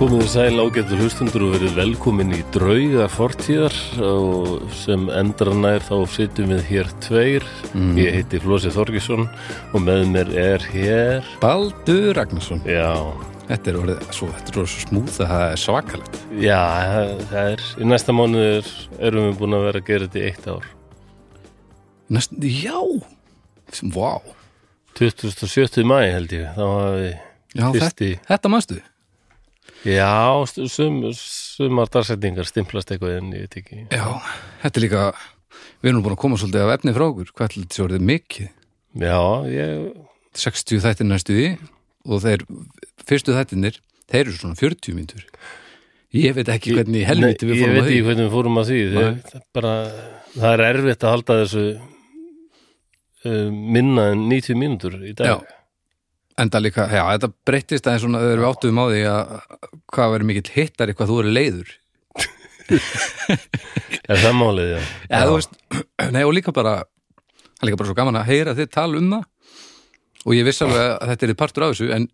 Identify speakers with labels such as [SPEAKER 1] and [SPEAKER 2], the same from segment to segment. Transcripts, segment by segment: [SPEAKER 1] Komið þið sæl ágættur hlustundur og verið velkomin í drauga fortíðar og sem endranær þá sittum við hér tveir. Ég heiti Flósi Þorgesson og með mér er hér,
[SPEAKER 2] Baldur Ragnarsson
[SPEAKER 1] já,
[SPEAKER 2] Þetta er orðið svo, þetta er orðið svo smúð að það er svakalegt
[SPEAKER 1] já, það- það er, í næsta mánuður erum við búin að vera að gera þetta í eitt ár.
[SPEAKER 2] Næst, Já, sem, vá
[SPEAKER 1] 27. mæ held ég, þá hafði við
[SPEAKER 2] já, þetta,
[SPEAKER 1] fyrsti,
[SPEAKER 2] þetta manstu
[SPEAKER 1] já, stu- sum, sumar darsetningar stimplast eitthvað en ég veit ekki.
[SPEAKER 2] Já, þetta er líka Við erum búin að koma svolítið af efni frá okkur Hvað ætli þetta sé orðið mikið?
[SPEAKER 1] Já, ég,
[SPEAKER 2] 60 þættir næstu í og þeir fyrstu þættirnir þeir eru svona 40 myndur Ég veit ekki hvernig í helviti við
[SPEAKER 1] Nei, ég
[SPEAKER 2] fórum
[SPEAKER 1] veit
[SPEAKER 2] að
[SPEAKER 1] ekki
[SPEAKER 2] því
[SPEAKER 1] hvernig við fórum að því Þegar,
[SPEAKER 2] Nei.
[SPEAKER 1] það, er bara, það er erfitt að halda þessu uh, minna en 90 mínútur í dag
[SPEAKER 2] Já, enda líka, já, þetta breyttist aðeins svona þegar við áttum á því að hvað verið mikill hittar eitthvað þú eru leiður
[SPEAKER 1] er það málið já.
[SPEAKER 2] Já, þú veist, nei og líka bara það er líka bara svo gaman að heyra þið tala um það og ég viss alveg að þetta er partur af þessu en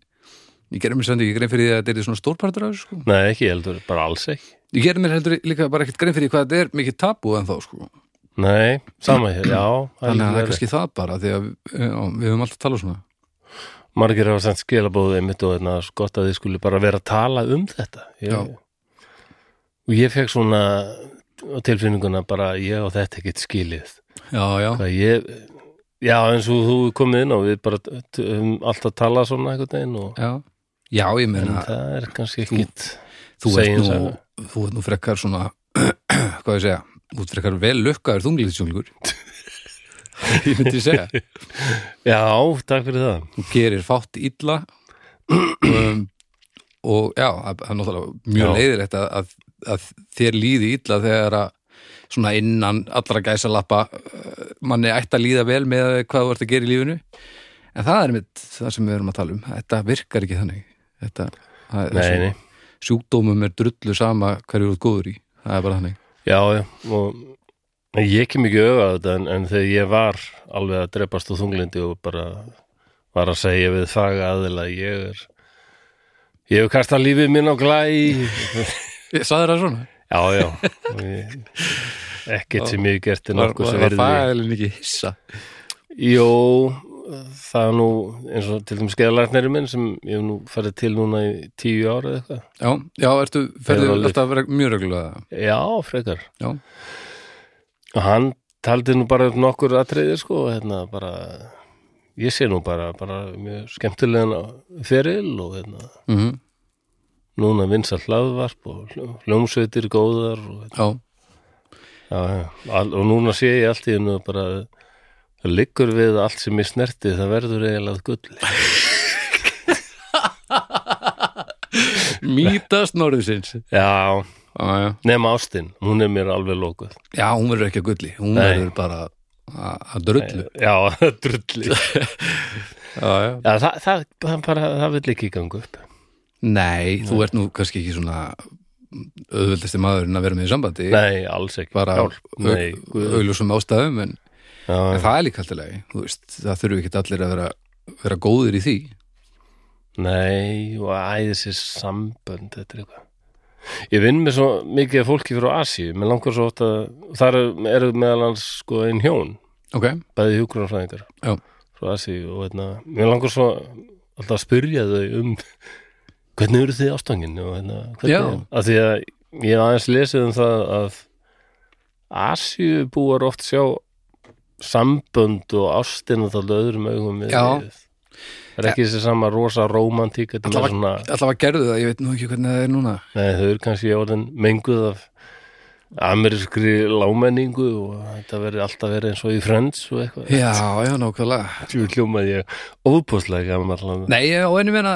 [SPEAKER 2] ég gerir mér samt ekki grein fyrir því að þetta er svona stór partur af þessu sko.
[SPEAKER 1] Nei, ekki heldur, bara alls ekki
[SPEAKER 2] ég gerir mér heldur líka bara ekkert grein fyrir því hvað þetta er mikið tabú en þá sko
[SPEAKER 1] Nei, sama hér, já það er
[SPEAKER 2] þannig
[SPEAKER 1] líka
[SPEAKER 2] að það er
[SPEAKER 1] verið.
[SPEAKER 2] kannski það bara því að eh, já, við höfum alltaf talað svona
[SPEAKER 1] Margir hafa sent skilabóðið mitt og þarna svo gott að þið skuli bara vera að tala um þetta
[SPEAKER 2] Já.
[SPEAKER 1] ég, Og ég fekk svona á tilfinninguna bara ég og þetta ekkert skilið
[SPEAKER 2] já, já,
[SPEAKER 1] Hvað ég Já, eins og þú komið inn á við bara um, alltaf tala svona einhvern veginn og
[SPEAKER 2] já já, ég
[SPEAKER 1] en
[SPEAKER 2] meina
[SPEAKER 1] það er kannski ekkit
[SPEAKER 2] þú
[SPEAKER 1] segir
[SPEAKER 2] ert nú,
[SPEAKER 1] það.
[SPEAKER 2] þú ert nú frekar svona hvað ég segja, þú ert frekar vel lukkaður þunglýðsjunglingur ég myndi segja
[SPEAKER 1] já, takk fyrir það
[SPEAKER 2] þú gerir fátt illa um, og já, það það er náttúrulega mjög
[SPEAKER 1] Já.
[SPEAKER 2] leiðilegt að, að, að þér líði illa þegar að svona innan allra gæsa lappa manni ætti að líða vel með hvað þú ert að gera í lífinu en það er mitt það sem við erum að tala um þetta virkar ekki þannig þetta, það er
[SPEAKER 1] nei,
[SPEAKER 2] svo-
[SPEAKER 1] nei.
[SPEAKER 2] sjúkdómum er drullu sama hverju þú ert góður í það er bara þannig
[SPEAKER 1] já, já og en ég kem ekki auðvitað þetta en, en þegar ég var alveg að drepast á þunglindi og bara var að segja við faga aðila ég er ég hef kastað lífið minn á glæ já,
[SPEAKER 2] ég sagði það svona
[SPEAKER 1] já og ég- ekkert sem ég hef gert er
[SPEAKER 2] var,
[SPEAKER 1] nokkuð
[SPEAKER 2] var,
[SPEAKER 1] sem
[SPEAKER 2] var
[SPEAKER 1] verði
[SPEAKER 2] fælinn ekki hissa
[SPEAKER 1] Jó, það er nú eins og til dæmis skeiðalagnari minn sem ég hef nú farið til núna í tíu ára eða eitthvað.
[SPEAKER 2] já, já, ertu, ferðu
[SPEAKER 1] alveg-
[SPEAKER 2] alltaf að vera mjög reglulega
[SPEAKER 1] Já, frekar.
[SPEAKER 2] já,
[SPEAKER 1] Og hann taldi nú bara upp nokkur atriði sko, hérna bara, ég sé nú bara, bara mjög skemmtilegan feril og hérna,
[SPEAKER 2] mhm
[SPEAKER 1] núna vinsa hlaðvarp og hljó- hljómsveitir góðar og, hérna,
[SPEAKER 2] Já,
[SPEAKER 1] já, já, al, og núna sé ég allt í hennu bara, það liggur við allt sem ég snerti, það verður eiginlega að gull.
[SPEAKER 2] mítast norðusins
[SPEAKER 1] Já,
[SPEAKER 2] já,
[SPEAKER 1] nema Ástin, hún er mér alveg lókuð.
[SPEAKER 2] já, hún verður ekki að gulli hún
[SPEAKER 1] Nei.
[SPEAKER 2] verður bara að að drullu
[SPEAKER 1] Já, drulli
[SPEAKER 2] já, já.
[SPEAKER 1] Já, það, það, það, bara, það vil ekki ganga upp
[SPEAKER 2] Nei, þú ert nú kannski ekki svona auðvöldasti maðurinn að vera með í sambandi
[SPEAKER 1] Nei, alls ekki
[SPEAKER 2] bara
[SPEAKER 1] Hjálp, nei, guð.
[SPEAKER 2] auðljósum ástæðum en, en
[SPEAKER 1] já,
[SPEAKER 2] það er líka alltaf leið veist, það þurfi ekki allir að vera, vera góðir í því
[SPEAKER 1] Nei, og æðis er sambönd Þetta er eitthvað Ég vinn með svo mikið af fólki frá Asi Mér langar svo oft að Þar eru meðal hans sko einn hjón
[SPEAKER 2] Ok,
[SPEAKER 1] Bæði hjúkrunarfræðingar
[SPEAKER 2] Já.
[SPEAKER 1] Frá Asi og hérna Mér langar svo alltaf að spyrja þau um Hvernig eru þið ástangin og hérna
[SPEAKER 2] Já.
[SPEAKER 1] hvernig, Að því að ég hef aðeins lesið um það að Asíu búar oft sjá sambönd og ástina þá öðrum augum við
[SPEAKER 2] Já.
[SPEAKER 1] lífið. Það er ekki þessi sama rosa romantík, þetta er meira svona,
[SPEAKER 2] allavega gerðu það, ég veit nú ekki hvernig það er núna
[SPEAKER 1] nei, þau eru kannski orðin menguð af amerískri lámenningu og þetta verður alltaf verið eins og í Friends og eitthvað.
[SPEAKER 2] Já, já, nákvæmlega
[SPEAKER 1] Þú hljómaði ég óbúslega gaman allan.
[SPEAKER 2] Nei, ég- og einu meina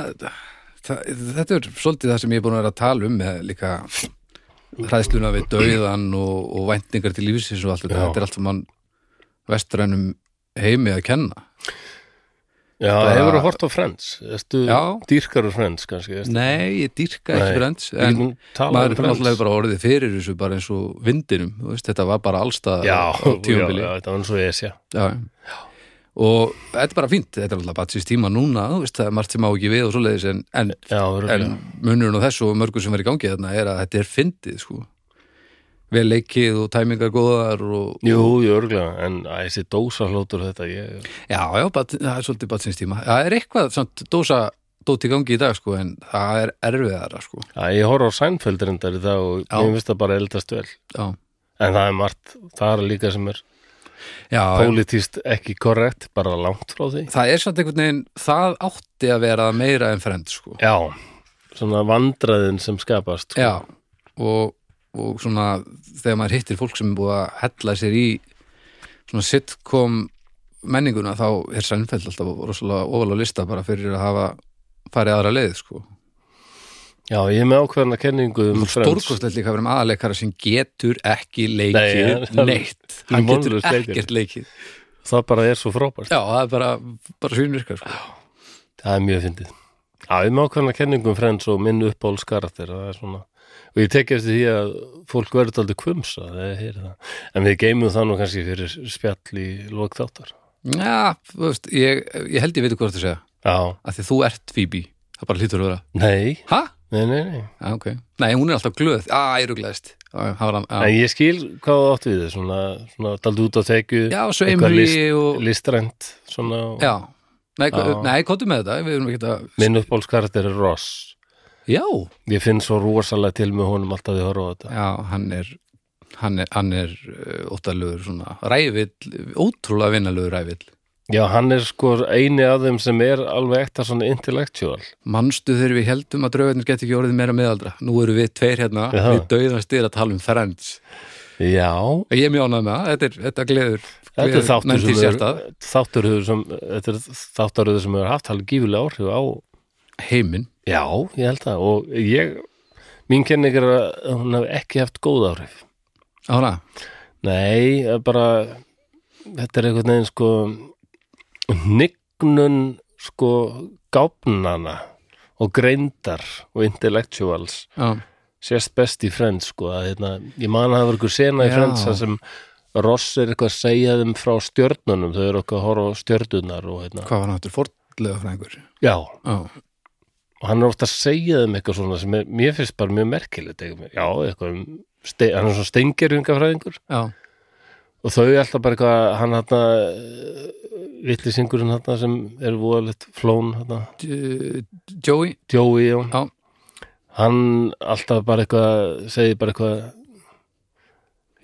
[SPEAKER 2] það, þetta er svolítið það sem ég er búin að vera að tala um með líka hræðsluna við dauðan og, og væntingar til lífsins og allt þetta,
[SPEAKER 1] Já.
[SPEAKER 2] þetta er allt mann vestrænum heimi að kenna
[SPEAKER 1] Já,
[SPEAKER 2] bara-
[SPEAKER 1] hefur þú hort á Friends? Ertu
[SPEAKER 2] Já.
[SPEAKER 1] dýrkar á Friends kannski? Ertu,
[SPEAKER 2] Nei, ég dýrka ekki
[SPEAKER 1] Nei.
[SPEAKER 2] brends
[SPEAKER 1] Við
[SPEAKER 2] en
[SPEAKER 1] getum talað
[SPEAKER 2] maður
[SPEAKER 1] um
[SPEAKER 2] er
[SPEAKER 1] Friends.
[SPEAKER 2] náttúrulega bara orðið fyrir þessu bara eins og vindinum, þú veist, þetta var bara allstað
[SPEAKER 1] Já,
[SPEAKER 2] á
[SPEAKER 1] já,
[SPEAKER 2] tímabili
[SPEAKER 1] já, þetta var eins og Esja.
[SPEAKER 2] Já. og þetta er bara fínt, þetta er alltaf bara síst tíma núna, þú veist, það er margt sem á ekki við og svoleiðis en, en,
[SPEAKER 1] Já,
[SPEAKER 2] en
[SPEAKER 1] örugglega.
[SPEAKER 2] munurinn á þessu og mörgur sem er í gangi þarna er að þetta er fyndið, sko vel leikið og tæmingar góðar og,
[SPEAKER 1] Jú, jú, örgulega, en að þessi dósa hlótur þetta, ég,
[SPEAKER 2] já, já, bat, það er svolítið bara síns tíma, það er eitthvað samt dósa dót í gangi í dag, sko, en það er erfiðara, sko,
[SPEAKER 1] að ég horf á Seinfeld reyndar í dag og
[SPEAKER 2] Já.
[SPEAKER 1] mér finnst það bara eldast vel.
[SPEAKER 2] já
[SPEAKER 1] En það er margt, það er líka sem er
[SPEAKER 2] Já, já.
[SPEAKER 1] pólitíst ekki korrekt, bara langt frá því.
[SPEAKER 2] það er samt einhvern veginn, það átti að vera meira en fremd, sko
[SPEAKER 1] Já, svona vandraðin sem skapast. sko.
[SPEAKER 2] Já, og, og svona þegar maður hittir fólk sem er búið að hella sér í svona sitcom menninguna þá er Sænfeld alltaf rosalega ofal á lista bara fyrir að hafa farið aðra leið sko.
[SPEAKER 1] Já, ég er með ákveðna kenningu um Friends.
[SPEAKER 2] Stórkostlegt líka fyrir um aðaleikara sem getur ekki
[SPEAKER 1] Nei,
[SPEAKER 2] leikið
[SPEAKER 1] ja,
[SPEAKER 2] neitt, hann getur
[SPEAKER 1] vonlaus leikari.
[SPEAKER 2] ekkert leikið
[SPEAKER 1] Það bara er svo frábært.
[SPEAKER 2] Já, það er bara, bara svínvirka sko.
[SPEAKER 1] Það er mjög fyndið. Já, ég er með ákveðna kenningu um Friends og minn uppáhaldskarakter, það er svona... Og ég tek eftir því að fólk verður aldrei kvumsa, það er heyri það. En við geymum það nú kannski fyrir spjall í lók þáttar.
[SPEAKER 2] Já, þú veist, ég, ég held ég veit hvað þú ert að segja,
[SPEAKER 1] Já,
[SPEAKER 2] að því þú ert Phoebe það bara hlýtur að vera,
[SPEAKER 1] nei,
[SPEAKER 2] ha?
[SPEAKER 1] nei, nei, nei.
[SPEAKER 2] Já, ok. Nei, hún er alltaf glöð. Á, ég ruglaðist. Já, já, hann-
[SPEAKER 1] En
[SPEAKER 2] já.
[SPEAKER 1] ég skil hvað þú átt við þið, svona, svona daldi út á tekju,
[SPEAKER 2] já
[SPEAKER 1] eitthvað
[SPEAKER 2] sveimri
[SPEAKER 1] list-
[SPEAKER 2] og...
[SPEAKER 1] listrænt, svona, og
[SPEAKER 2] Já. Nei,
[SPEAKER 1] Já.
[SPEAKER 2] já. nei, kóttu með þetta. Við erum ekki að...
[SPEAKER 1] minn uppáhaldskarakter er Ross.
[SPEAKER 2] Já.
[SPEAKER 1] Ég finn svo rosalega til með honum alltaf því að horfa á þetta.
[SPEAKER 2] Já, hann er, hann er, hann er uh, óttalögur svona rævill, ótrúlega vinnalögur rævill.
[SPEAKER 1] Já, hann er sko eini af þeim sem er alveg ekta svona intellectual.
[SPEAKER 2] Manstu þegar við heldum að draugarnir geti ekki orðið meira meðaldra. Nú eru við tveir hérna,
[SPEAKER 1] Já.
[SPEAKER 2] við dauðast er að tala um Friends.
[SPEAKER 1] Já,
[SPEAKER 2] Ég er mjög ánægð með það, þetta er, þetta gleður.
[SPEAKER 1] þetta er þáttur
[SPEAKER 2] sem
[SPEAKER 1] sem, er, þáttur hefur sem, þetta er þáttur sem hefur haft alveg gífulega áhrif á,
[SPEAKER 2] er... Heiminn.
[SPEAKER 1] já, ég held það og ég, mín kenning er að hún hefur ekki haft góð áhrif.
[SPEAKER 2] Ára,
[SPEAKER 1] Nei, það er bara þetta er einhvern veginn sko nignun sko gáfnana og greindar og intellectuals
[SPEAKER 2] já.
[SPEAKER 1] sérst best í Friends sko að hérna, ég man að það var einhver sena í
[SPEAKER 2] Já.
[SPEAKER 1] Friends þar sem Ross er eitthvað að segja þeim frá stjörnunum, þau eru eitthvað að horfa á stjörnunar og hérna,
[SPEAKER 2] Hvað var hann áttur? Fordlega fræðingur.
[SPEAKER 1] já
[SPEAKER 2] Já.
[SPEAKER 1] og hann er ofta að segja þeim eitthvað svona sem er, mér finnst bara mjög merkilegt eitthvað, já, eitthvað um, ste, hann er svona steingerjungafræðingur
[SPEAKER 2] Já.
[SPEAKER 1] og þau er alltaf bara eitthvað hann hérna, eh, hann vitlisingurinn hann hérna sem er voðalegt flón hann
[SPEAKER 2] J- Joey
[SPEAKER 1] Joey já.
[SPEAKER 2] Já.
[SPEAKER 1] hann alltaf bara eitthvað segir bara eitthvað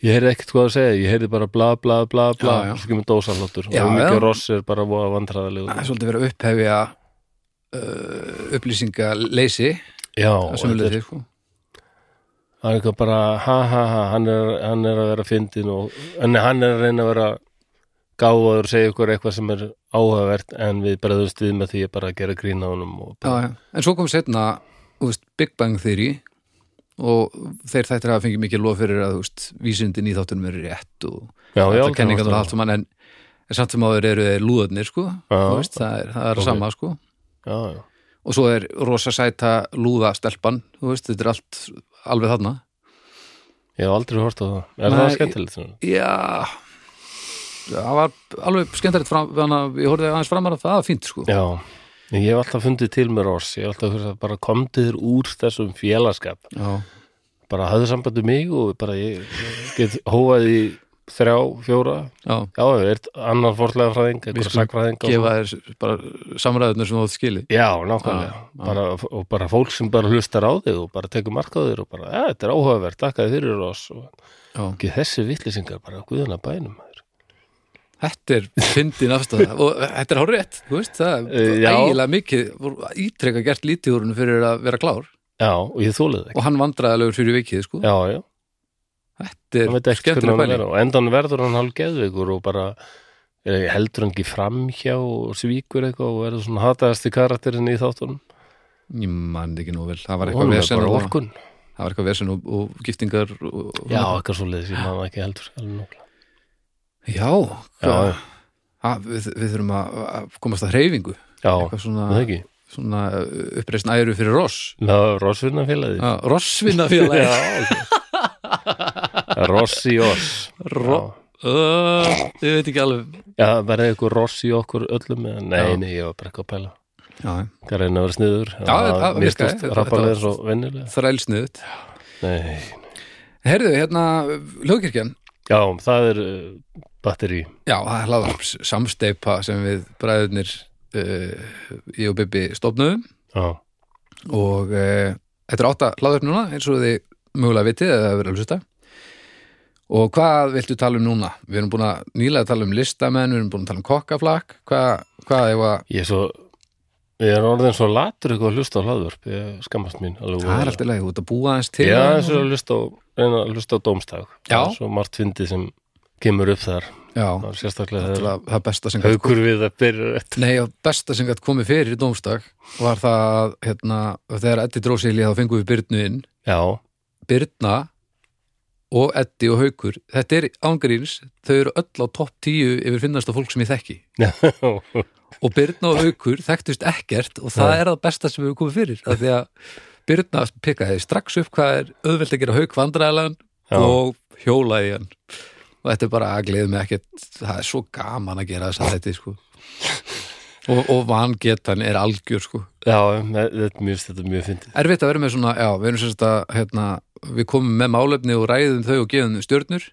[SPEAKER 1] ég heyrði ekkert hvað að segja, ég heyrði bara bla bla bla bla,
[SPEAKER 2] Já, já.
[SPEAKER 1] svo kemur dósalóttur
[SPEAKER 2] Já,
[SPEAKER 1] og mikið
[SPEAKER 2] já.
[SPEAKER 1] ross er bara voða vandræðalegur
[SPEAKER 2] Það er svolítið verið að upphefja uh, upplýsingaleysi
[SPEAKER 1] já,
[SPEAKER 2] að
[SPEAKER 1] þetta er-
[SPEAKER 2] sömuleyti, sko.
[SPEAKER 1] hann er eitthvað bara ha ha ha, hann er, hann er að vera fyndin og, en hann er að reyna að vera gáfaður og segja ykkur eitthvað sem er áhugavert en við bregðumst við með því að bara gera grín á honum og
[SPEAKER 2] já,
[SPEAKER 1] bara,
[SPEAKER 2] já. En svo kom setna þú veist, Big Bang Theory og þeir þættir hafa fengið mikið lof fyrir að þú veist, vísindin í þáttunum eru rétt og
[SPEAKER 1] já, já,
[SPEAKER 2] alltaf kenningarnar og allt saman en en samt sem áður eru þeir lúðarnir sko,
[SPEAKER 1] Já.
[SPEAKER 2] Þú veist, það er, það er
[SPEAKER 1] Ok.
[SPEAKER 2] sama sko.
[SPEAKER 1] já, já.
[SPEAKER 2] og svo er rosa sæta lúða stelpan, þú veist, þetta er allt alveg þarna
[SPEAKER 1] ég hef aldrei hort á það er
[SPEAKER 2] Nei,
[SPEAKER 1] það skemmtilegt? svona?
[SPEAKER 2] Já Það var alveg skemmtilegt fram þannig að ég horfði aðeins framar að það var fínt sko.
[SPEAKER 1] já, En ég hef alltaf fundið til með Ross ég hef alltaf hugsað bara komdu þér úr þessum félagskap
[SPEAKER 2] Já.
[SPEAKER 1] bara hafðu sambandi mig og bara ég, ég get hóað í þrjá, fjóra
[SPEAKER 2] Já.
[SPEAKER 1] já, ég er annar fórlega fræðing eitthvað
[SPEAKER 2] skulum
[SPEAKER 1] sagfræðing og
[SPEAKER 2] Gefa þér bara samræðunar sem þú átt skili
[SPEAKER 1] Já, nákvæmlega
[SPEAKER 2] Já, já.
[SPEAKER 1] bara, og bara fólk sem bara hlustar á þig og bara tekur mark á þig og bara, ja, þetta er áhugavert þakkaði fyrir oss og
[SPEAKER 2] Já.
[SPEAKER 1] ekki þessi vitlýsingar bara guðuna bænum maður.
[SPEAKER 2] Þetta er fyndin afstæða og þetta er hárrétt, þú veist það er
[SPEAKER 1] Eh, já.
[SPEAKER 2] ægilega mikið, voru ítrekka gert lítið úr hún fyrir að vera klár
[SPEAKER 1] Já, og ég þólið það ekki
[SPEAKER 2] og hann vandræðilegur fyrir vikið sko.
[SPEAKER 1] Já, já,
[SPEAKER 2] Þetta
[SPEAKER 1] hann veit
[SPEAKER 2] er
[SPEAKER 1] ekki hvernig
[SPEAKER 2] skemmtileg
[SPEAKER 1] hann
[SPEAKER 2] bæli
[SPEAKER 1] er og endan verður hann hálf geðveikur og bara eh, heldur hann ekki framhjá og svíkur eitthvað og verður svona hataðasti karakterinn í þáttunum
[SPEAKER 2] Ég man þetta ekki nú vel, það var
[SPEAKER 1] Honum
[SPEAKER 2] eitthvað
[SPEAKER 1] er
[SPEAKER 2] vesen
[SPEAKER 1] bara
[SPEAKER 2] og-
[SPEAKER 1] orkun
[SPEAKER 2] það var eitthvað vesen og, og giftingar og, og
[SPEAKER 1] Já, eitthvað svo leiðis, ég maður ekki heldur alveg nákvæmlega.
[SPEAKER 2] já,
[SPEAKER 1] Já, já,
[SPEAKER 2] Ha, við, við þurfum að, að komast að hreyfingu
[SPEAKER 1] já,
[SPEAKER 2] eitthvað svona,
[SPEAKER 1] það ekki
[SPEAKER 2] svona uh, uppreisn æru fyrir Ross
[SPEAKER 1] Ná, Rossvinnafélagið
[SPEAKER 2] ah, Rossvinna félagi
[SPEAKER 1] Rossi Oss
[SPEAKER 2] Ro- uh, ég veit ekki alveg
[SPEAKER 1] Já, það verði eitthvað ross í okkur öllum eða, Nei,
[SPEAKER 2] Já.
[SPEAKER 1] nei, ég var bara eitthvað að pæla
[SPEAKER 2] já,
[SPEAKER 1] Hvað reyna að vera sniður
[SPEAKER 2] Já, það virkaði.
[SPEAKER 1] Mistust
[SPEAKER 2] Þetta-
[SPEAKER 1] rappalega
[SPEAKER 2] þetta
[SPEAKER 1] svo venjulega
[SPEAKER 2] þrælsniðut
[SPEAKER 1] Nei,
[SPEAKER 2] Herðu, hérna, hljóðkirkjan
[SPEAKER 1] já, um, það er uh, batteri
[SPEAKER 2] Já, það er hlaðvarp samsteipa sem við bræðurnir uh, ég og Bibi stofnuðum
[SPEAKER 1] Já,
[SPEAKER 2] og uh, þetta er átta hlaðvarp núna eins og þið mögulega vitið eða það verið að hlusta og hvað viltu tala um núna? Við erum búin að nýlega tala um listamenn, við erum búin að tala um kokkaflakk hvað, hvað er að
[SPEAKER 1] ég er svo Ég er orðin svo latur eitthvað að hlusta á hlaðvörp Ég skammast mín
[SPEAKER 2] það
[SPEAKER 1] alveg
[SPEAKER 2] er
[SPEAKER 1] voðalega.
[SPEAKER 2] allt í lagi, þú ert að búa aðeins til
[SPEAKER 1] Já, eins og að hlusta á, reyna að hlusta á dómstag
[SPEAKER 2] Já.
[SPEAKER 1] Það er Svo margt fyndið sem kemur upp þar
[SPEAKER 2] Já,
[SPEAKER 1] Það er sérstaklega
[SPEAKER 2] þetta er
[SPEAKER 1] þegar
[SPEAKER 2] það það besta sem gæti-
[SPEAKER 1] haukur við að byrja rétt
[SPEAKER 2] Nei, og besta sem gætt komið fyrir í dómstak var það að hérna, þegar Eddi dró sig í lið þá fengum við Byrnu inn
[SPEAKER 1] Já,
[SPEAKER 2] Birna og Eddi og Haukur þetta er ángríns, þau eru öll á topp 10 yfir finnast á fólk sem ég þekki og Birna og Haukur þekktust ekkert og það
[SPEAKER 1] Nei.
[SPEAKER 2] er það besta sem hefur komið fyrir af því að Birna pikkaði strax upp hvað er auðvelt að gera Hauk vandræðilegan
[SPEAKER 1] Já.
[SPEAKER 2] og hjólaði í hann og þetta er bara að gleði mig ekkert það er svo gaman að gera þess að þetta sko. og, og vangetan er algjör sko
[SPEAKER 1] já, þetta mjög, þetta er mjög fyndið
[SPEAKER 2] erfitt að vera með svona, já, við erum sérst að hérna, við komum með málefni og ræðum þau og gefum þau stjörnur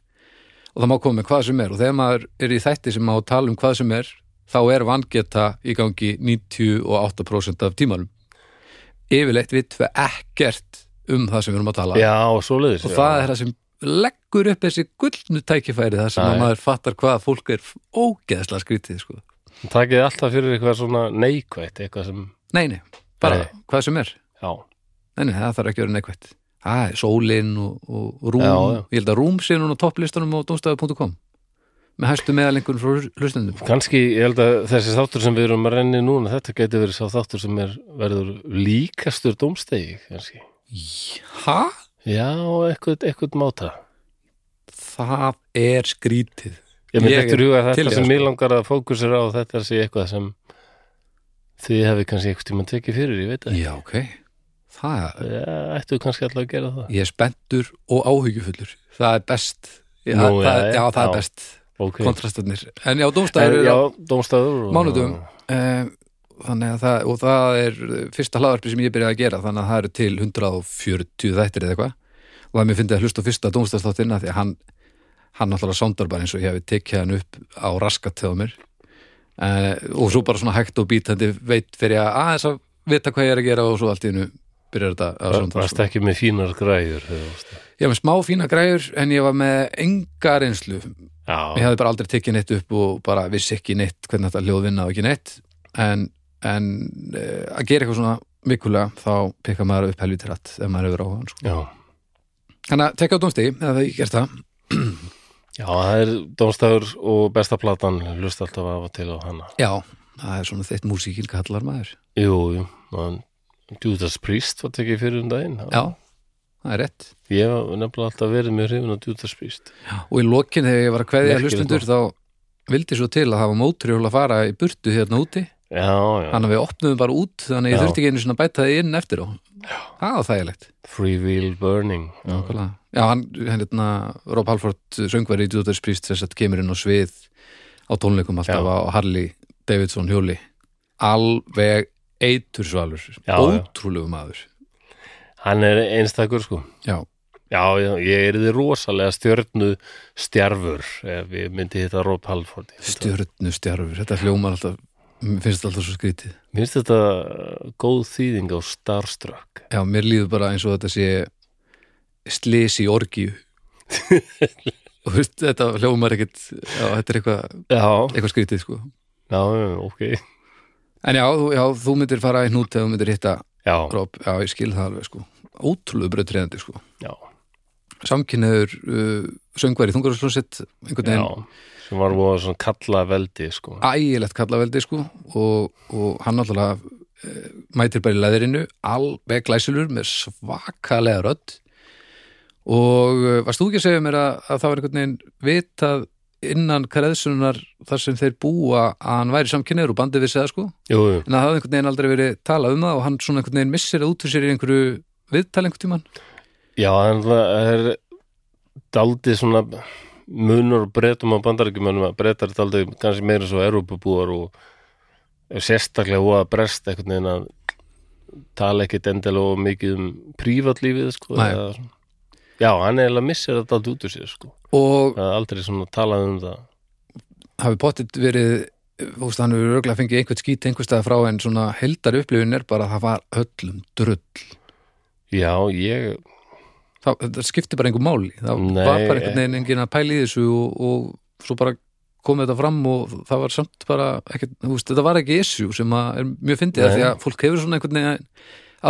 [SPEAKER 2] og það má koma með hvað sem er og þegar maður er í þætti sem má tala um hvað sem er þá er vangeta í gangi 98% af tímanum yfirleitt við tve ekkert um það sem við erum að tala
[SPEAKER 1] Já, og svoleiðis
[SPEAKER 2] og
[SPEAKER 1] já.
[SPEAKER 2] það er það sem leggur upp þessi gullnu tækifæri þar sem
[SPEAKER 1] Já,
[SPEAKER 2] að
[SPEAKER 1] já.
[SPEAKER 2] maður fattar hvað fólk er ógeðslega skrítið sko.
[SPEAKER 1] Takið þið alltaf fyrir eitthvað svona neikvætt, eitthvað sem,
[SPEAKER 2] nei, nei, bara
[SPEAKER 1] Nei.
[SPEAKER 2] hvað sem er
[SPEAKER 1] já,
[SPEAKER 2] Nei, nei, það þarf ekki að vera neikvætt. Það er sólinn og, og rúm.
[SPEAKER 1] Já, já.
[SPEAKER 2] Ég held að rúm sé núna á topplistanum á domstafu.com með hæstu meðalengun frá hlustendum.
[SPEAKER 1] kannski, ég held að þessi þáttur sem við erum að renni núna, þetta geti verið sá þáttur sem er, verður líkastur dómstegi, kannski.
[SPEAKER 2] Hæ?
[SPEAKER 1] Já, eitthvað, eitthvað máta.
[SPEAKER 2] Það er skrítið.
[SPEAKER 1] Ég með
[SPEAKER 2] Ég
[SPEAKER 1] þetta huga að
[SPEAKER 2] til í
[SPEAKER 1] þetta
[SPEAKER 2] það,
[SPEAKER 1] sem
[SPEAKER 2] sko.
[SPEAKER 1] mér langar að fókusera á, þetta sé eitthvað sem þið hefði kannski eitthvað tímann tekið fyrir, ég veit ekki.
[SPEAKER 2] Já, ok. Það,
[SPEAKER 1] Já, ættu kannski alltaf að gera það.
[SPEAKER 2] ég er spenntur og áhyggjufullur. Það er best. Já,
[SPEAKER 1] Nú,
[SPEAKER 2] það,
[SPEAKER 1] já,
[SPEAKER 2] já,
[SPEAKER 1] já,
[SPEAKER 2] það
[SPEAKER 1] já.
[SPEAKER 2] er best.
[SPEAKER 1] Ok.
[SPEAKER 2] Kontrastarnir. En já,
[SPEAKER 1] En,
[SPEAKER 2] domstafu
[SPEAKER 1] já,
[SPEAKER 2] eru
[SPEAKER 1] dómstæður.
[SPEAKER 2] Mánudögum. Eh, þannig að það, og það er eh, fyrsta hlaðarpi sem ég byrjaði að gera þannig að það eru til 140 þættir eða eitthvað og það mér fyndi að hlusta á fyrsta dómstæðstáttina því að hann, hann náttúrulega sondar bara eins og ég hefði tekið hann upp á raskat til á mér eh, og svo bara svona hægt og bítandi veit fyrir að aðeins að vita hvað ég er að gera og svo allt í hennu byrjar þetta að
[SPEAKER 1] Það
[SPEAKER 2] sondar
[SPEAKER 1] varst ekki með fínar græður. þegar þú varst-
[SPEAKER 2] ég var með smá fína græður en ég var með enga reynslu
[SPEAKER 1] Já,
[SPEAKER 2] ég hafði bara aldrei tekið neitt upp og bara vissi ekki neitt hvernig þetta hljóðvinna og ekki neitt en, en uh, að gera eitthvað svona vikulega þá pikka maður upp helvið til rætt ef maður hefur áhuga sko.
[SPEAKER 1] já.
[SPEAKER 2] þannig að tekja á dómstegi, eða það ég gert það
[SPEAKER 1] Já, það er Dómstafur og besta platan hlust alltaf af og til á hana
[SPEAKER 2] já, það er svona þitt músíkin kallar maður
[SPEAKER 1] Jú, jú, hann Judas Priest var tekið fyrir um daginn
[SPEAKER 2] já, það er rétt
[SPEAKER 1] Ég hef nefnilega alltaf verið mjög hrifin á Judas Priest
[SPEAKER 2] og í lokin þegar ég var að kveðja
[SPEAKER 1] Merkilegt
[SPEAKER 2] hlustundur þá vildi svo til að hafa mótrjól að fara í burtu hérna úti
[SPEAKER 1] Já, já,
[SPEAKER 2] þannig að við opnum bara út þannig að ég
[SPEAKER 1] Já.
[SPEAKER 2] þurfti ekki einu svona að bæta þið inn eftir á það var þægilegt
[SPEAKER 1] Free Will Burning Já,
[SPEAKER 2] Nákvæmlega. Já, hann, hérna, Rob Halford söngveri í Judas Priest þess að kemur inn á svið á tónleikum alltaf
[SPEAKER 1] Já.
[SPEAKER 2] á Harley Davidson hjóli alveg eitursvalur
[SPEAKER 1] já.
[SPEAKER 2] ótrúlegu maður
[SPEAKER 1] Hann er einstakur sko
[SPEAKER 2] Já,
[SPEAKER 1] Já, já, ég er þið rosalega stjörnu stjarfur ef ég myndi hitta Rob Halford Ég finnst þetta-
[SPEAKER 2] stjörnustjarfur, þetta hljómar alltaf mér finnst þetta alltaf svo skrítið
[SPEAKER 1] Mér finnst þetta uh, góð þýðing á Starstruck
[SPEAKER 2] Já, mér líður bara eins og þetta sé slis í orgíu og veist, þetta hljómar ekkit já, þetta er eitthvað,
[SPEAKER 1] Já,
[SPEAKER 2] eitthvað skrítið sko
[SPEAKER 1] já, já, ok
[SPEAKER 2] En já, þú- já, þú myndir fara í hnút þegar þú myndir hitta
[SPEAKER 1] Já,
[SPEAKER 2] Rob, já, ég skil það alveg sko ótrúlega bröðtriðandi sko
[SPEAKER 1] já,
[SPEAKER 2] samkynniður uh, söngveri þungarhúsljónsitt einhvern
[SPEAKER 1] já
[SPEAKER 2] veginn
[SPEAKER 1] sem var voða svona kalla veldi sko
[SPEAKER 2] ægilegt kallaveldi sko og, og hann náttúrulega uh, mætir bara í leðrinu alveg glæsilur með svakalega rödd og uh, varst þú ekki að segja mér að, að það var einhvern veginn vitað innan kreðsunar þar sem þeir búa að hann væri samkynniður og bandið vissi það sko
[SPEAKER 1] Jú, jú
[SPEAKER 2] en það hafði einhvern veginn aldrei verið talað um það og hann svona einhvern veginn missir það út úr sér í einhverju viðtal einhvern tíman
[SPEAKER 1] Já, en það er daldið svona munur á breytum á bandaríkjumönnum að breytar er aldrei kannski meira svo erupubúar og sérstaklega og að brest einhvern veginn að tala ekkit endilega of mikið um prívatlífið sko
[SPEAKER 2] Nei.
[SPEAKER 1] eða svona. já, hann eiginlega missir þetta aldrei út úr sér sko
[SPEAKER 2] og
[SPEAKER 1] það er aldrei svona talað um það
[SPEAKER 2] hafi pottit verið þú veist, hann hefur örgulega fengið einhvern skít einhverstað frá en svona heldar upplifun er bara að það var öllum drull
[SPEAKER 1] já, ég,
[SPEAKER 2] það, það skipti bara einhver máli það
[SPEAKER 1] Nei,
[SPEAKER 2] var bara einhvern veginn enginn að pæla í þessu og, og svo bara komið þetta fram og það var samt bara ekkert, þú veist, þetta var ekki issue sem að er mjög fyndið af
[SPEAKER 1] Nei.
[SPEAKER 2] því að fólk hefur svona einhvern veginn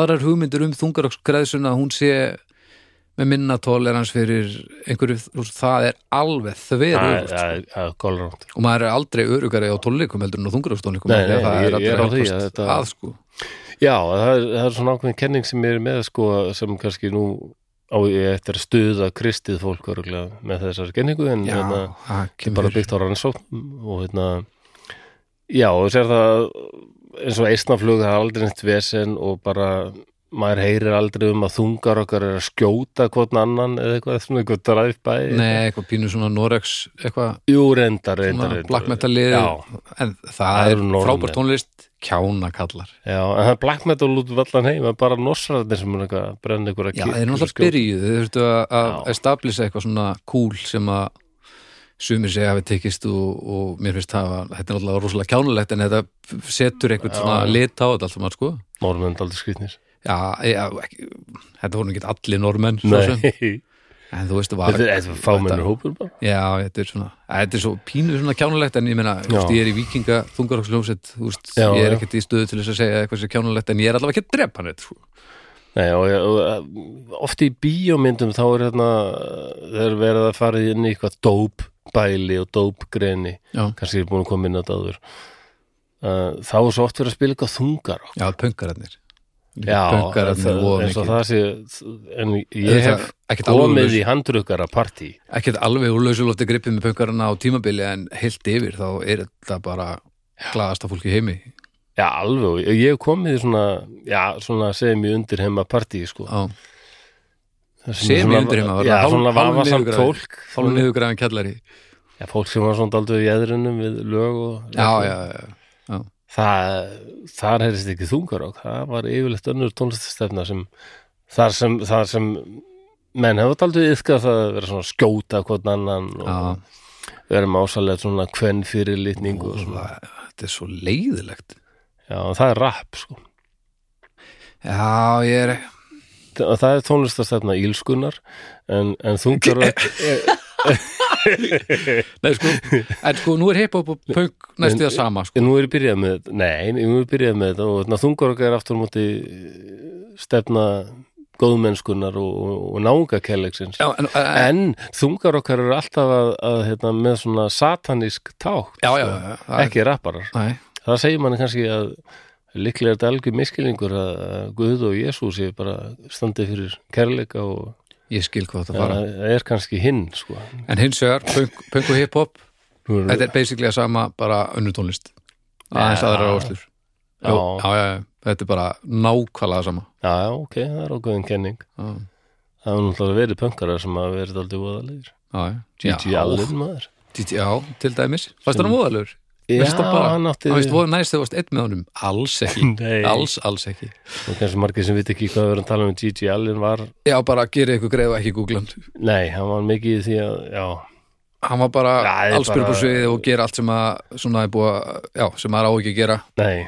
[SPEAKER 2] aðrar hugmyndir um þungarokskræðsuna að hún sé með minna tolerans fyrir einhverju, þú veist, það er sko. alveg þver
[SPEAKER 1] það
[SPEAKER 2] öfugt.
[SPEAKER 1] það- það er kolránt
[SPEAKER 2] og maður er aldrei örugari á tónleikum heldur en á þungarokkstónleikum
[SPEAKER 1] Nei, nei,
[SPEAKER 2] það
[SPEAKER 1] ég-
[SPEAKER 2] er allir
[SPEAKER 1] ég er á því að
[SPEAKER 2] hálfast
[SPEAKER 1] þetta-
[SPEAKER 2] að sko
[SPEAKER 1] Já, það er, það er svona ákveðin kenning sem ég er með sko sem kannski nú á ég eftir að stuða kristið fólk örgulega með þessar kenningu en
[SPEAKER 2] já,
[SPEAKER 1] hérna,
[SPEAKER 2] það
[SPEAKER 1] bara
[SPEAKER 2] kemur
[SPEAKER 1] byggt á rannsókn og hérna já, og sér það eins og eistnaflug það er aldrei neitt vesen og bara maður heyrir aldrei um að þungar okkar er að skjóta hvort annan eða eitthvað, svona eitthvað dræf bæði
[SPEAKER 2] nei, eitthvað pínu svona Norex eitthvað
[SPEAKER 1] Jú, reyndar, reyndar,
[SPEAKER 2] svona
[SPEAKER 1] reyndar.
[SPEAKER 2] black metal lið
[SPEAKER 1] Já,
[SPEAKER 2] en það,
[SPEAKER 1] Það
[SPEAKER 2] er
[SPEAKER 1] eru Norðmenn.
[SPEAKER 2] frábært tónlist kjána kallar
[SPEAKER 1] já, en það er black metal út um allan heim, það er bara norsrarnir sem er eitthvað að brenna ykkur að
[SPEAKER 2] já,
[SPEAKER 1] kýr-
[SPEAKER 2] þeir náttúrulega
[SPEAKER 1] skjóta.
[SPEAKER 2] byrjuð þeir þurftu að- að
[SPEAKER 1] Já.
[SPEAKER 2] establisa eitthvað svona cool sem að sumir segja hafi tekist og, og mér finnst það að þetta er náttúrulega rosalega kjánulegt en þetta setur eitthvað
[SPEAKER 1] Já.
[SPEAKER 2] svona lit á þetta allt saman sko
[SPEAKER 1] Norrmenn er aldrei skrýtnir
[SPEAKER 2] já, já ekki, þetta voru ekki allir normenn svo sem.
[SPEAKER 1] Nei,
[SPEAKER 2] en þú veist var
[SPEAKER 1] þetta er þetta fámennur hópur bara
[SPEAKER 2] Já, þetta er svona, að þetta er svo pínu svona kjánulegt en ég meina, þú veist,
[SPEAKER 1] Já.
[SPEAKER 2] ég er í vikinga þungaroksljómsett, þú veist,
[SPEAKER 1] Já,
[SPEAKER 2] ég er
[SPEAKER 1] já.
[SPEAKER 2] ekkert í stöðu til þess að segja eitthvað sem er kjánulegt en ég er allavega ekki að drepa hann þetta, sko.
[SPEAKER 1] Nei, og, og, og oft í bíómyndum þá er hérna þeir verið að fara inn í eitthvað dóp bæli og dóp greni
[SPEAKER 2] Já,
[SPEAKER 1] kannski er búin að koma inn að dáður uh, þá er svo oft verið að spila eitthvað þungar
[SPEAKER 2] já pönkararnir.
[SPEAKER 1] það,
[SPEAKER 2] pönkararnir og
[SPEAKER 1] eins
[SPEAKER 2] mikið.
[SPEAKER 1] og það sé en ég hef
[SPEAKER 2] ekkert alveg,
[SPEAKER 1] komið
[SPEAKER 2] úr-
[SPEAKER 1] í handrukkara partí
[SPEAKER 2] ekkert alveg úr lausulótti gripið með pönkararna á tímabili en heilt yfir þá er þetta bara glaðasta fólk í heimi.
[SPEAKER 1] já alveg, og ég hef komið í svona já, svona segjum ég undir heima partí sko.
[SPEAKER 2] Já,
[SPEAKER 1] Sem
[SPEAKER 2] Semi-undirheima, var
[SPEAKER 1] já,
[SPEAKER 2] það hálf-
[SPEAKER 1] svona
[SPEAKER 2] hálf
[SPEAKER 1] vafasamt
[SPEAKER 2] niðurgrafið.
[SPEAKER 1] fólk
[SPEAKER 2] þá niðurgræðan kjallari.
[SPEAKER 1] já, fólk sem var svona aldrei í eðrunum við lög og
[SPEAKER 2] Já, já, já,
[SPEAKER 1] það, þar heyrist ekki þungarokk það var yfirleitt önnur tónlistastefna sem þar sem, þar sem menn hefur aldrei yfkað það að vera svona að skjóta hvort annan
[SPEAKER 2] já.
[SPEAKER 1] og vera með ásalega svona kvenn fyrir litningu og svona
[SPEAKER 2] Það- Þetta er svo leiðilegt.
[SPEAKER 1] já, það er rap sko
[SPEAKER 2] Já, ég er
[SPEAKER 1] það það er tónlistastefna ílskunar en, en þungarokk
[SPEAKER 2] Nei, sko, en sko, nú er hip-hop og punk næstu því að sama, sko.
[SPEAKER 1] En nú er ég byrjað með þetta, nei, nú er ég byrjað með þetta og þungar okkar er aftur á móti eh, stefna góðmennskunar og, og, og náungakærleiksins.
[SPEAKER 2] Já, en, en,
[SPEAKER 1] En þungar okkar eru alltaf að, að hérna, með svona satanísk tátt
[SPEAKER 2] já, já,
[SPEAKER 1] sko.
[SPEAKER 2] já, það er-
[SPEAKER 1] ekki rapparar
[SPEAKER 2] Nei,
[SPEAKER 1] það segir manni kannski að líklega er þetta algjör miskilingur að að Guð og Jésús sé bara standið fyrir kærleika og
[SPEAKER 2] ég skil hvað þetta fara.
[SPEAKER 1] það er kannski hinn sko.
[SPEAKER 2] En hins vegar, punk, punk og hip-hop,
[SPEAKER 1] Nú erum-
[SPEAKER 2] þetta er basically að sama, bara önnur tónlist. Aðeins
[SPEAKER 1] Mm. Já.
[SPEAKER 2] aðra áslur. Já,
[SPEAKER 1] Já.
[SPEAKER 2] já, já, já, þetta er bara nákvæmlega það sama.
[SPEAKER 1] já, já, ok, það er ákveðin kenning
[SPEAKER 2] Já,
[SPEAKER 1] það er náttúrulega verið pönkarar sem hafa verið aldrei voðalegir
[SPEAKER 2] já,
[SPEAKER 1] G.G.
[SPEAKER 2] já.
[SPEAKER 1] Allin maður
[SPEAKER 2] G.G. Já, til dæmis. Fannst það hann móðalur?
[SPEAKER 1] já,
[SPEAKER 2] Veist það bara?
[SPEAKER 1] hann átti
[SPEAKER 2] Það veist, voru næst þegar þú varst einn með honum? Alls ekki.
[SPEAKER 1] Nei,
[SPEAKER 2] Alls, alls ekki.
[SPEAKER 1] og kannski margir sem viti ekki hvað við erum að tala um G.G. Allin var,
[SPEAKER 2] Já, bara gerið ykkur greið og ekki googlan.
[SPEAKER 1] nei, hann var mikið í því að, já,
[SPEAKER 2] hann var bara
[SPEAKER 1] Já, ég
[SPEAKER 2] allsbyrg
[SPEAKER 1] bara-
[SPEAKER 2] á sviðið og gera allt sem að svona er búið að, já, sem maður á ekki að gera
[SPEAKER 1] nei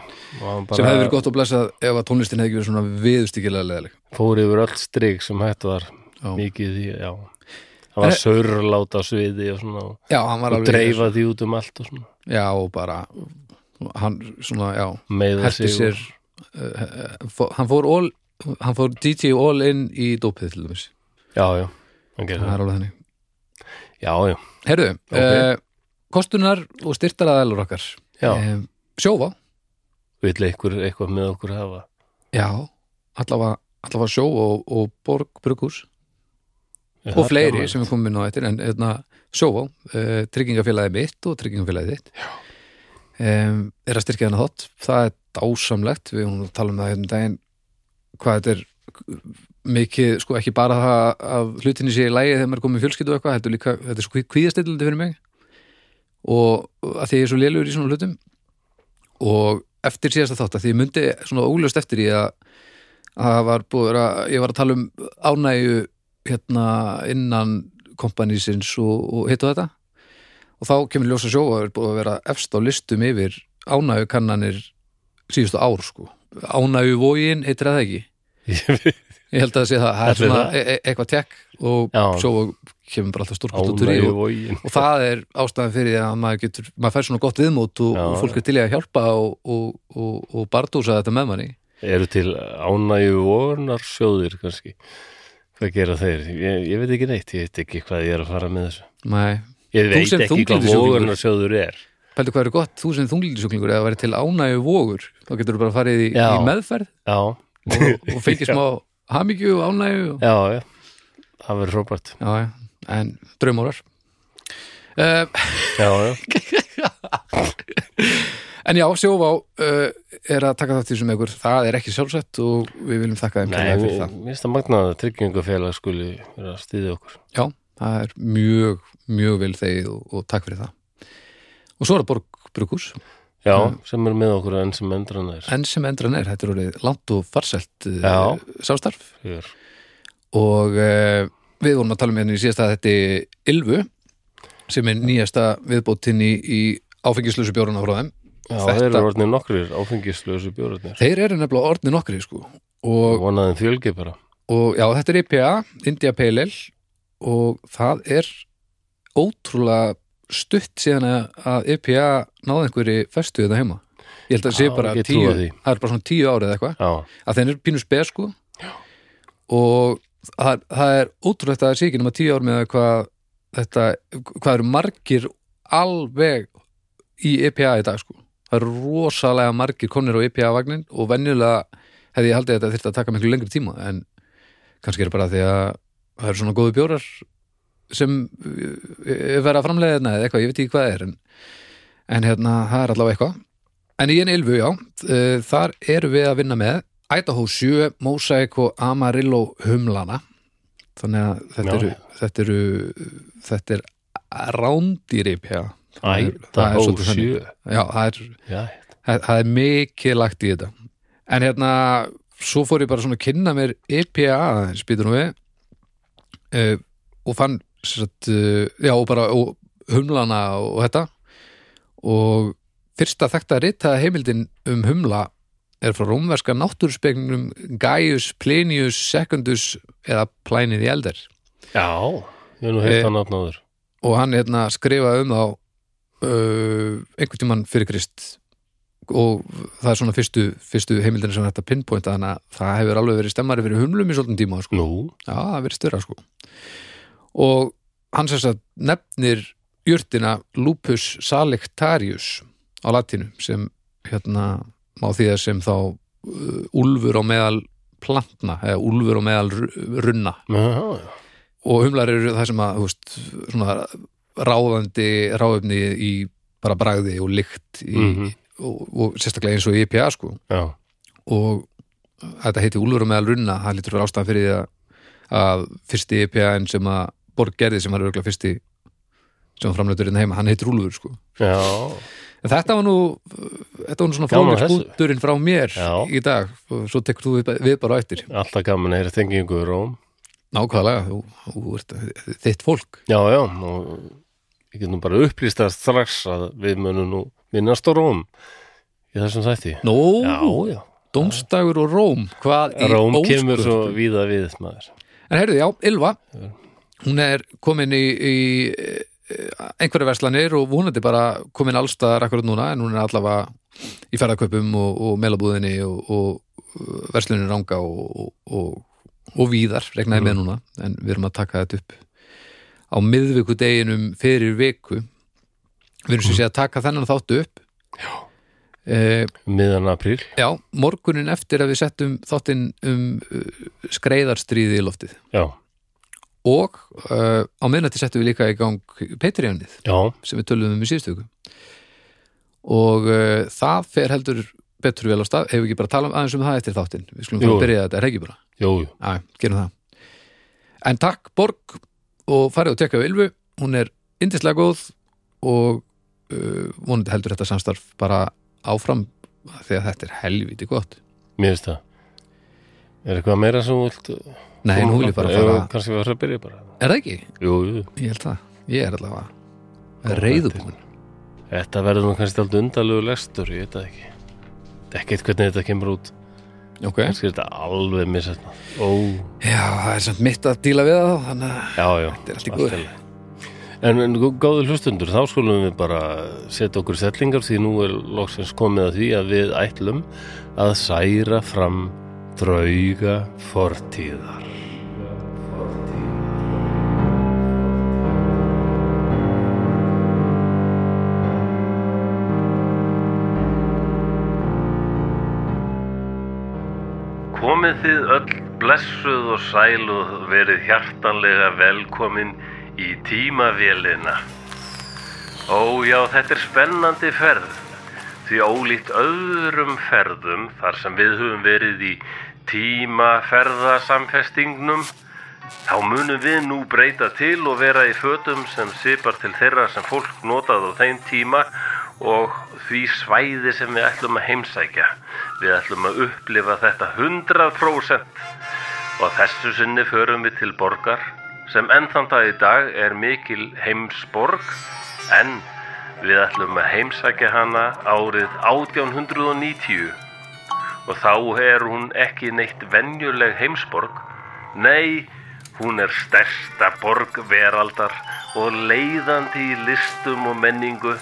[SPEAKER 1] og hann bara-
[SPEAKER 2] sem hefði verið gott að blessa ef að tónlistin hefði ekki verið svona viðstíkilega leðileg
[SPEAKER 1] fór yfir öll strik sem hætt var
[SPEAKER 2] Já.
[SPEAKER 1] mikið í, já hann var
[SPEAKER 2] En-
[SPEAKER 1] saurláta sviði og svona og,
[SPEAKER 2] já, hann var
[SPEAKER 1] og
[SPEAKER 2] alveg,
[SPEAKER 1] dreifa því út um allt og svona
[SPEAKER 2] já, og bara hann svona, já,
[SPEAKER 1] meiða
[SPEAKER 2] herti
[SPEAKER 1] sig
[SPEAKER 2] sér
[SPEAKER 1] og,
[SPEAKER 2] uh, fó- hann fór all hann fór DJ all in í dópið til dæmis,
[SPEAKER 1] já, já, hann gerir
[SPEAKER 2] það
[SPEAKER 1] það
[SPEAKER 2] er alveg þannig
[SPEAKER 1] já, já,
[SPEAKER 2] herðu,
[SPEAKER 1] Ok.
[SPEAKER 2] okay. kostunar og styrtaraðalur okkar
[SPEAKER 1] já,
[SPEAKER 2] Eh, sjófa,
[SPEAKER 1] vill einhver eitthvað með okkur hafa
[SPEAKER 2] já, allavega allavega sjó og, og borg brugghús
[SPEAKER 1] Já,
[SPEAKER 2] og fleiri
[SPEAKER 1] gaman.
[SPEAKER 2] sem við komum inn á eftir en hérna, sjóvá, uh, tryggingafélagið mitt og tryggingafélagið þitt um, er að styrkja þennan þátt það er dásamlegt, við hún tala um það hérna um daginn hvað þetta er mikið, sko ekki bara það að hlutinni sé í lægi þegar maður er komið fjölskyldu og eitthvað, þetta er líka, þetta er svo kvíðastillandi fyrir mig og uh, að því ég er svo lélugur í svona hlutum og eftir síðasta þátt að því ég myndi svona óljóst eftir í að að það var búið að, vera- ég var að tala um ánægju hérna innan kompanísins og, og hitt og þetta og þá kemur ljósa sjóa er búið að vera efst á listum yfir ánægju kannanir síðustu ár sko ánægju vógin heitir það ekki Ég held að það sé það, það er
[SPEAKER 1] Ætli
[SPEAKER 2] svona
[SPEAKER 1] það?
[SPEAKER 2] e e eitthvað tekk og
[SPEAKER 1] Já.
[SPEAKER 2] svo kemur bara alltaf stórkvæmt út úr í
[SPEAKER 1] Ánægju
[SPEAKER 2] og,
[SPEAKER 1] vogin
[SPEAKER 2] og það er ástæðan fyrir því að maður getur, maður fær svona gott viðmót og,
[SPEAKER 1] Já,
[SPEAKER 2] og fólk er til í að hjálpa og, og, og, og bardúsa þetta með manni.
[SPEAKER 1] Eru til ánægju vornar sjóðir kannski Hvað gera þeir? Ég, ég veit ekki neitt, ég veit ekki hvað ég er að fara með þessu
[SPEAKER 2] Nei, Þú
[SPEAKER 1] Ég veit
[SPEAKER 2] sem
[SPEAKER 1] ekki hvað
[SPEAKER 2] þunglyndissjúklingur.
[SPEAKER 1] vornar sjóður er
[SPEAKER 2] pældu hvað er gott, þú sem þunglindisuglingur eða væri til ánægju vogur, þá getur þú bara farið í,
[SPEAKER 1] Já.
[SPEAKER 2] í meðferð
[SPEAKER 1] Já,
[SPEAKER 2] og, og fengið smá hamingju og ánægju og,
[SPEAKER 1] já, já Það verður hrópart
[SPEAKER 2] já, já, en draumórar. Uh,
[SPEAKER 1] Já, já,
[SPEAKER 2] En já, sjóvá uh, er að taka þátt í þessum ykkur. Það er ekki sjálfsett og við viljum þakka þeim
[SPEAKER 1] nei,
[SPEAKER 2] kærlega fyrir
[SPEAKER 1] mér
[SPEAKER 2] það.
[SPEAKER 1] mér finnst að magnaða tryggingafélag skuli vera að stýði okkur
[SPEAKER 2] Já, það er mjög, mjög vel þegið og, og takk fyrir það. Og svo er það Borg Brukus,
[SPEAKER 1] Já,
[SPEAKER 2] Já.
[SPEAKER 1] sem er með okkur enn sem endran er
[SPEAKER 2] Mm. en sem endran er, þetta er orðið langt og farsælt uh,
[SPEAKER 1] Já.
[SPEAKER 2] samstarf
[SPEAKER 1] Fjör.
[SPEAKER 2] og uh, við vorum að tala um hérna í síðasta þetta Ylfu sem er nýjasta viðbótinn í, í áfengislösu bjóruna frá þeim.
[SPEAKER 1] Já,
[SPEAKER 2] Þetta-
[SPEAKER 1] þeir eru orðnir nokkrir áfengislösu bjórarnir
[SPEAKER 2] Þeir eru nefnilega orðni nokkri sko og
[SPEAKER 1] og vonaðin fjölgi bara
[SPEAKER 2] og já, þetta er IPA, India Pale Ale og það er ótrúlega stutt síðan að- að IPA náði einhverju festu þetta heima ég held að það sé
[SPEAKER 1] Já,
[SPEAKER 2] bara
[SPEAKER 1] ég get
[SPEAKER 2] tíu,
[SPEAKER 1] trúað því.
[SPEAKER 2] það er bara svona tíu árið eitthvað
[SPEAKER 1] Já,
[SPEAKER 2] að þeir eru pínu spes sko og það, það er ótrúlegt að það sé ekki nema tíu ár með hvað þetta, hvað eru margir alveg í EPA í dag sko það eru rosalega margir konir á E EPA vagnin og venjulega hefði ég haldið að þetta þyrfti að taka miklu lengri tíma en kannski er bara því að það eru svona góðu bjórar sem eh, er verið að framleiða hérna eða eitthvað, ég veit ekki hvað það er en, en hérna, það er allavega eitthvað En í enn Ylfu, já, eh, þar erum við að vinna með Idaho 7, Mosaic og Amarillo humlana. Þannig að þetta
[SPEAKER 1] Já.
[SPEAKER 2] eru, þetta eru, þetta er rándýrip, já. Það er- það er
[SPEAKER 1] ætta og
[SPEAKER 2] svolítið þannig.
[SPEAKER 1] sjö
[SPEAKER 2] Já, það er,
[SPEAKER 1] Já,
[SPEAKER 2] það það er mikið lagt í þetta. En hérna, svo fór ég bara svona að kynna mér EPA, aðeins, býtur nú við, uh, og fann, sem sagt, uh, já, og bara og humlana og þetta. Og fyrsta þekta ritaða heimildin um humla er frá rómverska náttúrspeknum Gaius Plinius Secundus eða Plænið í eldar.
[SPEAKER 1] Já, ég er nú heitt
[SPEAKER 2] Eh,
[SPEAKER 1] að nafna áður
[SPEAKER 2] og hann hérna skrifaði um þá uh, einhvern tímann fyrir Krist og það er svona fyrstu, fyrstu heimildin sem er hægt að pinpointa þannig að það hefur alveg verið stemmari fyrir humlum í svolítum tíma sko.
[SPEAKER 1] Nú,
[SPEAKER 2] já, það hefur verið störa sko. og hann sérst að nefnir jurtina Lupus salictarius á latinu sem hérna má því að sem þá uh, úlfur á meðal plantna eða úlfur á meðal ru- runna
[SPEAKER 1] já, já
[SPEAKER 2] og humlar eru það sem að þú veist, svona ráðandi ráðefni í bara bragði og lykt í,
[SPEAKER 1] Mhm.
[SPEAKER 2] og, og sérstaklega eins og í IPA sko
[SPEAKER 1] Já,
[SPEAKER 2] og þetta heiti Úlfur og meðal runna það lítur fyrir ástæðan fyrir því að, að fyrsti IPA-n sem að Borg gerði sem var örgulega fyrsti sem hann framleitur inn heima, hann heitir Úlfur sko
[SPEAKER 1] já,
[SPEAKER 2] en þetta var nú þetta var nú svona
[SPEAKER 1] Gaman að
[SPEAKER 2] fróðlegs
[SPEAKER 1] þessu.
[SPEAKER 2] búturinn frá mér
[SPEAKER 1] Já.
[SPEAKER 2] í dag og svo tekur þú við, við bara á eftir
[SPEAKER 1] alltaf gaman að heyra tengingu í Róm
[SPEAKER 2] nákvæmlega, þú, þú ert þitt fólk
[SPEAKER 1] Já, já, og ég get nú bara upplýst það strax að við munum nú minnast á Róm í þessum þætti
[SPEAKER 2] Nó,
[SPEAKER 1] Já, já,
[SPEAKER 2] Dómstagur og Róm, hvað í
[SPEAKER 1] Róm kemur svo
[SPEAKER 2] ósköpunum?
[SPEAKER 1] víða við maður
[SPEAKER 2] En heyrðu, já, Ylva, hún er komin í, í eh, einhverja verslanir og vonandi bara komin allstaðar akkurat núna en hún er allavega í ferðarkaupum og, og melabúðinni og, og verslunin ranga og, og, og, og víðar, regnaði
[SPEAKER 1] Mm.
[SPEAKER 2] með núna en við erum að taka þetta upp á miðvikudeginum fyrir viku við erum sem sé að taka þennan þáttu upp Já eh,
[SPEAKER 1] Miðan apríl
[SPEAKER 2] Já, morgunin eftir að við settum þáttinn um uh, skreiðarstríði í loftið
[SPEAKER 1] Já,
[SPEAKER 2] og uh, á minnati settum við líka í gang Patreonið
[SPEAKER 1] já,
[SPEAKER 2] sem við töluðum um í síðustöku og uh, það fer heldur betur vel á stað, hefur ekki bara tala um aðeins um það eftir þáttinn, við skulum
[SPEAKER 1] Jú.
[SPEAKER 2] þá byrja þetta er ekki bara,
[SPEAKER 1] jú, jú.
[SPEAKER 2] já, gerum það en takk Borg og farið og tekja á Ylfu, hún er indislega góð og uh, vonandi heldur þetta samstarf bara áfram þegar þetta er helviti gott
[SPEAKER 1] mér finnst það Er eitthvað meira sem þú vilt
[SPEAKER 2] nei, nú vil ég bara fara
[SPEAKER 1] Ef- Kannski við erum að byrja bara
[SPEAKER 2] er það ekki?
[SPEAKER 1] Jú, jú,
[SPEAKER 2] Ég held það, ég er allavega
[SPEAKER 1] Góð
[SPEAKER 2] reyðubúin
[SPEAKER 1] þetta verður nú kannski alltaf undarlegu lestur, ég veit það ekki Þetta er Ekkert hvernig þetta kemur út
[SPEAKER 2] ok,
[SPEAKER 1] Kannski er þetta alveg missetna Ó,
[SPEAKER 2] já, það er samt mitt að díla við það þannig að
[SPEAKER 1] já, já
[SPEAKER 2] þetta er allt í góð
[SPEAKER 1] Allt í lagi. En, en gó- góður hlustundur, þá skulum við bara setja okkur setlingar því nú er loksins komið að því að við ætlum að særa fram drauga fortíðar. Komið þið öll blessuð og sæluð verið hjartanlega velkomin í tímavélina. Ó já, þetta er spennandi ferð. Því ólíkt öðrum ferðum þar sem við höfum verið í tímaferðasamfestingnum, þá munum við nú breyta til og vera í fötum sem sipar til þeirra sem fólk notaði á þeim tíma og því svæði sem við ætlum að heimsækja. Við ætlum að upplifa þetta 100% og að þessu sinni förum við til borgar sem enn þann dag í dag er mikil heimsborg en við ætlum að heimsækja hana árið 1890 og þá er hún ekki neitt venjuleg heimsborg nei, hún er stærsta borg veraldar og leiðandi í listum og menningu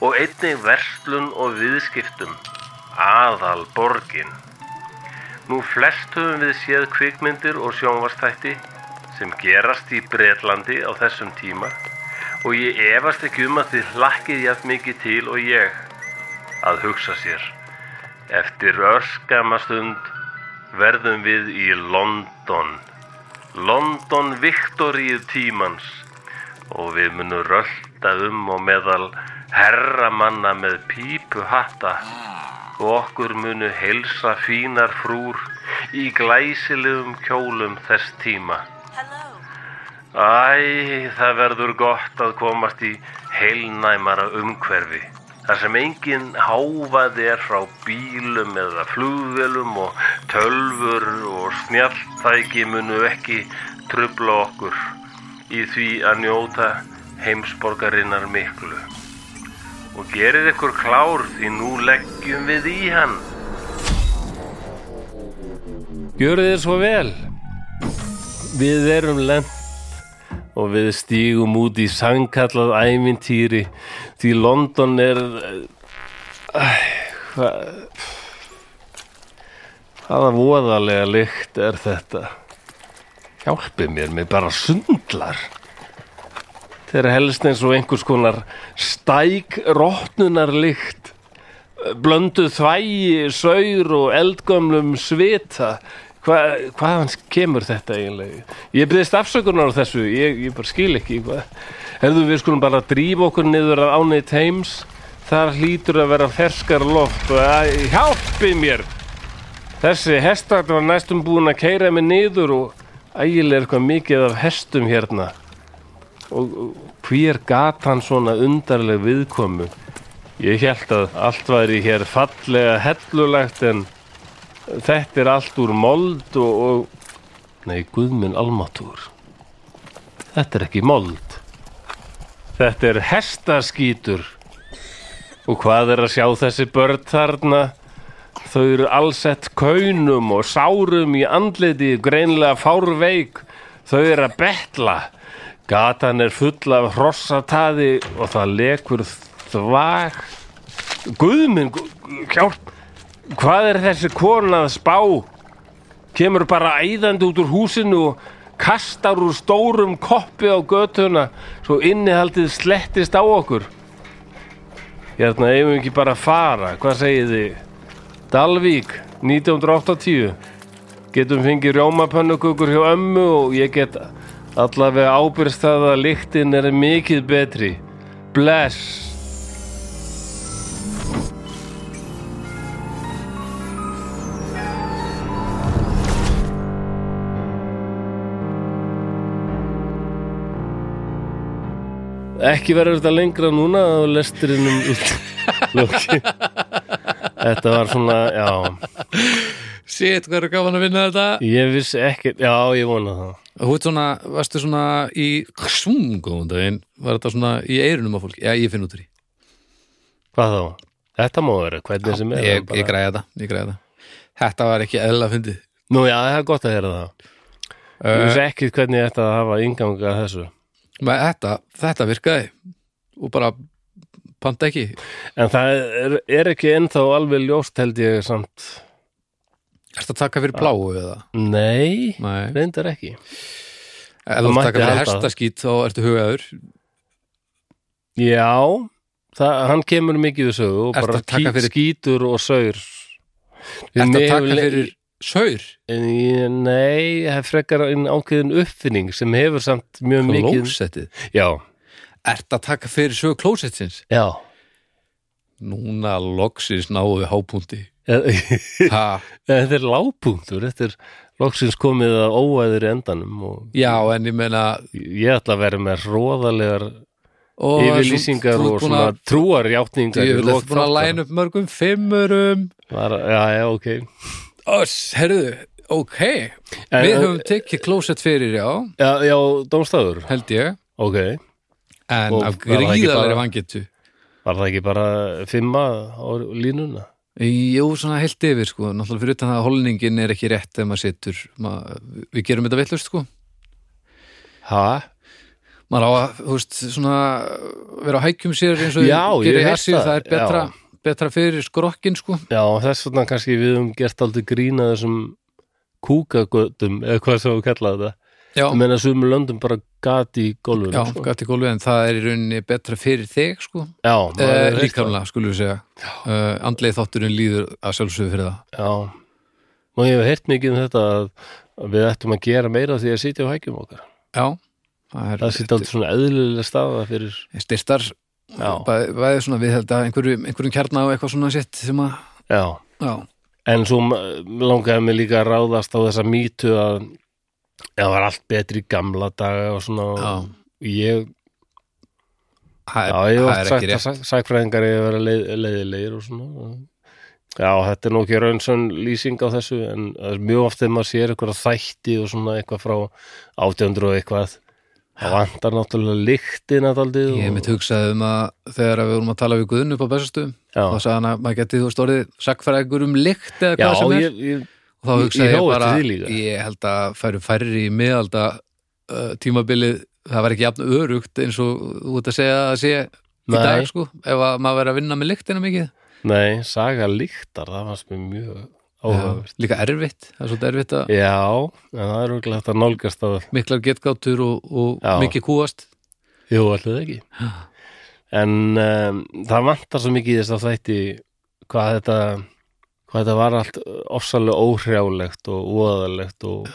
[SPEAKER 1] og einnig verslun og viðskiptum aðal borgin Nú flest höfum við séð kvikmyndir og sjónvastætti sem gerast í Bretlandi á þessum tíma og ég efast ekki um að þið hlakkið jafn mikið til og ég að hugsa sér. Eftir örskamastund verðum við í London. London Viktoríu tímans og við munum rölda um og meðal herramanna með pípuhatta og okkur munu heilsa fínar frúr í glæsilegum kjólum þess tíma.
[SPEAKER 3] Hello.
[SPEAKER 1] Æ, það verður gott að komast í heilnæmara umhverfi. Þar sem engin háfaði er frá bílum eða flugvelum og tölfur og snjalltæki munu ekki trubla okkur í því að njóta heimsborgarinnar miklu. Og gerir ykkur klár því nú leggjum við í hann. Gjörið þér svo vel. Við erum lent og við stígum út í sangkallað æmintýri því London er eh, Æ, hva, hvaða voðalega lykt er þetta hjálpi mér, mér bara sundlar þegar helst eins og einhvers konar stæk rótnunar lykt blöndu þvægi, saur og eldgömlum svita Hva, hvaðan kemur þetta eiginlega ég byrðist afsökunar á þessu ég, ég bara skil ekki hvað. herðu við skulum bara drífa okkur niður að ánið teims þar hlýtur að vera ferskar loft og að, hjálpi mér þessi hestar var næstum búin að keira mig niður og ægilega er eitthvað mikið af hestum hérna og, og hver gat hann svona undarleg viðkomu Ég held að allt væri hér fallega hellulegt en þetta er allt úr mold og, og... Nei, guðminn almatúr. Þetta er ekki mold. Þetta er hestaskítur. Og hvað er að sjá þessi börn þarna? Þau eru allsett kaunum og sárum í andliti, greinlega fárveik. Þau eru að betla. Gatan er full af hrossataði og það lekur þvag. Guðminn, gu- hjálp, hvað er þessi kona að spá? Kemur bara æðandi út úr húsinu og kastar úr stórum koppi á götuna svo innihaldið slettist á okkur. Hérna, eigum við ekki bara að fara, hvað segið þið? Dalvík, 1980 Getum fengið rjómapönnukökur hjá ömmu og ég get allavega ábyrst það að lyktin er mikið betri Bless Ekki verður þetta lengra núna og lesturinnum út Lóki Þetta var svona, já
[SPEAKER 2] Sitt, hvað eru gaman að vinna þetta
[SPEAKER 1] Ég vissi ekki, já ég vona það
[SPEAKER 2] Þú veit svona, varstu svona í Ksvung, góðan daginn Var þetta svona í eirunum á fólki? Já, ég finn út úr því
[SPEAKER 1] Hvað þá? Þetta má vera, hvernig sem er
[SPEAKER 2] Ég,
[SPEAKER 1] það
[SPEAKER 2] ég
[SPEAKER 1] bara-
[SPEAKER 2] græði þetta, ég græði þetta Þetta var ekki eðla fyndið
[SPEAKER 1] Nú já, það er gott að heyra það Ég
[SPEAKER 2] uh,
[SPEAKER 1] vissi ekki hvernig ég ætti að hafa ynganga að þessu
[SPEAKER 2] Eh, maður, þetta, þetta virkaði og bara panta ekki
[SPEAKER 1] En það er, er ekki ennþá alveg ljóst held ég samt
[SPEAKER 2] Ertu að taka fyrir pláu eða?
[SPEAKER 1] Nei,
[SPEAKER 2] Ah. Nei,
[SPEAKER 1] reyndar ekki
[SPEAKER 2] ef þú ert að
[SPEAKER 1] mætti
[SPEAKER 2] taka fyrir
[SPEAKER 1] halda það.
[SPEAKER 2] hestaskít þá ertu hugaður
[SPEAKER 1] Já, það, hann kemur mikið við sögu og
[SPEAKER 2] Ertu
[SPEAKER 1] bara
[SPEAKER 2] að taka
[SPEAKER 1] ký-
[SPEAKER 2] fyrir-
[SPEAKER 1] skítur og saur Við
[SPEAKER 2] Ertu
[SPEAKER 1] mig
[SPEAKER 2] að
[SPEAKER 1] hefur
[SPEAKER 2] taka
[SPEAKER 1] le-
[SPEAKER 2] fyrir saur?
[SPEAKER 1] En ég, nei, það er frekar einn ákveðin uppfinning sem hefur samt mjög mikið
[SPEAKER 2] Klósettið?
[SPEAKER 1] Já,
[SPEAKER 2] Ertu að taka fyrir sög klósettsins?
[SPEAKER 1] já
[SPEAKER 2] Núna loksins náðu við hápunkti ha,
[SPEAKER 1] Þetta er lágpunktur, þetta er loksins komið að óæður í endanum og
[SPEAKER 2] Já, en ég meina
[SPEAKER 1] ég ætla að vera með hróðalegar
[SPEAKER 2] og
[SPEAKER 1] yfirlýsingar og svona trúarjátningar
[SPEAKER 2] Ég
[SPEAKER 1] í
[SPEAKER 2] vil
[SPEAKER 1] lok
[SPEAKER 2] eftir búin að
[SPEAKER 1] þáttar.
[SPEAKER 2] læna upp mörgum fimmurum
[SPEAKER 1] Var, Já, já, ok
[SPEAKER 2] Oss, herðu, ok
[SPEAKER 1] En-
[SPEAKER 2] Við höfum tekið klósett fyrir, já,
[SPEAKER 1] Já, já dómstafur,
[SPEAKER 2] held ég
[SPEAKER 1] ok
[SPEAKER 2] En
[SPEAKER 1] Og
[SPEAKER 2] af
[SPEAKER 1] var það ekki
[SPEAKER 2] gríðalegri
[SPEAKER 1] bara-
[SPEAKER 2] vangetu
[SPEAKER 1] Var það ekki bara fimma á línuna?
[SPEAKER 2] Jú, svona heilt yfir, sko Náttúrulega fyrir utan það að holningin er ekki rétt ef maður setur, maður, við gerum þetta veitlust, sko
[SPEAKER 1] Ha?
[SPEAKER 2] maður á að, þú veist, svona vera á hækjum sér eins og
[SPEAKER 1] Já,
[SPEAKER 2] þeir
[SPEAKER 1] ég
[SPEAKER 2] gera í
[SPEAKER 1] hef heyrt
[SPEAKER 2] Asíu,
[SPEAKER 1] það,
[SPEAKER 2] það er betra,
[SPEAKER 1] já.
[SPEAKER 2] betra fyrir skrokkin, sko
[SPEAKER 1] Já, þess vegna kannski við höfum gert aldrei grína þessum kúkagötum eða hvað sem við kalla þetta
[SPEAKER 2] Já,
[SPEAKER 1] Ég meina sumur löndum bara gat í gólfinu
[SPEAKER 2] já,
[SPEAKER 1] sko.
[SPEAKER 2] gæti gólu, en það er í rauninni betra fyrir þig, sko
[SPEAKER 1] já
[SPEAKER 2] eh,
[SPEAKER 1] maður er
[SPEAKER 2] Líkamlega, skulum við segja uh, Andleið þátturinn líður að sjálfsögðu fyrir það
[SPEAKER 1] heyrt- Já, og ég hef heyrt mikið um þetta að að við ættum að gera meira af því að sitja á hækjum okkar
[SPEAKER 2] Já, það er
[SPEAKER 1] Það sitja aldrei svona eðlilega staða fyrir
[SPEAKER 2] styrstar
[SPEAKER 1] Já,
[SPEAKER 2] bæ- bæði svona við held að einhverjum, einhverjum kjarna og eitthvað svona sitt sem að,
[SPEAKER 1] já
[SPEAKER 2] já,
[SPEAKER 1] En svo m- langaði mig líka að ráðast á þessa mýtu að það var allt betri í gamla daga og svona
[SPEAKER 2] já
[SPEAKER 1] Ég
[SPEAKER 2] það er,
[SPEAKER 1] Já, ég hef
[SPEAKER 2] það
[SPEAKER 1] oft
[SPEAKER 2] er
[SPEAKER 1] sagt
[SPEAKER 2] ekki
[SPEAKER 1] að
[SPEAKER 2] rétt
[SPEAKER 1] sæk- sækfræðingar eigi að vera leið, leiðilegir og svona. Já, þetta er nú ekki raunsann lýsing á þessu en það er mjög oft þegar maður sér eitthvað þætti og svona eitthvað frá 800 og eitthvað. Það vantar náttúrulega lyktina daldið.
[SPEAKER 2] Ég hef mitt hugsaði um að þegar að við vorum að tala við Guðun upp á bestastöðum þá
[SPEAKER 1] Já,
[SPEAKER 2] sagði hann að maður getið þú veist orðið sagfæðingur um lykt eða
[SPEAKER 1] já
[SPEAKER 2] hvað sem er
[SPEAKER 1] ég, ég,
[SPEAKER 2] og þá
[SPEAKER 1] ég-
[SPEAKER 2] hugsaði
[SPEAKER 1] ég
[SPEAKER 2] ég,
[SPEAKER 1] hló
[SPEAKER 2] bara,
[SPEAKER 1] eftir því líka.
[SPEAKER 2] ég held að færu færri í miðalda uh, tímabilið það var ekki jafn örugt eins og þú ert að segja að það sé í
[SPEAKER 1] Nei.
[SPEAKER 2] dag sko, ef að maður verið að vinna með lyktina mikið
[SPEAKER 1] nei, saga lyktar, það fannst mér mjög áhugavert.
[SPEAKER 2] Já, líka erfitt, það er svolítið erfitt að
[SPEAKER 1] Já, en það er auðvitað hægt að nálgast að
[SPEAKER 2] miklar getgátur og, og
[SPEAKER 1] Já.
[SPEAKER 2] mikið kúast
[SPEAKER 1] Jú, allir ekki En um, það vantar svo mikið í þess að þætti hvað þetta hvað þetta var allt ofsalega óhrjálegt og óðalegt og,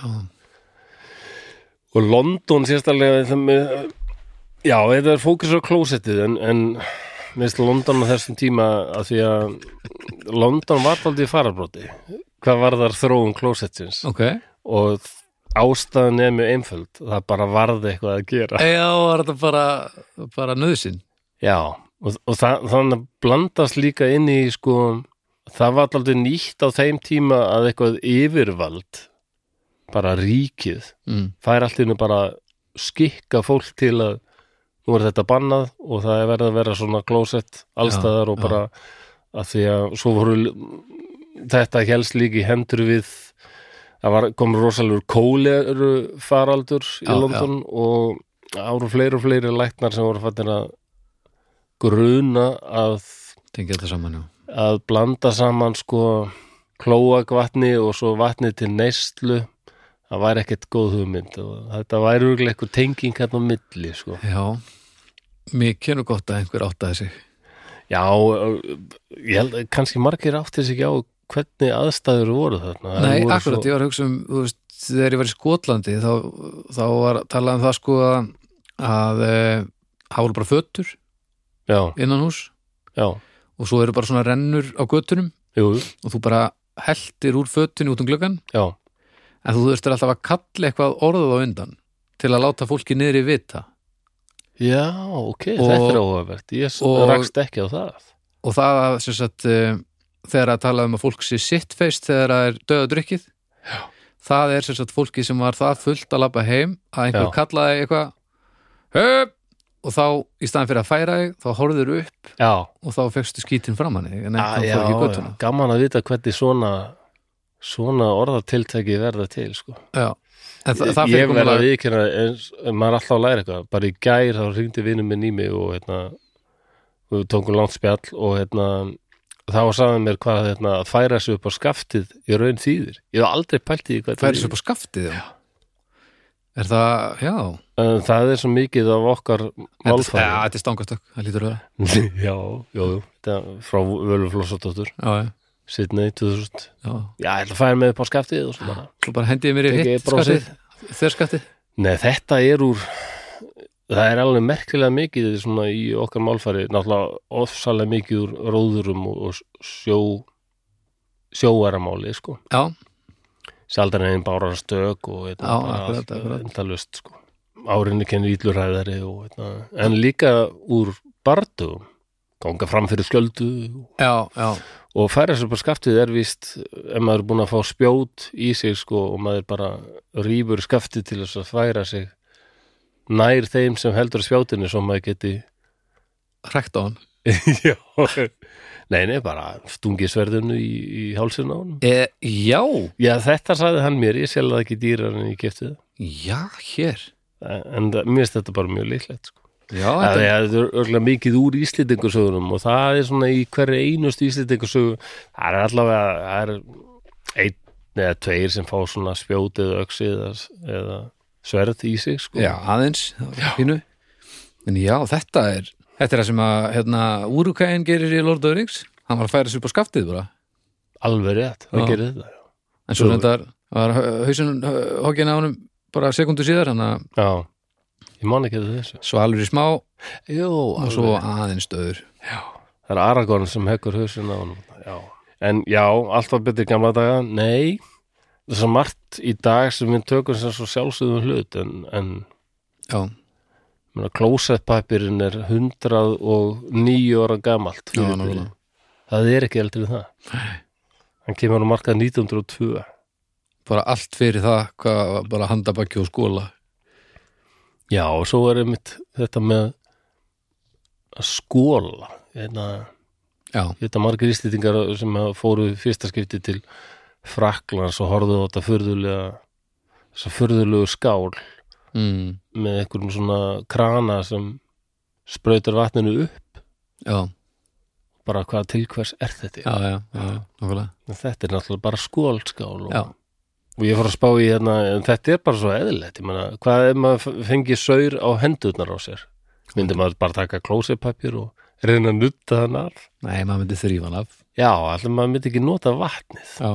[SPEAKER 1] og London sérstaklega það með, já, þetta er fókus á klósettið en, en minnst London á þessum tíma að því að London var aldrei farabróti hvað var þar þróun klósettsins
[SPEAKER 2] ok,
[SPEAKER 1] og ástæðan er mjög einföld það bara varði eitthvað að gera
[SPEAKER 2] eða var þetta bara bara nöðsinn
[SPEAKER 1] Já, og, og það, þannig að blandast líka inn í sko það var alltaf nýtt á þeim tíma að eitthvað yfirvald bara ríkið
[SPEAKER 2] mm.
[SPEAKER 1] fær allt innu bara skikka fólk til að nú er þetta bannað og það er verið að vera svona klósett allstæðar og
[SPEAKER 2] já.
[SPEAKER 1] bara að því að svo voru þetta helst líka í hendur við það var, kom rosalegur kóleru faraldur í
[SPEAKER 2] Já,
[SPEAKER 1] London og það voru fleiri og fleiri læknar sem voru fattir að gruna að,
[SPEAKER 2] tengja þetta saman já
[SPEAKER 1] að blanda saman sko klóakvatni og svo vatni til neyslu það væri ekkert góð hugmynd og þetta væri örugglega eitthvað tenging hérna á milli sko.
[SPEAKER 2] Já, mikið er nú gott að einhver áttaði sig
[SPEAKER 1] Já, ég held að kannski margir áttir sig ekki á hvernig aðstæður voru þarna Þær
[SPEAKER 2] Nei,
[SPEAKER 1] voru
[SPEAKER 2] akkurat,
[SPEAKER 1] svo,
[SPEAKER 2] ég var að hugsa um þú veist, þegar ég var í Skotlandi þá, þá var talað um það sko að, að e, það voru bara fötur
[SPEAKER 1] já,
[SPEAKER 2] innan hús
[SPEAKER 1] já,
[SPEAKER 2] og svo eru bara svona rennur á götunum
[SPEAKER 1] jú,
[SPEAKER 2] og þú bara heltir úr fötunni út um gluggan
[SPEAKER 1] já
[SPEAKER 2] en þú þurftir alltaf að kalla eitthvað orðið á undan til að láta fólki niðri vita
[SPEAKER 1] Já, ok,
[SPEAKER 2] Og-
[SPEAKER 1] þetta er óhafvert. Ég s-
[SPEAKER 2] og-
[SPEAKER 1] rakst ekki á það.
[SPEAKER 2] og það að sem sagt, um, þegar að tala um að fólk sé sitt feist þegar það er döðadrykkið það er sem sagt fólki sem var það fullt að labba heim að einhver
[SPEAKER 1] Já.
[SPEAKER 2] kallaði eitthvað Höp! og þá í staðan fyrir að færa þig þá horfður upp
[SPEAKER 1] Já,
[SPEAKER 2] og þá fegstu skítin fram hann en
[SPEAKER 1] Ah,
[SPEAKER 2] ekki
[SPEAKER 1] já,
[SPEAKER 2] fór ekki
[SPEAKER 1] já.
[SPEAKER 2] göttuna
[SPEAKER 1] gaman að vita hvernig svona svona orðatiltæki verða til sko.
[SPEAKER 2] já. en það, það
[SPEAKER 1] ég
[SPEAKER 2] fyrir
[SPEAKER 1] verða
[SPEAKER 2] komulega
[SPEAKER 1] að viðkynna eins, maður er alltaf að læra eitthvað bara í gær þá hringdi vinnum minn í mig og hérna, við tókum langt spjall og hérna, þá sagði hann mér hvað hérna, að færa sig upp á skaftið í raun þýðir, ég hef aldrei pælt í því hvað
[SPEAKER 2] færi svo upp á skaftið já. er það, já
[SPEAKER 1] En það er svo mikið af okkar
[SPEAKER 2] þetta, ja,
[SPEAKER 1] málfæri
[SPEAKER 2] þetta er stangastökk, það lítur að vera
[SPEAKER 1] já, jú, jú, þetta er frá Völu Flossardóttur,
[SPEAKER 2] já, já,
[SPEAKER 1] Sidney 2000
[SPEAKER 2] já,
[SPEAKER 1] já, ég ætla að færa mig upp á skaftið og svo bara
[SPEAKER 2] svo bara hendi ég mér í
[SPEAKER 1] Tekið
[SPEAKER 2] hitt
[SPEAKER 1] brosið.
[SPEAKER 2] skattið, þér skattið
[SPEAKER 1] Nei, þetta er úr það er alveg merkilega mikið svona í okkar málfæri náttúrulega ofsalega mikið úr róðurum og, og sjó sjóaramáli, sko
[SPEAKER 2] já,
[SPEAKER 1] sjaldan einn bárar stök og eitna,
[SPEAKER 2] Já, akkurat, akkurat.
[SPEAKER 1] endalust, sko árinni kennir ílluræðari og, eitna, en líka úr bardugum ganga fram fyrir skjöldu
[SPEAKER 2] já, já,
[SPEAKER 1] og færa sér bara skaftið er víst ef maður er búin að fá spjót í sig sko og maður bara rýfur skaftið til þess að færa sig nær þeim sem heldur spjótinu svo maður geti
[SPEAKER 2] hrækt á hann
[SPEAKER 1] Já Nei, nei, bara stungi sverðinu í, í hálsinn á hann
[SPEAKER 2] e, já,
[SPEAKER 1] Já, þetta sagði hann mér, ég selði það ekki dýrar en ég kefti það
[SPEAKER 2] já, hér
[SPEAKER 1] En- en það- mér finnst þetta bara mjög líklegt sko.
[SPEAKER 2] já,
[SPEAKER 1] það
[SPEAKER 2] þetta,
[SPEAKER 1] er það er örgulega mikið úr íslendingasögunum og það er svona í hverju einustu íslendingasögu það er allavega það er einn eða tveir sem fá svona spjótið öksi eða, eða sverð í sig sko.
[SPEAKER 2] já, aðeins hínu, en já, þetta er þetta er það sem að, hérna Úrukæin gerir í Lord of the Rings hann var að færa sér upp á skaftið bara
[SPEAKER 1] alveg rétt, það
[SPEAKER 2] Já.
[SPEAKER 1] gerir þetta já.
[SPEAKER 2] en svo
[SPEAKER 1] Jú.
[SPEAKER 2] reyndar var hausin hókinn á honum bara sekundu síðar, hann að
[SPEAKER 1] já, ég man ekki eftir þessu
[SPEAKER 2] svo alveg í smá og
[SPEAKER 1] Jó,
[SPEAKER 2] svo aðeins döður
[SPEAKER 1] það er Aragorn sem hekkur hausinn á hann já. en já, allt var betur í gamla daga nei, það er svo margt í dag sem við tökum sem svo sjálfsögðum hlut en, en
[SPEAKER 2] já,
[SPEAKER 1] Meina, klósettpapirinn er 109 ára gamalt fyrir
[SPEAKER 2] Já,
[SPEAKER 1] því.
[SPEAKER 2] nákvæmlega.
[SPEAKER 1] það er ekki eldri en það hann kemur á markað 1902
[SPEAKER 2] bara allt fyrir það hvað var bara handabakki og skóla
[SPEAKER 1] já og svo er einmitt þetta með að skóla Einna,
[SPEAKER 2] já,
[SPEAKER 1] þetta margir íslýtingar sem hafa- fóru í fyrsta skipti til Fraklands og horfðu á þetta furðulega þessa furðulegu skál
[SPEAKER 2] mm,
[SPEAKER 1] með einhverjum svona krana sem sprautar vatninu upp
[SPEAKER 2] já,
[SPEAKER 1] bara hvað til hvers er þetta
[SPEAKER 2] já, já, já, nákvæmlega
[SPEAKER 1] En þetta er náttúrulega bara skólskál
[SPEAKER 2] Já.
[SPEAKER 1] og, og ég fór að spá í hérna en þetta er bara svo eðlilegt ég meina, hvað ef maður f- fengi saur á hendurnar á sér myndi maður bara taka klósipapir og reyna að nutta hann af
[SPEAKER 2] nei, maður myndi þrýfa hann af
[SPEAKER 1] já, allir maður myndi ekki nota vatnið
[SPEAKER 2] já,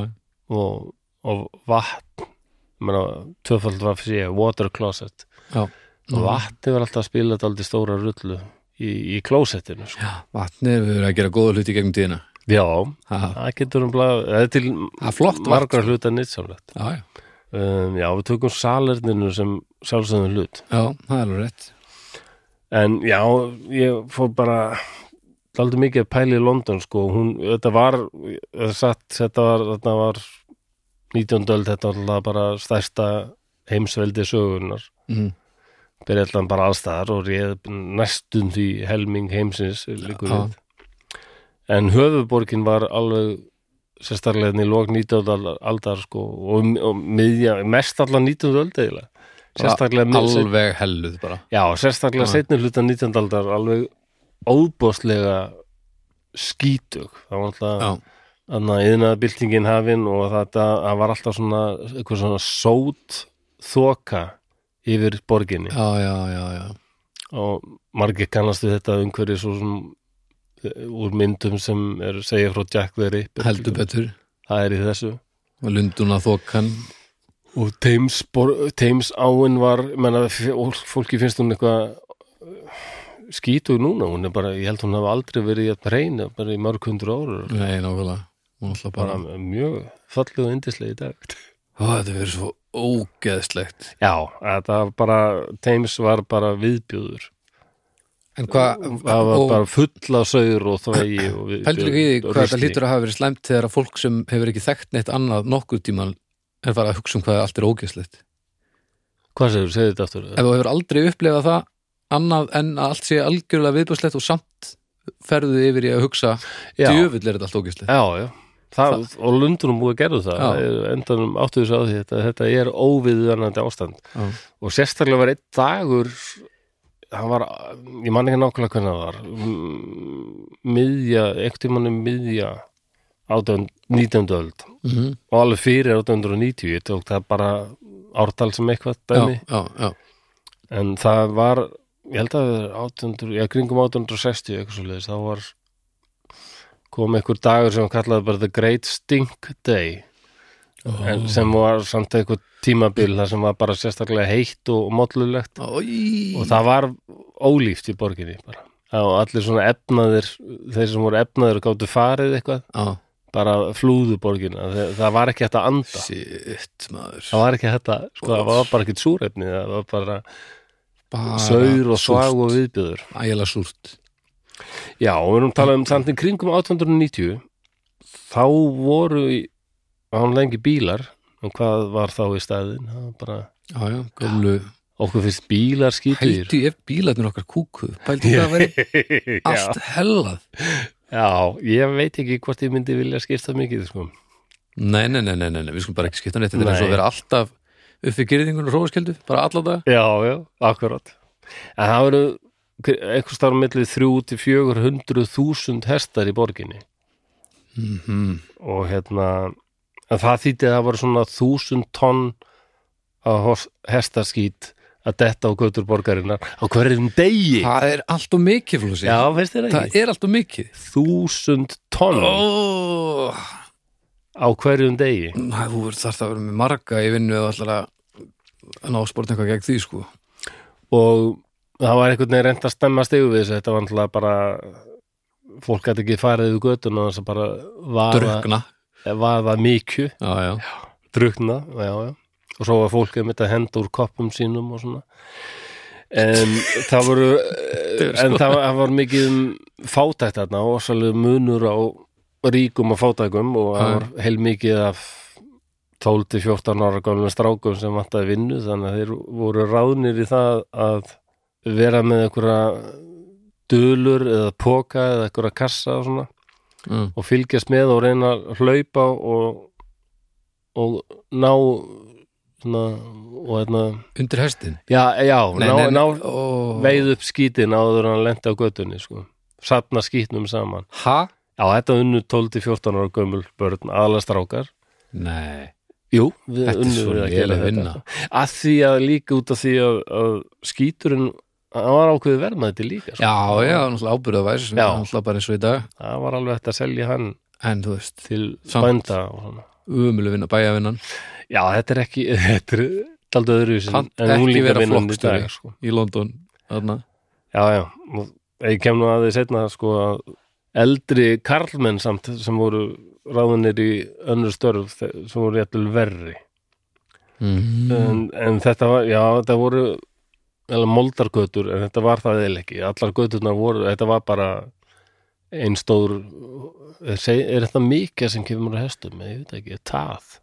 [SPEAKER 1] og, og vatn ég meina, tvöfald var fyrir ég water closet
[SPEAKER 2] já Mhm.
[SPEAKER 1] og vatnið var alltaf að spila þetta aldrei stóra rullu í, í klósettinu sko.
[SPEAKER 2] Já, vatnið hefur verið að gera góða hluti í gegnum tíðina
[SPEAKER 1] já,
[SPEAKER 2] Ha,
[SPEAKER 1] það getur um blað það er til
[SPEAKER 2] Það er flott vatn.
[SPEAKER 1] margar hluta nýtsamlegt
[SPEAKER 2] Já, já,
[SPEAKER 1] Um, já, við tökum salerninu sem sjálfsögðum hlut.
[SPEAKER 2] já, það er alveg rétt
[SPEAKER 1] En já, ég fór bara aldrei mikið að pæla í London sko. Hún, þetta var, þetta satt, þetta var, þetta var 19. öld, þetta var alltaf bara stærsta heimsveldi sögunar.
[SPEAKER 2] mm.
[SPEAKER 1] Byrja alltaf bara allstaðar og réð næstum því helming heimsins líkur
[SPEAKER 2] Já.
[SPEAKER 1] við. En höfuborgin var alveg sérstaklega hérna í lók 19. aldar sko og, og miðja, mest allan 19. öld eiginlega. Sérstaklega mið-
[SPEAKER 2] Alveg helluð bara
[SPEAKER 1] Já, sérstaklega
[SPEAKER 2] Já.
[SPEAKER 1] setni hluta 19. aldar alveg óbóðslega skítug það
[SPEAKER 2] Já,
[SPEAKER 1] var alltaf þannig að yðnaðabyltingin hafin og þetta það var alltaf svona eitthvað svona sót þoka yfir borginni
[SPEAKER 2] já, já, já, já
[SPEAKER 1] og margir kannastu þetta umhverju svo sem eh, úr myndum sem er segja frá Jack the Ripper
[SPEAKER 2] Heldur betur
[SPEAKER 1] það er í þessu
[SPEAKER 2] Lunduna þokan
[SPEAKER 1] og Thames, bor- Thames áin var menna, fólki finnst hún eitthvað eh, skítug núna hún er bara, ég held hún hafi aldrei verið að reyna bara í mörg hundru ára
[SPEAKER 2] Nei, nákvæmlega Hún ætla bara
[SPEAKER 1] bara mjög fallið og yndislega í dag
[SPEAKER 2] Ó, Þetta verður svo ógeðslegt
[SPEAKER 1] já, þetta var bara Thames var bara viðbjóður
[SPEAKER 3] En hvað,
[SPEAKER 1] það var
[SPEAKER 3] og
[SPEAKER 1] bara full af saur og þvægi og við,
[SPEAKER 2] Pældur ekki í því hvað þetta lítur að hafa verið slæmt þegar að fólk sem hefur ekki þekkt neitt annað nokkuð tíman er farið að hugsa um hvað allt er ógeðslegt.
[SPEAKER 1] Hvað segir, segir þetta aftur?
[SPEAKER 2] Ef þú hefur aldrei upplefað það annað en að allt sé algjörlega viðbjörslegt og samt ferðu yfir í að hugsa
[SPEAKER 1] Já.
[SPEAKER 2] djöfull er þetta allt ógeðslegt.
[SPEAKER 1] Já, já Það, og lundunum búið að gera það
[SPEAKER 2] Já.
[SPEAKER 1] Þeir endanum áttu þess að því þetta, þetta er óviðunandi ástand
[SPEAKER 2] Já.
[SPEAKER 1] og sérstaklega var einn dagur hann var, ég man ekki nákvæmlega hvernig það var m- miðja, einhvern tímann um miðja 18 19. öld
[SPEAKER 2] Mm -hmm.
[SPEAKER 1] og alveg fyrir 1890 ég tók það bara ártal sem eitthvað dæmi
[SPEAKER 2] já, já, já.
[SPEAKER 1] en það var ég held að það er 800, já, kringum 860 eitthvað svo þá var kom einhver dagur sem hann kallaði bara The Great Stink Day en, sem var samt eitthvað tímabil þar sem var bara sérstaklega heitt og, og mollulegt
[SPEAKER 2] Ói.
[SPEAKER 1] og það var ólíft í borginni bara Það og allir svona efnaðir þeir sem voru efnaðir gáttu farið eitthvað
[SPEAKER 2] Já,
[SPEAKER 1] bara flúðu borginna, það, það var ekki hægt að anda
[SPEAKER 2] shit maður.
[SPEAKER 1] það var ekki hægt að, sko, það var bara ekki súrefni það var bara
[SPEAKER 2] Bara
[SPEAKER 1] saur og
[SPEAKER 2] súrt.
[SPEAKER 1] svag og viðbjöður
[SPEAKER 2] Ægilega súrt.
[SPEAKER 1] Já, og við erum talað um samt í kringum 1890 þá voru í, án lengi bílar en hvað var þá í stæðin það var bara,
[SPEAKER 2] Já, já, gömlu.
[SPEAKER 1] okkur finnst bílar skýtur
[SPEAKER 2] Hældu ef bílarnir okkar kúkuð. Pældu það að vera
[SPEAKER 1] já,
[SPEAKER 2] allt hellað.
[SPEAKER 1] já, ég veit ekki hvort ég myndi vilja skipta mikið sko.
[SPEAKER 2] Nei, nei, nei, nei, nei, nei, við skulum bara ekki skipta neitt þetta er
[SPEAKER 1] Nei.
[SPEAKER 2] eins og að vera alltaf upp við gyrðingun og rófaskeldu, bara alla dag
[SPEAKER 1] Já, já, akkurat en það voru einhvers staðar á milli 3-400.000 hestar í borginni
[SPEAKER 2] mm
[SPEAKER 1] og hérna en það þýtti að það voru svona 1000 tonn af hos- hestaskít að detta á götur borgarinnar á hverjum degi
[SPEAKER 2] Það er allt og mikið flósi
[SPEAKER 1] Já, veist þér
[SPEAKER 2] Það
[SPEAKER 1] ekki?
[SPEAKER 2] er allt og mikið
[SPEAKER 1] 1000 tonn
[SPEAKER 2] Ó,
[SPEAKER 1] á hverjum degi
[SPEAKER 2] Næ, Þú verður þarft að vera með marga í vinnu eða allar að að ná sport eitthvað gegn því sko
[SPEAKER 1] og það var einhvern veginn reynd að stemma stegu við þessu, þetta var náttúrulega bara fólk gæti ekki farið við götuna þess að bara vaða,
[SPEAKER 2] Drökna
[SPEAKER 1] vaða mikju
[SPEAKER 2] Já, já,
[SPEAKER 1] drukna, já, já og svo var fólk einmitt að henda úr koppum sínum og svona en það voru eh, en það var, það var mikið um fátækt þarna og svolítið munur á ríkum og fátækum og það
[SPEAKER 2] Já.
[SPEAKER 1] var heilmikið af 12-14 ára gamlega strákum sem vantaði vinnu þannig að þeir voru ráðnir í það að vera með einhverja dölur eða póka eða einhverja kassa og svona
[SPEAKER 2] mm.
[SPEAKER 1] og fylgjast með og reyna að hlaupa og, og ná svona, og hérna
[SPEAKER 2] undir hestin
[SPEAKER 1] já, já, ná, ná
[SPEAKER 2] ó.
[SPEAKER 1] veið upp skítin áður en hann lendi á göttunni sko. satna skítnum saman
[SPEAKER 2] Ha?
[SPEAKER 1] já, þetta unnu 12-14 ára gömul börn aðlastrákar
[SPEAKER 2] Nei,
[SPEAKER 1] Jú, við
[SPEAKER 2] Þetta er
[SPEAKER 1] unnum
[SPEAKER 2] svo
[SPEAKER 1] við að gera
[SPEAKER 2] léleg
[SPEAKER 1] þetta
[SPEAKER 2] vinna.
[SPEAKER 1] að því að líka út af því að, að skíturinn, hann var ákveðið verðmaði þetta líka, sko.
[SPEAKER 2] já, já, náttúrulega ábyrða væri
[SPEAKER 1] Já.
[SPEAKER 2] náttúrulega bara eins og í dag
[SPEAKER 1] það var alveg hægt að selja hann
[SPEAKER 2] en þú veist,
[SPEAKER 1] til
[SPEAKER 2] Samt.
[SPEAKER 1] bænda og svona
[SPEAKER 2] umölu vinna, bæjavinnan
[SPEAKER 1] Já, þetta er ekki þetta er aldrei öðru
[SPEAKER 2] Kann ekki vera flokksstjóri.
[SPEAKER 1] sko.
[SPEAKER 2] í London þarna.
[SPEAKER 1] Já, já, og ég kem nú að því setna sko að eldri karlmenn samt sem voru ráðunir í önnur störf þe- sem voru jættul verri
[SPEAKER 2] Mm.
[SPEAKER 1] en, en þetta var, já, þetta voru eða moldargötur, en þetta var það eða ekki, allar göturnar voru þetta var bara einn stór er, seg- er þetta mikið sem kemur á hestum, ég veit ekki, tað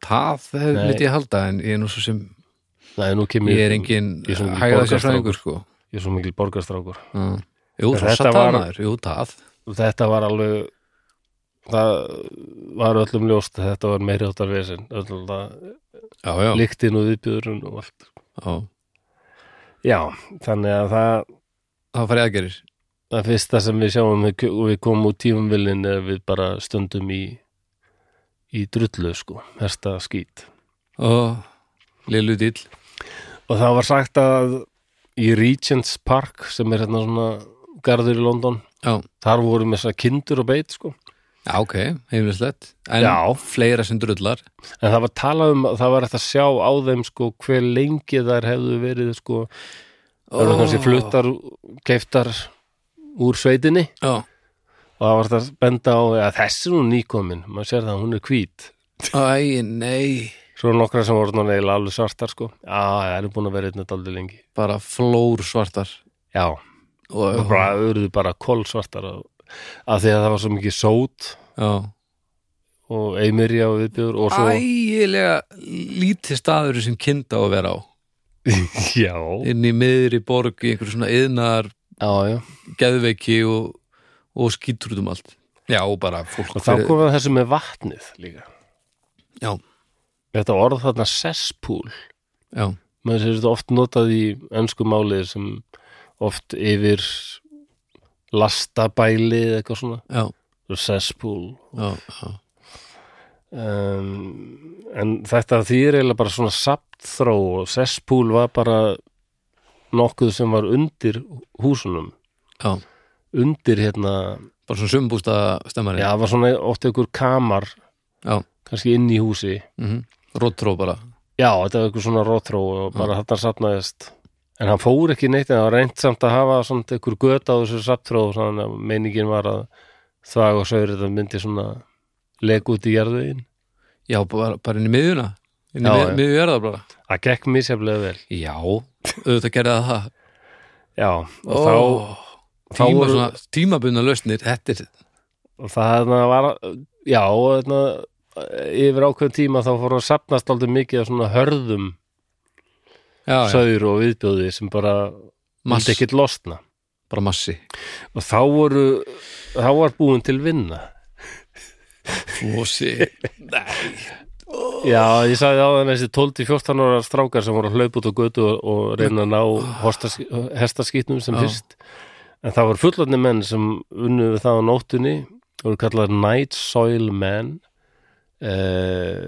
[SPEAKER 2] Það hef-
[SPEAKER 1] Nei.
[SPEAKER 2] myndi ég halda en ég er nú svo sem
[SPEAKER 1] Nei, nú kemur
[SPEAKER 2] ég er engin
[SPEAKER 1] ég er svo mikil
[SPEAKER 2] hægða sér fræðingur sko
[SPEAKER 1] ég er svo mikil borgarstrákur
[SPEAKER 2] Mm. Jú,
[SPEAKER 1] En
[SPEAKER 2] svo
[SPEAKER 1] þetta
[SPEAKER 2] satt
[SPEAKER 1] var-
[SPEAKER 2] það maður, jú, það
[SPEAKER 1] þetta var alveg það var öllum ljóst að þetta var meiri áttar vesinn öllum það,
[SPEAKER 2] Já, já,
[SPEAKER 1] líktin og viðbjöðurinn og allt
[SPEAKER 2] já.
[SPEAKER 1] já, þannig að það
[SPEAKER 2] það farið aðgerir
[SPEAKER 1] það fyrsta sem við sjáum við, og við komum úr tímumvillin er við bara stöndum í í drullu sko, hérsta skýt
[SPEAKER 2] og lilu dýl
[SPEAKER 1] og það var sagt að í Regents Park sem er hérna svona garður í London
[SPEAKER 2] Já,
[SPEAKER 1] þar voru með þess að kindur og beit sko
[SPEAKER 2] já ok, heimlislegt en
[SPEAKER 1] Já.
[SPEAKER 2] fleira sem drullar
[SPEAKER 1] En það var talað um að það var eftir að sjá á þeim sko hver lengi þær hefðu verið sko það voru kannski fluttar, keiftar úr sveitinni
[SPEAKER 2] Já,
[SPEAKER 1] og það var eftir að benda á að þessi er nú nýkomin, maður sér það að hún er hvít
[SPEAKER 2] æ, nei
[SPEAKER 1] Svo eru nokkra sem voru náttúrulega eiginlega alveg svartar sko Já, það eru búin að vera einnig daldi lengi
[SPEAKER 2] bara flór svartar
[SPEAKER 1] Já,
[SPEAKER 2] og,
[SPEAKER 1] og bara auðruðu bara kolsvartar af, af því að það var svo mikið sót
[SPEAKER 2] já.
[SPEAKER 1] og eimirja og viðbjöður og svo
[SPEAKER 2] ægilega lítið staður sem kind á að vera á
[SPEAKER 1] já,
[SPEAKER 2] inn í miðri borg í einhverju svona yðnar
[SPEAKER 1] já, já
[SPEAKER 2] geðveiki og, og skítur út um allt já og bara fólk
[SPEAKER 1] og þá komum við að þessu með vatnið líka
[SPEAKER 2] já,
[SPEAKER 1] þetta orð þarna cesspool
[SPEAKER 2] já,
[SPEAKER 1] maður sér þetta oft notað í ennsku málið sem oft yfir lastabæli eða eitthvað svona
[SPEAKER 2] já,
[SPEAKER 1] svo cesspool
[SPEAKER 2] já, já.
[SPEAKER 1] um, en þetta þýðir eiginlega bara svona saptþró og cesspool var bara nokkuð sem var undir húsunum
[SPEAKER 2] já.
[SPEAKER 1] undir hérna,
[SPEAKER 2] bara svona sumbústa stemmari
[SPEAKER 1] já það var svona oft einhver kamar,
[SPEAKER 2] já.
[SPEAKER 1] kannski inn í húsi
[SPEAKER 2] Mm -hmm. Róttró bara
[SPEAKER 1] Já, þetta var eitthvað svona rótró og bara þarna sapnaðist en hann fór ekki neitt en það var reynt samt að hafa samt einhver göt á þessu saptró og svona meiningin var að þvag og saur þetta myndi svona leg út í jarðvegin
[SPEAKER 2] já, bara, bara inn í miðjuna inn í
[SPEAKER 1] Já,
[SPEAKER 2] mið-
[SPEAKER 1] já.
[SPEAKER 2] miðju jarðar bara
[SPEAKER 1] Það gekk misjaflega vel
[SPEAKER 2] já, auðvitað gerði það það
[SPEAKER 1] Já, og
[SPEAKER 2] Ó,
[SPEAKER 1] þá
[SPEAKER 2] tíma,
[SPEAKER 1] voru-
[SPEAKER 2] svona, tímabunna lausnir þetta er,
[SPEAKER 1] þá og það þarna var já, og þarna yfir ákveðum tíma þá fór hann að sapnast aldrei mikið af svona hörðum
[SPEAKER 2] já, já,
[SPEAKER 1] saur og viðbjóði sem bara
[SPEAKER 2] mass,
[SPEAKER 1] myndi ekkit losna
[SPEAKER 2] bara massi
[SPEAKER 1] og þá voru þá var búin til vinna
[SPEAKER 2] Flósi
[SPEAKER 1] Já, ég sagði á þannig þessi 12-14 ára strákar sem voru að hlaupa út á götu og, og reyna að ná hostask- hestaskýtnum sem
[SPEAKER 2] Já.
[SPEAKER 1] fyrst en það voru fullotni menn sem unnu við það á nóttunni og voru kallar Night Soil Men eh,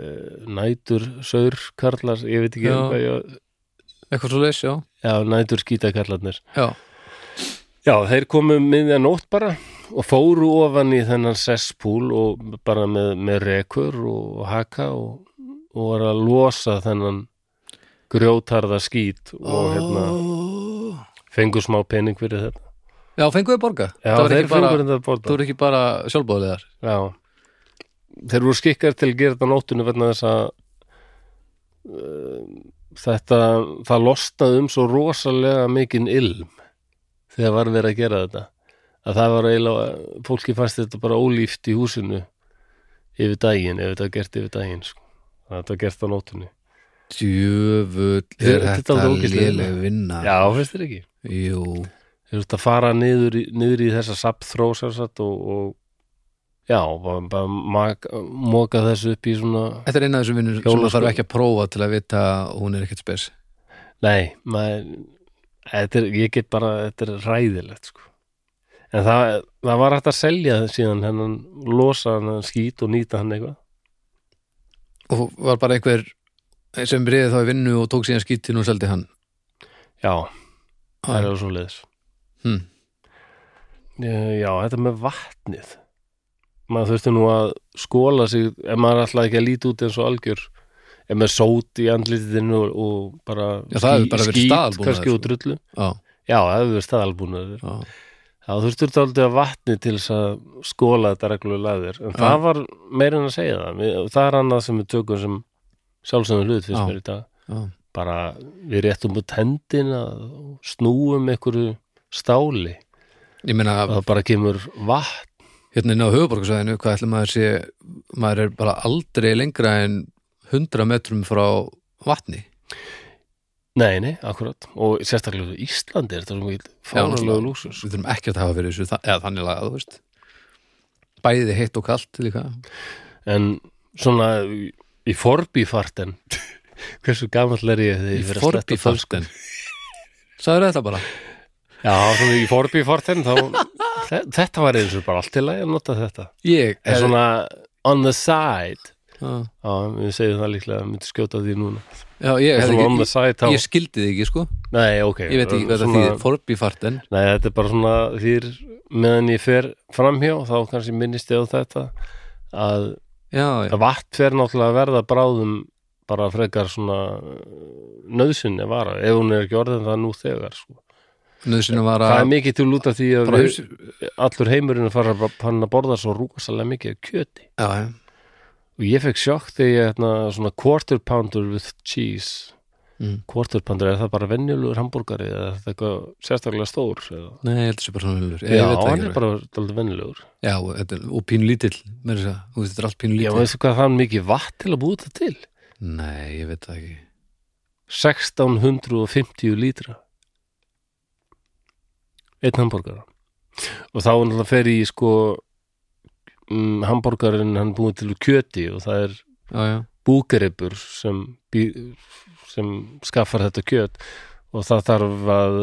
[SPEAKER 1] Nætur Saur karlar, ég veit ekki um
[SPEAKER 2] Já.
[SPEAKER 1] hvað ég,
[SPEAKER 2] eitthvað svo leys, já,
[SPEAKER 1] já, Nætur Skítakarlarnir
[SPEAKER 2] já,
[SPEAKER 1] Já, þeir komu um miðja nótt bara og fóru ofan í þennan sesspúl og bara með, með rekur og haka og, og var að losa þennan grjótarða skít og hérna
[SPEAKER 2] Ó.
[SPEAKER 1] fengu smá pening fyrir þetta.
[SPEAKER 2] já, fenguðu borga
[SPEAKER 1] Já,
[SPEAKER 2] það var
[SPEAKER 1] þeir
[SPEAKER 2] ekki bara,
[SPEAKER 1] fengu þetta
[SPEAKER 2] þú
[SPEAKER 1] að borða.
[SPEAKER 2] eru ekki bara sjálfbóðlegar
[SPEAKER 1] Já. Þeir voru skikkar til að gera þetta á nóttunni vegna þess að uh, þetta, það losnaði um svo rosalega mikinn ilm þegar var verið að gera þetta að það var eiginlega, fólki fannst þetta bara ólíft í húsinu yfir daginn, ef þetta var gert yfir daginn sko. að þetta var gert á nóttunni
[SPEAKER 2] djöfull
[SPEAKER 1] Þetta er dálítið ógeðslega
[SPEAKER 2] léleg vinna
[SPEAKER 1] Já, finnst þér ekki?
[SPEAKER 2] jú,
[SPEAKER 1] Þeir eru að fara niður, í- niður í þessa sapþró sem sagt og, og já, bara, bara maka, moka þessu upp í svona
[SPEAKER 2] þetta er eina af þessum vinnur sem
[SPEAKER 1] Hjólaskó-
[SPEAKER 2] maður þarf ekki að prófa til að vita að hún er ekkert spes
[SPEAKER 1] Nei, maður, þetta er, ég get bara, þetta er ræðilegt, sko. En það, það var hægt að selja síðan hennan, losa hennan skít og nýta hann eitthvað.
[SPEAKER 2] og var bara einhver sem reyði þá í vinnu og tók síðan skítin og seldi hann
[SPEAKER 1] Já, það
[SPEAKER 2] Ah.
[SPEAKER 1] er alveg svo leiðis.
[SPEAKER 2] hm.
[SPEAKER 1] Já, þetta með vatnið. Maður þurfti nú að skóla sig, ef maður ætlaði ekki að líti út eins og algjör, ef maður sót í andlitinu og, og bara,
[SPEAKER 2] Já, það hefur bara verið staðalbúnaður,
[SPEAKER 1] kannski
[SPEAKER 2] sko.
[SPEAKER 1] og drullu.
[SPEAKER 2] á,
[SPEAKER 1] Já, það hefur verið staðalbúnaður.
[SPEAKER 2] á.
[SPEAKER 1] Já, þú þurftur dálítið að vatni til þess að skóla þetta reglulega þér en það var meira en að segja það við, það er annað sem við tökum sem sjálfsögum hlut
[SPEAKER 2] Já.
[SPEAKER 1] fyrst mér í dag
[SPEAKER 2] Já.
[SPEAKER 1] bara við réttum út hendina og snúum einhverju stáli
[SPEAKER 2] ég meina
[SPEAKER 1] og það bara kemur vatn
[SPEAKER 2] hérna inn á höfuborgarsvæðinu hvað ætlum maður sé maður er bara aldrei lengra en 100 metrum frá vatni
[SPEAKER 1] Nei, nei, akkurat og sérstaklega í Íslandi er þetta svo mjög fánulega
[SPEAKER 2] náttúrulega.
[SPEAKER 1] lúsus
[SPEAKER 2] við þurfum ekki að hafa fyrir þessu þa- eða þannig lagað, þú veist bæði heitt og kalt líka
[SPEAKER 1] en svona í í forbífarten hversu gamall er ég þegar ég verið að sletta sko. fölsku?
[SPEAKER 2] forbifarten sagður þetta bara
[SPEAKER 1] Já, svona í forbifartin þá, þe- þetta var eins og bara allt til að nota þetta.
[SPEAKER 2] ég
[SPEAKER 1] En svona on the side
[SPEAKER 2] Já.
[SPEAKER 1] Já, við segjum það líklega, við myndum skjóta því núna
[SPEAKER 2] já, ég,
[SPEAKER 1] Svona on
[SPEAKER 2] ég,
[SPEAKER 1] the side þá
[SPEAKER 2] ég, ég skildi þig ekki sko
[SPEAKER 1] Nei, ok
[SPEAKER 2] ég veit ekki hvað það
[SPEAKER 1] Svona-
[SPEAKER 2] þýðir, forbifarten
[SPEAKER 1] Nei, þetta er bara svona þýr meðan ég fer framhjá þá kannski minnist ég á þetta að
[SPEAKER 2] já, já,
[SPEAKER 1] að vatn fer náttúrulega að verða bráðum bara frekar svona nöðsynni að vara ef hún er ekki orðin það nú þegar sko.
[SPEAKER 2] nöðsynum var
[SPEAKER 1] Það er
[SPEAKER 2] að
[SPEAKER 1] mikið til út af því að
[SPEAKER 2] bara
[SPEAKER 1] við,
[SPEAKER 2] hugsa-
[SPEAKER 1] allur heimurinn er farin að- farinn að borða svo rúkasalega mikið af kjöti
[SPEAKER 2] já, já,
[SPEAKER 1] og ég fekk sjokk þegar ég hérna, svona quarter pounder with cheese
[SPEAKER 3] Mm.
[SPEAKER 1] Quarterpandur, er það bara venjulegur hambúrgari eða er þetta eitthvað sérstaklega stór eða?
[SPEAKER 2] Nei, ég heldur sér bara svona hulur
[SPEAKER 1] Já, hann er bara dálítið venjulegur
[SPEAKER 2] Já, og þetta er, og pínu lítill mér þess að, segja. þú veist, þetta er allt pínu
[SPEAKER 1] Já,
[SPEAKER 2] lítill
[SPEAKER 1] veistu hvað það er mikið vatn til að búa þetta til?
[SPEAKER 2] Nei, ég veit það ekki
[SPEAKER 1] 1650 lítra einn hambúrgara og þá náttúrulega fer í sko um, hambúrgarinn hann búið til úr kjöti og það er
[SPEAKER 2] Já, já,
[SPEAKER 1] búgripur sem, bý- sem skaffar þetta kjöt og það þarf að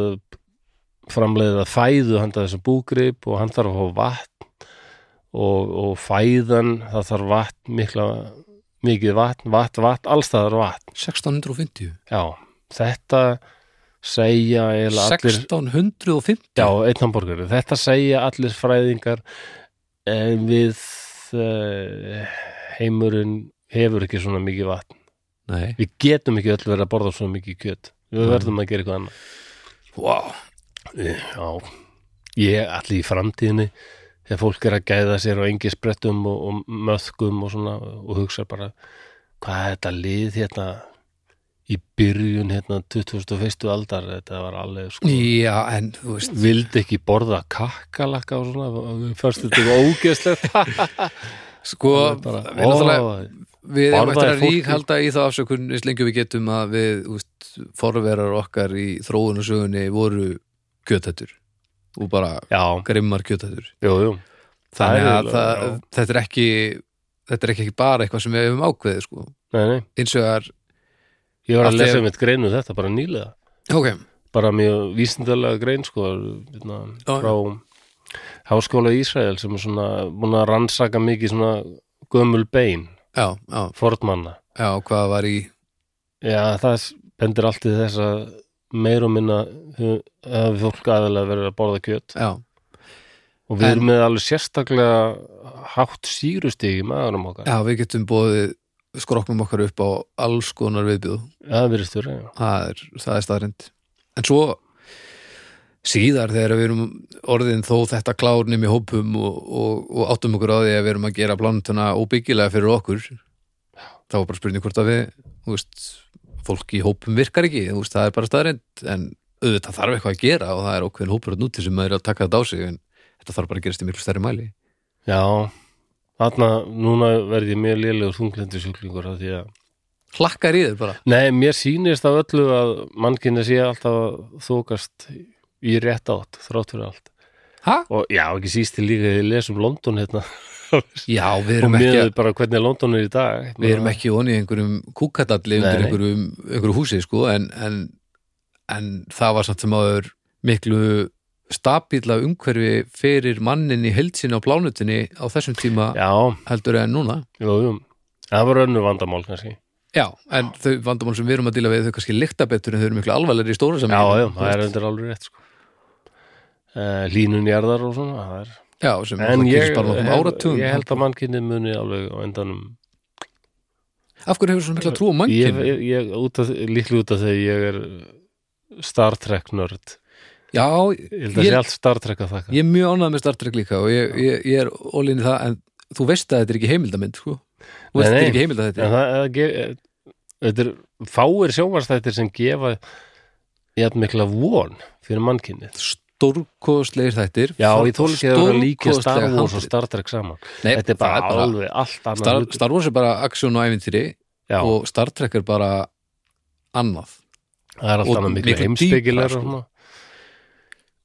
[SPEAKER 1] framleiða fæðu handa þessum búgrip og hann þarf að fá vatn og, og fæðan það þarf vatn, mikla mikið vatn, vatn, vatn, allstaðar vatn
[SPEAKER 2] 1650
[SPEAKER 1] Já, þetta segja eiginlega allir
[SPEAKER 2] 1650
[SPEAKER 1] Já, einn hamburgari, þetta segja allir fræðingar en við uh, heimurinn hefur ekki svona mikið vatn
[SPEAKER 2] Nei,
[SPEAKER 1] Við getum ekki öll verið að borða svona mikið kjöt Við verðum að gera eitthvað annað
[SPEAKER 2] wow
[SPEAKER 1] Já, ég allir í framtíðinni þegar fólk er að gæða sér á engi sprettum og, og möðkum og svona og hugsa bara hvað er þetta lið hérna í byrjun hérna 2001. aldar þetta var alveg sko
[SPEAKER 2] Já, en þú veist
[SPEAKER 1] vildi ekki borða kakkalakka og svona, og við fannst þetta ógeðslegt
[SPEAKER 2] Sko,
[SPEAKER 1] bara,
[SPEAKER 2] við náttúrulega
[SPEAKER 1] ó,
[SPEAKER 2] Við erum
[SPEAKER 1] Borðaði
[SPEAKER 2] eftir að
[SPEAKER 1] fólkið.
[SPEAKER 2] rík halda í þá afsökun eins lengi og við getum að við úst, forverar okkar í þróunarsögunni voru kjötættur og bara
[SPEAKER 1] Já,
[SPEAKER 2] grimmar kjötættur
[SPEAKER 1] jú, jú Það
[SPEAKER 2] þannig
[SPEAKER 1] er
[SPEAKER 2] að
[SPEAKER 1] eiginlega-
[SPEAKER 2] það,
[SPEAKER 1] já.
[SPEAKER 2] þetta er ekki þetta er ekki, ekki bara eitthvað sem við hefum ákveðið sko.
[SPEAKER 1] Nei, nei,
[SPEAKER 2] eins og er
[SPEAKER 1] ég var
[SPEAKER 2] Allt
[SPEAKER 1] að
[SPEAKER 2] í-
[SPEAKER 1] lesa mitt grein um þetta bara nýlega
[SPEAKER 2] okay.
[SPEAKER 1] bara mjög vísindalega grein sko, hérna,
[SPEAKER 2] Já, já.
[SPEAKER 1] frá Háskóla Ísrael sem er svona búin að rannsaka mikið svona gömul bein,
[SPEAKER 2] já, já,
[SPEAKER 1] fornmanna
[SPEAKER 2] já, hvað var í
[SPEAKER 1] Já, það s- bendir allt í þess að meir og minna hu- hafi fólk aðalega verið að borða kjöt
[SPEAKER 2] já,
[SPEAKER 1] og við
[SPEAKER 2] En-
[SPEAKER 1] erum með alveg sérstaklega hátt sírustig í maðurum okkar
[SPEAKER 2] já, við getum bóðið skroknum okkar upp á alls konar viðbjóð
[SPEAKER 1] Það er verið stjórn, já
[SPEAKER 2] það er, það er staðrind en svo síðar þegar við erum orðin þó þetta klárnum í hópum og, og, og áttum okkur á því að við erum að gera plantuna óbyggilega fyrir okkur þá var bara spurning hvort að við þú veist, fólk í hópum virkar ekki þú veist, það er bara staðrind en auðvitað þarf eitthvað að gera og það er okkur hópur að núti sem er að taka þetta á sig en þetta þarf bara að gerast í miklu stærri mæli
[SPEAKER 1] Já, þarna núna verð ég mjög lélegur þunglindu sjúklingur af því að
[SPEAKER 2] hlakkar í þér bara
[SPEAKER 1] Nei, mér sýnist af öllu að mannkynni sé alltaf að þókast í rétt átt, þrátt fyrir allt.
[SPEAKER 2] ha?
[SPEAKER 1] Og já, ekki síst til líka þegar ég les um London hérna
[SPEAKER 2] já, við
[SPEAKER 1] og
[SPEAKER 2] erum ekki að
[SPEAKER 1] miðað bara hvernig London er í dag.
[SPEAKER 2] við erum ekki onni í einhverjum kúkadalli
[SPEAKER 1] Nei,
[SPEAKER 2] undir
[SPEAKER 1] nei.
[SPEAKER 2] einhverjum, einhverju húsi sko, en, en, en það var samt sem aður miklu stabíla umhverfi fyrir mannin í heldsinni á plánutinni á þessum tíma
[SPEAKER 1] Já,
[SPEAKER 2] heldur en núna
[SPEAKER 1] jú, jú. Það var önnu vandamál kannski.
[SPEAKER 2] Já, en þau vandamál sem við erum að díla við þau kannski lykta betur en þau eru miklu alvarlegri í stóra
[SPEAKER 1] Já,
[SPEAKER 2] saman
[SPEAKER 1] já, það er endur alveg rétt, sko. Uh, línun jarðar og svona, það er...
[SPEAKER 2] já sem
[SPEAKER 1] En
[SPEAKER 2] það
[SPEAKER 1] ég,
[SPEAKER 2] gerist bara nokkuð um áratugum
[SPEAKER 1] ég held að mannkynni muni alveg á endanum
[SPEAKER 2] Af hverju hefur svona mikla trú á
[SPEAKER 1] ég,
[SPEAKER 2] mannkinn?
[SPEAKER 1] ég, ég, út af, líklega út af þegar ég er Star Trek nörd
[SPEAKER 2] Já,
[SPEAKER 1] Ég held að
[SPEAKER 2] Ég-
[SPEAKER 1] sé allt Star Trek að þakka
[SPEAKER 2] ég er mjög ánægð með Star Trek líka og ég, ég, ég er ólinni það en þú veist að þetta er ekki heimildamind sko. Þú
[SPEAKER 1] Nei,
[SPEAKER 2] veist að þetta er
[SPEAKER 1] nei.
[SPEAKER 2] ekki heimildamind
[SPEAKER 1] En það, það gef, þetta er fáir sjónvarstættir sem gefa jafn mikla von fyrir mannkynnið
[SPEAKER 2] stórkostlegir þættir
[SPEAKER 1] Já,
[SPEAKER 2] Fá-
[SPEAKER 1] ég þól ekki að vera líka
[SPEAKER 2] stórkostlega
[SPEAKER 1] Star Wars og
[SPEAKER 2] handrit.
[SPEAKER 1] Star Trek saman
[SPEAKER 2] Nei,
[SPEAKER 1] Þetta er bara,
[SPEAKER 2] það er
[SPEAKER 1] alveg allt annað
[SPEAKER 2] Star,
[SPEAKER 1] hlutur.
[SPEAKER 2] Star Wars er bara aksjón og ævintýri
[SPEAKER 1] Já,
[SPEAKER 2] og Star Trek er bara annað
[SPEAKER 1] það er allt
[SPEAKER 2] og
[SPEAKER 1] annað miklu
[SPEAKER 2] miklu dýpra,
[SPEAKER 1] heimsbyggilega
[SPEAKER 2] sko.
[SPEAKER 1] sko.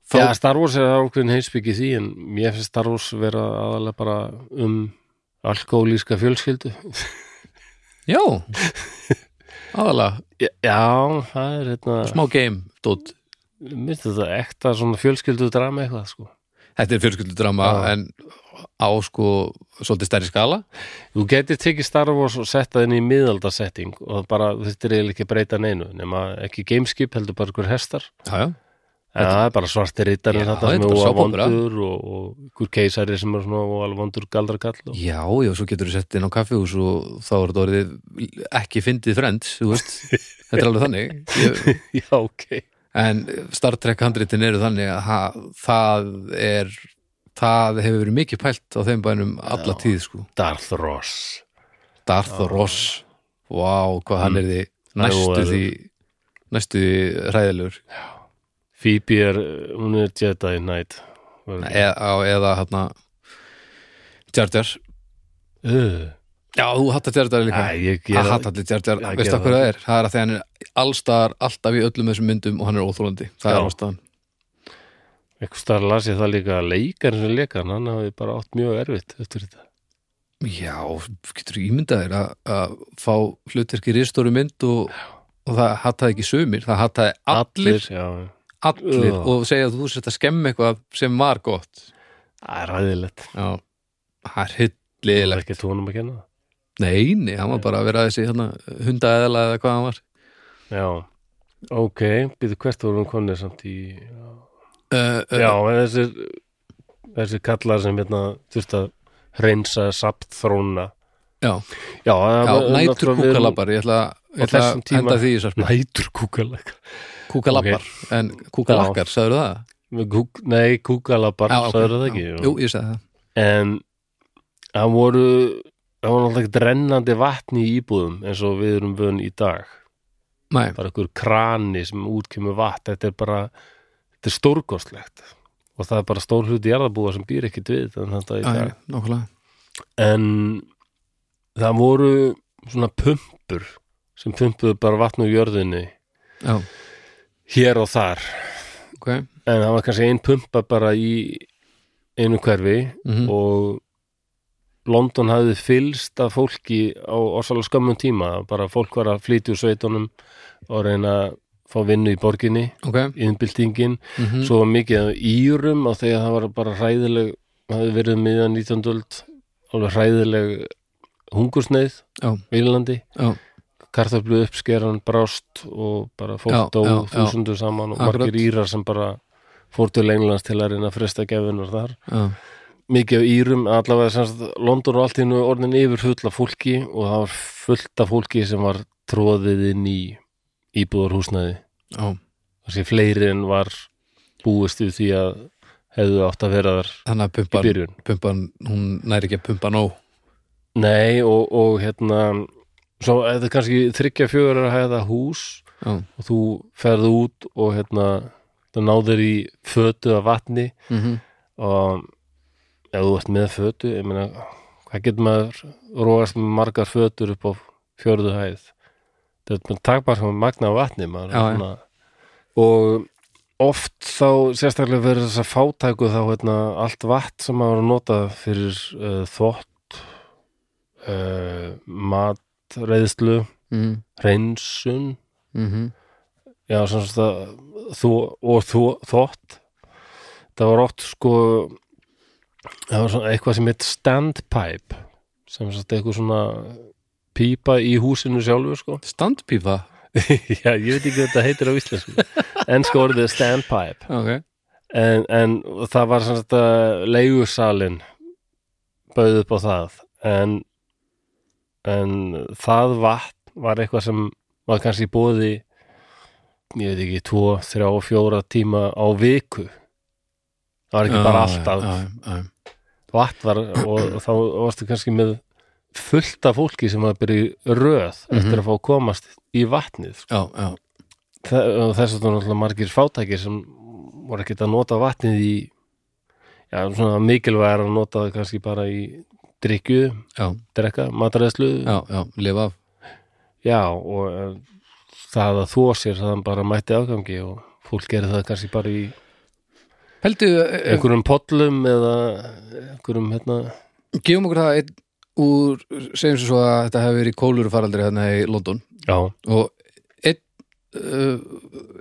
[SPEAKER 2] Fá-
[SPEAKER 1] Já, Star Wars er ákveðin heimsbyggi í því en mér finnst Star Wars vera aðalega bara um alkoholíska fjölskyldu
[SPEAKER 2] Já aðalega,
[SPEAKER 1] Já, það er hérna
[SPEAKER 2] smá game dót.
[SPEAKER 1] Mér finnst þetta ekta svona fjölskyldu drama eitthvað sko
[SPEAKER 2] þetta er fjölskyldudrama
[SPEAKER 1] Já.
[SPEAKER 2] en á sko svolítið stærri skala
[SPEAKER 1] Þú getur tekið Star Wars og sett það inn í miðaldasetting og bara þetta er eiginlega ekki að breyta neinu nema ekki gameskip heldur bara ykkur hestar
[SPEAKER 2] já, já.
[SPEAKER 1] en það er bara svartir rítar
[SPEAKER 2] Já,
[SPEAKER 1] þetta sem
[SPEAKER 2] þetta er
[SPEAKER 1] er
[SPEAKER 2] bara
[SPEAKER 1] óa
[SPEAKER 2] sápuopera.
[SPEAKER 1] vondur og, og ykkur keisari sem er svona óa vondur galdrakall og...
[SPEAKER 2] já, já, svo getur þú sett inn á kaffihús og þá er þetta orðið ekki fyndið frends, þú veist þetta er alveg þannig ég,
[SPEAKER 1] Já, ok
[SPEAKER 2] en Star Trek handritin eru þannig að það, það er það hefur verið mikið pælt á þeim bænum alla tíð sko
[SPEAKER 1] Darth Ross Mm.
[SPEAKER 2] Darth Ross, vá hvað hann er því
[SPEAKER 1] Nú
[SPEAKER 2] næstu
[SPEAKER 1] er-
[SPEAKER 2] því næstu hræðilegur
[SPEAKER 1] Phoebe er, hún er Jedi Knight Var-
[SPEAKER 2] e á, eða hérna Jar Jar
[SPEAKER 1] Ugh.
[SPEAKER 2] Já, þú hattar Jar Jar líka
[SPEAKER 1] Æ, ég
[SPEAKER 2] Það
[SPEAKER 1] gera
[SPEAKER 2] hattar allir Jar Jar,
[SPEAKER 1] Já, ég
[SPEAKER 2] veistu
[SPEAKER 1] gera
[SPEAKER 2] af hverju það er? Það er að því að hann er allstaðar alltaf í öllum þessum myndum og hann er óþólandi Það
[SPEAKER 1] Já.
[SPEAKER 2] er ástæðan
[SPEAKER 1] einhvers staðar las ég það líka að leikarinn sem leikan, hann hafi bara átt mjög erfitt eftir þetta
[SPEAKER 2] Já, getur ímyndað þér að, að fá hlutverki ristóru mynd og, og það hattaði ekki sumir það hattaði allir,
[SPEAKER 1] já, já.
[SPEAKER 2] allir,
[SPEAKER 1] Já.
[SPEAKER 2] og segja að þú sért að skemmi eitthvað sem var gott
[SPEAKER 1] það er ræðilegt
[SPEAKER 2] Já, það er
[SPEAKER 1] það er
[SPEAKER 2] hyllilegt
[SPEAKER 1] ekki tónum að kenna
[SPEAKER 2] Nei, nei, hann var bara að vera þessi hana, hundaæðala eða hvað hann var
[SPEAKER 1] það já, ok, býðu hvert vorum konir samt í
[SPEAKER 2] uh,
[SPEAKER 1] já, en þessir þessir kallar sem hérna þurft að hreinsa sapt þróna
[SPEAKER 2] Já.
[SPEAKER 1] já, það
[SPEAKER 2] Já,
[SPEAKER 1] var-
[SPEAKER 2] nætur
[SPEAKER 1] náttúrulega við erum-
[SPEAKER 2] kúkalabar Ég ætla,
[SPEAKER 1] Á
[SPEAKER 2] ég ætla
[SPEAKER 1] þessum
[SPEAKER 2] að
[SPEAKER 1] tíma.
[SPEAKER 2] henda því í sarpi
[SPEAKER 1] nætur kúkalabar
[SPEAKER 2] Kúkalabar, en kúkalakkar, sagður það?
[SPEAKER 1] Kúk, nei, kúkalabar,
[SPEAKER 2] Já, ok,
[SPEAKER 1] sagður það ekki
[SPEAKER 2] já.
[SPEAKER 1] jú.
[SPEAKER 2] Jú, ég sagði það
[SPEAKER 1] en það voru það var náttúrulega ekkert rennandi vatni í íbúðum eins og við erum vön í dag
[SPEAKER 2] Nei,
[SPEAKER 1] bara einhver krani sem útkemur vatn þetta er bara, þetta er stórkostlegt og það er bara stór hluti jarðabúa sem býr ekkit við en þetta í
[SPEAKER 2] já, já,
[SPEAKER 1] dag
[SPEAKER 2] nákvæmlega
[SPEAKER 1] en það voru svona pumpur sem pumpuðu bara vatn úr jörðinni
[SPEAKER 2] Já,
[SPEAKER 1] hér og þar
[SPEAKER 2] ok mm
[SPEAKER 1] en það var kannski ein pumpa bara í einu hverfi
[SPEAKER 2] Mhm, Mm.
[SPEAKER 1] og London hafði fylst af fólki á orsalega skömmum tíma bara fólk var að flytja úr sveitunum og reyna að fá vinnu í borginni
[SPEAKER 2] Ok,
[SPEAKER 1] innbyltingin,
[SPEAKER 2] mm
[SPEAKER 1] svo var mikið af írum og þegar það var bara hræðileg það hafði verið miðan 19. öld alveg hræðileg hungursneið
[SPEAKER 2] Já.
[SPEAKER 1] í Írlandi
[SPEAKER 2] já,
[SPEAKER 1] kartaflu uppskeran brást og bara
[SPEAKER 2] Já,
[SPEAKER 1] fólk dó
[SPEAKER 2] já, já.
[SPEAKER 1] þúsundur saman og
[SPEAKER 2] Akkurat.
[SPEAKER 1] margir írar sem bara fór til Englands til að reyna að fresta gefinar þar
[SPEAKER 2] já,
[SPEAKER 1] mikið af írum, allavega semst, London og allt í nú orðin yfir fulla fólki og það var fullt af fólki sem var tróðið inn í íbúðarhúsnaði
[SPEAKER 2] já
[SPEAKER 1] þessi fleiri en var búist við því að hefðu átt að vera þar
[SPEAKER 2] Þannig að
[SPEAKER 1] í
[SPEAKER 2] pumpan,
[SPEAKER 1] byrjun
[SPEAKER 2] pumpan hún næri ekki að pumpa nóg
[SPEAKER 1] Nei, og, og hérna svo eða kannski þryggja fjögur að hefða hús
[SPEAKER 2] Já,
[SPEAKER 1] og þú ferðu út og hérna það náður í fötu af vatni
[SPEAKER 2] mm
[SPEAKER 1] og ef þú ert með fötu ég meina, hvað getur maður róast með margar fötur upp á fjörðu hæð þetta er takbar sem magna á vatni maður,
[SPEAKER 2] Já,
[SPEAKER 1] er
[SPEAKER 2] já.
[SPEAKER 1] svona, og oft þá sérstaklega verður þess að fátæku þá hérna, allt vatn sem maður er að nota fyrir uh, þvott uh, matreiðslu
[SPEAKER 2] mm
[SPEAKER 1] hreinsun
[SPEAKER 2] -hmm.
[SPEAKER 1] Já, sem sagt að þú og þú þótt það var oft sko það var svona eitthvað sem heit standpipe sem sagt eitthvað svona pípa í húsinu sjálfu sko
[SPEAKER 2] Standpífa
[SPEAKER 1] Já, ég veit ekki hvað þetta heitir á íslensku ennska orðið er standpipe
[SPEAKER 2] Já, Ok,
[SPEAKER 1] en, en það var sem sagt að leigusalinn bauð upp á það en, en það vatn var eitthvað sem var kannski bóði ég veit ekki, tvo, þrjá, fjóra tíma á viku það var ekki
[SPEAKER 2] Já,
[SPEAKER 1] bara
[SPEAKER 2] já,
[SPEAKER 1] alltaf
[SPEAKER 2] já, já, já.
[SPEAKER 1] vatn var og þá varstu kannski með fullt af fólki sem var að byrja í röð
[SPEAKER 2] Mhm.
[SPEAKER 1] eftir að fá að komast í vatnið sko.
[SPEAKER 2] Já, já,
[SPEAKER 1] Þe- og þess að það náttúrulega margir fátækir sem voru ekkert að nota vatnið í já, svona mikilvæg er að nota það kannski bara í drikju,
[SPEAKER 2] já,
[SPEAKER 1] drekka, matræðslu já.
[SPEAKER 2] já, já, lifa af
[SPEAKER 1] og eh, það að þó sér það bara mætti afgangi og fólk gerir það kannski bara í
[SPEAKER 2] Heldur, eh,
[SPEAKER 1] einhverjum pollum eða einhverjum hérna
[SPEAKER 2] gefum okkur það einn úr, segjum sem svo að þetta hefur verið kólur faraldri hérna í London
[SPEAKER 1] já,
[SPEAKER 2] og einn uh,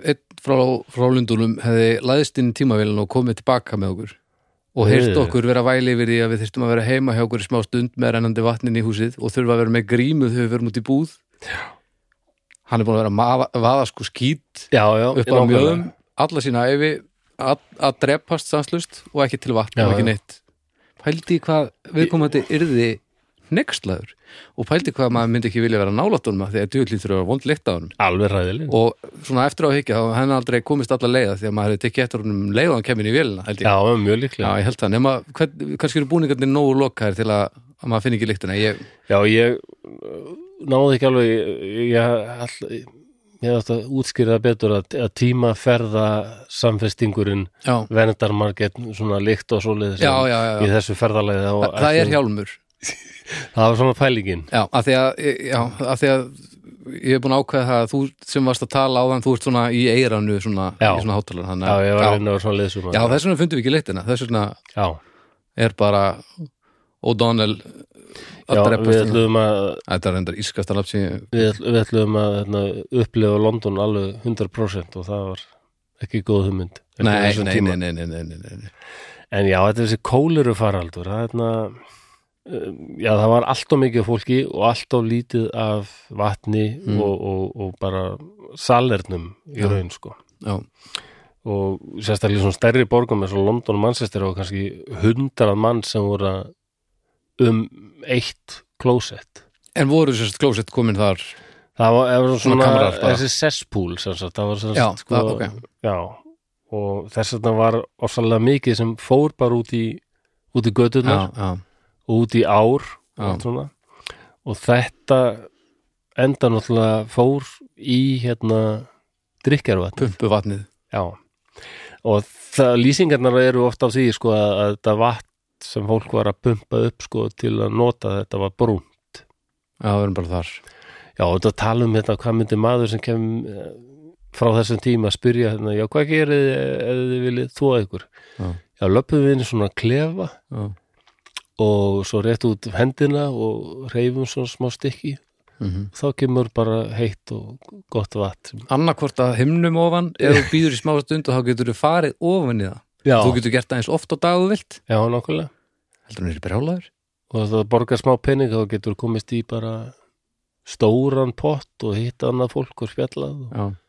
[SPEAKER 2] einn frá, frá Lundunum hefði læðist inn í tímavélun og komið tilbaka með okkur og heyrt
[SPEAKER 1] Heyrðu.
[SPEAKER 2] okkur vera væli yfir því að við þyrftum að vera heima hjá okkur í smá stund með rennandi vatnin í húsið og þurfa að vera með grímu þegar við verum út í búð hann er búin að vera að mafa- vaða sko skít
[SPEAKER 1] já, já
[SPEAKER 2] upp á
[SPEAKER 1] nákvæmlega.
[SPEAKER 2] mjögum alla sína æfi að, að drepast stanslust og ekki til vatn og
[SPEAKER 1] Já,
[SPEAKER 2] ekki
[SPEAKER 1] já.
[SPEAKER 2] neitt pældi í hvað viðkomandi yrði nekslaður og pældi í hvað maður myndi ekki vilja vera nálætt honum af því að djúðlítur þurfa að vond lykt á honum
[SPEAKER 1] alveg ræðileg
[SPEAKER 2] og svona eftir á að hyggja þá hann aldrei komist alla leiða því að maður hefði tekið eftir honum um leið og hann kemur í vélina held ég.
[SPEAKER 1] já, mjög
[SPEAKER 2] Já,
[SPEAKER 1] líklega
[SPEAKER 2] ég held það, nema hvern, kannski eru búningarnir nógu lokaðir til að, að maður finn ekki lyktina ég,
[SPEAKER 1] Já, ég uh, náði ekki alveg ég, ég, all- ég ég átt að útskýra það betur að, að tímaferða samfestingurinn
[SPEAKER 2] já,
[SPEAKER 1] verndar margir svona líkt og svoleiðis
[SPEAKER 2] já, já, já,
[SPEAKER 1] í
[SPEAKER 2] já.
[SPEAKER 1] þessu ferðalegi
[SPEAKER 2] Þa, það er hjálmur
[SPEAKER 1] það var svona pælingin
[SPEAKER 2] Já, af því að, já, af því að ég hef búin að ákveða það að þú sem varst að tala á þann, þú ert svona í eiranu svona,
[SPEAKER 1] Já.
[SPEAKER 2] í svona hátalar hann,
[SPEAKER 1] já, ég var
[SPEAKER 2] já,
[SPEAKER 1] að vinna að vera svona liðsum
[SPEAKER 2] já, þess vegna fundum við ekki leitina þess vegna
[SPEAKER 1] já,
[SPEAKER 2] er bara O'Donnell að
[SPEAKER 1] já
[SPEAKER 2] drepast
[SPEAKER 1] við
[SPEAKER 2] hérna.
[SPEAKER 1] ætlum að
[SPEAKER 2] Þetta er reyndar ískasta lapsi
[SPEAKER 1] við, ætl- við ætlum að hérna, upplifa London alveg 100% og það var ekki góð hugmynd Ekki á
[SPEAKER 2] Nei,
[SPEAKER 1] þessum
[SPEAKER 2] nei,
[SPEAKER 1] tíma.
[SPEAKER 2] nei, nei, nei, nei, nei, nei, nei.
[SPEAKER 1] En já, þetta er þessi kóliru faraldur það, er hérna, um, já, það var allt of mikið af fólki og allt of lítið af vatni og, og, og bara salernum í raun sko
[SPEAKER 2] Mm. Já,
[SPEAKER 1] og sérstaklega í svona stærri borgum eins og London og Manchester og kannski hundrað mann sem voru að um eitt klósett
[SPEAKER 2] En voru sérst klósett komin þar
[SPEAKER 1] það var, það var
[SPEAKER 2] Svona
[SPEAKER 1] svona,
[SPEAKER 2] kamrar bara.
[SPEAKER 1] þessi cesspool sem sagt, það var sem
[SPEAKER 2] Já,
[SPEAKER 1] sagt, sko,
[SPEAKER 2] það- ok.
[SPEAKER 1] já, og þess vegna var ofsalega mikið sem fór bara út í út í göturnar
[SPEAKER 2] Já, já,
[SPEAKER 1] og út í ár
[SPEAKER 2] Já.
[SPEAKER 1] og, allt svona. og þetta enda náttúrulega fór í hérna drikjarvatn
[SPEAKER 2] pumpu vatnið
[SPEAKER 1] já og það, lýsingarnar eru ofta á því sko að, að þetta vatn sem fólk var að pumpa upp sko til að nota þetta var brún
[SPEAKER 2] Já, við erum bara þar
[SPEAKER 1] já og þetta tala um hérna hvað myndi maður sem kem eh, frá þessum tíma að spyrja hérna, já hvað gerið þið ef þið viljið þóa ykkur
[SPEAKER 2] Já.
[SPEAKER 1] já löpum við inn í svona klefa
[SPEAKER 2] Já,
[SPEAKER 1] og svo rétt út hendina og reyfum svona smá stykki
[SPEAKER 2] mm
[SPEAKER 1] þá kemur bara heitt og gott vatn
[SPEAKER 2] Annarkvort að himnum ofan ef þú býður í smá stund og þá getur þú farið ofan í það
[SPEAKER 1] já,
[SPEAKER 2] Þú getur gert það eins oft á dag og þú vilt
[SPEAKER 1] já nákvæmlega
[SPEAKER 2] Heldur hann er brjálaður
[SPEAKER 1] og það borgar smá pening þá getur komist í bara stóran pott og hitt annað fólk og spjallað og,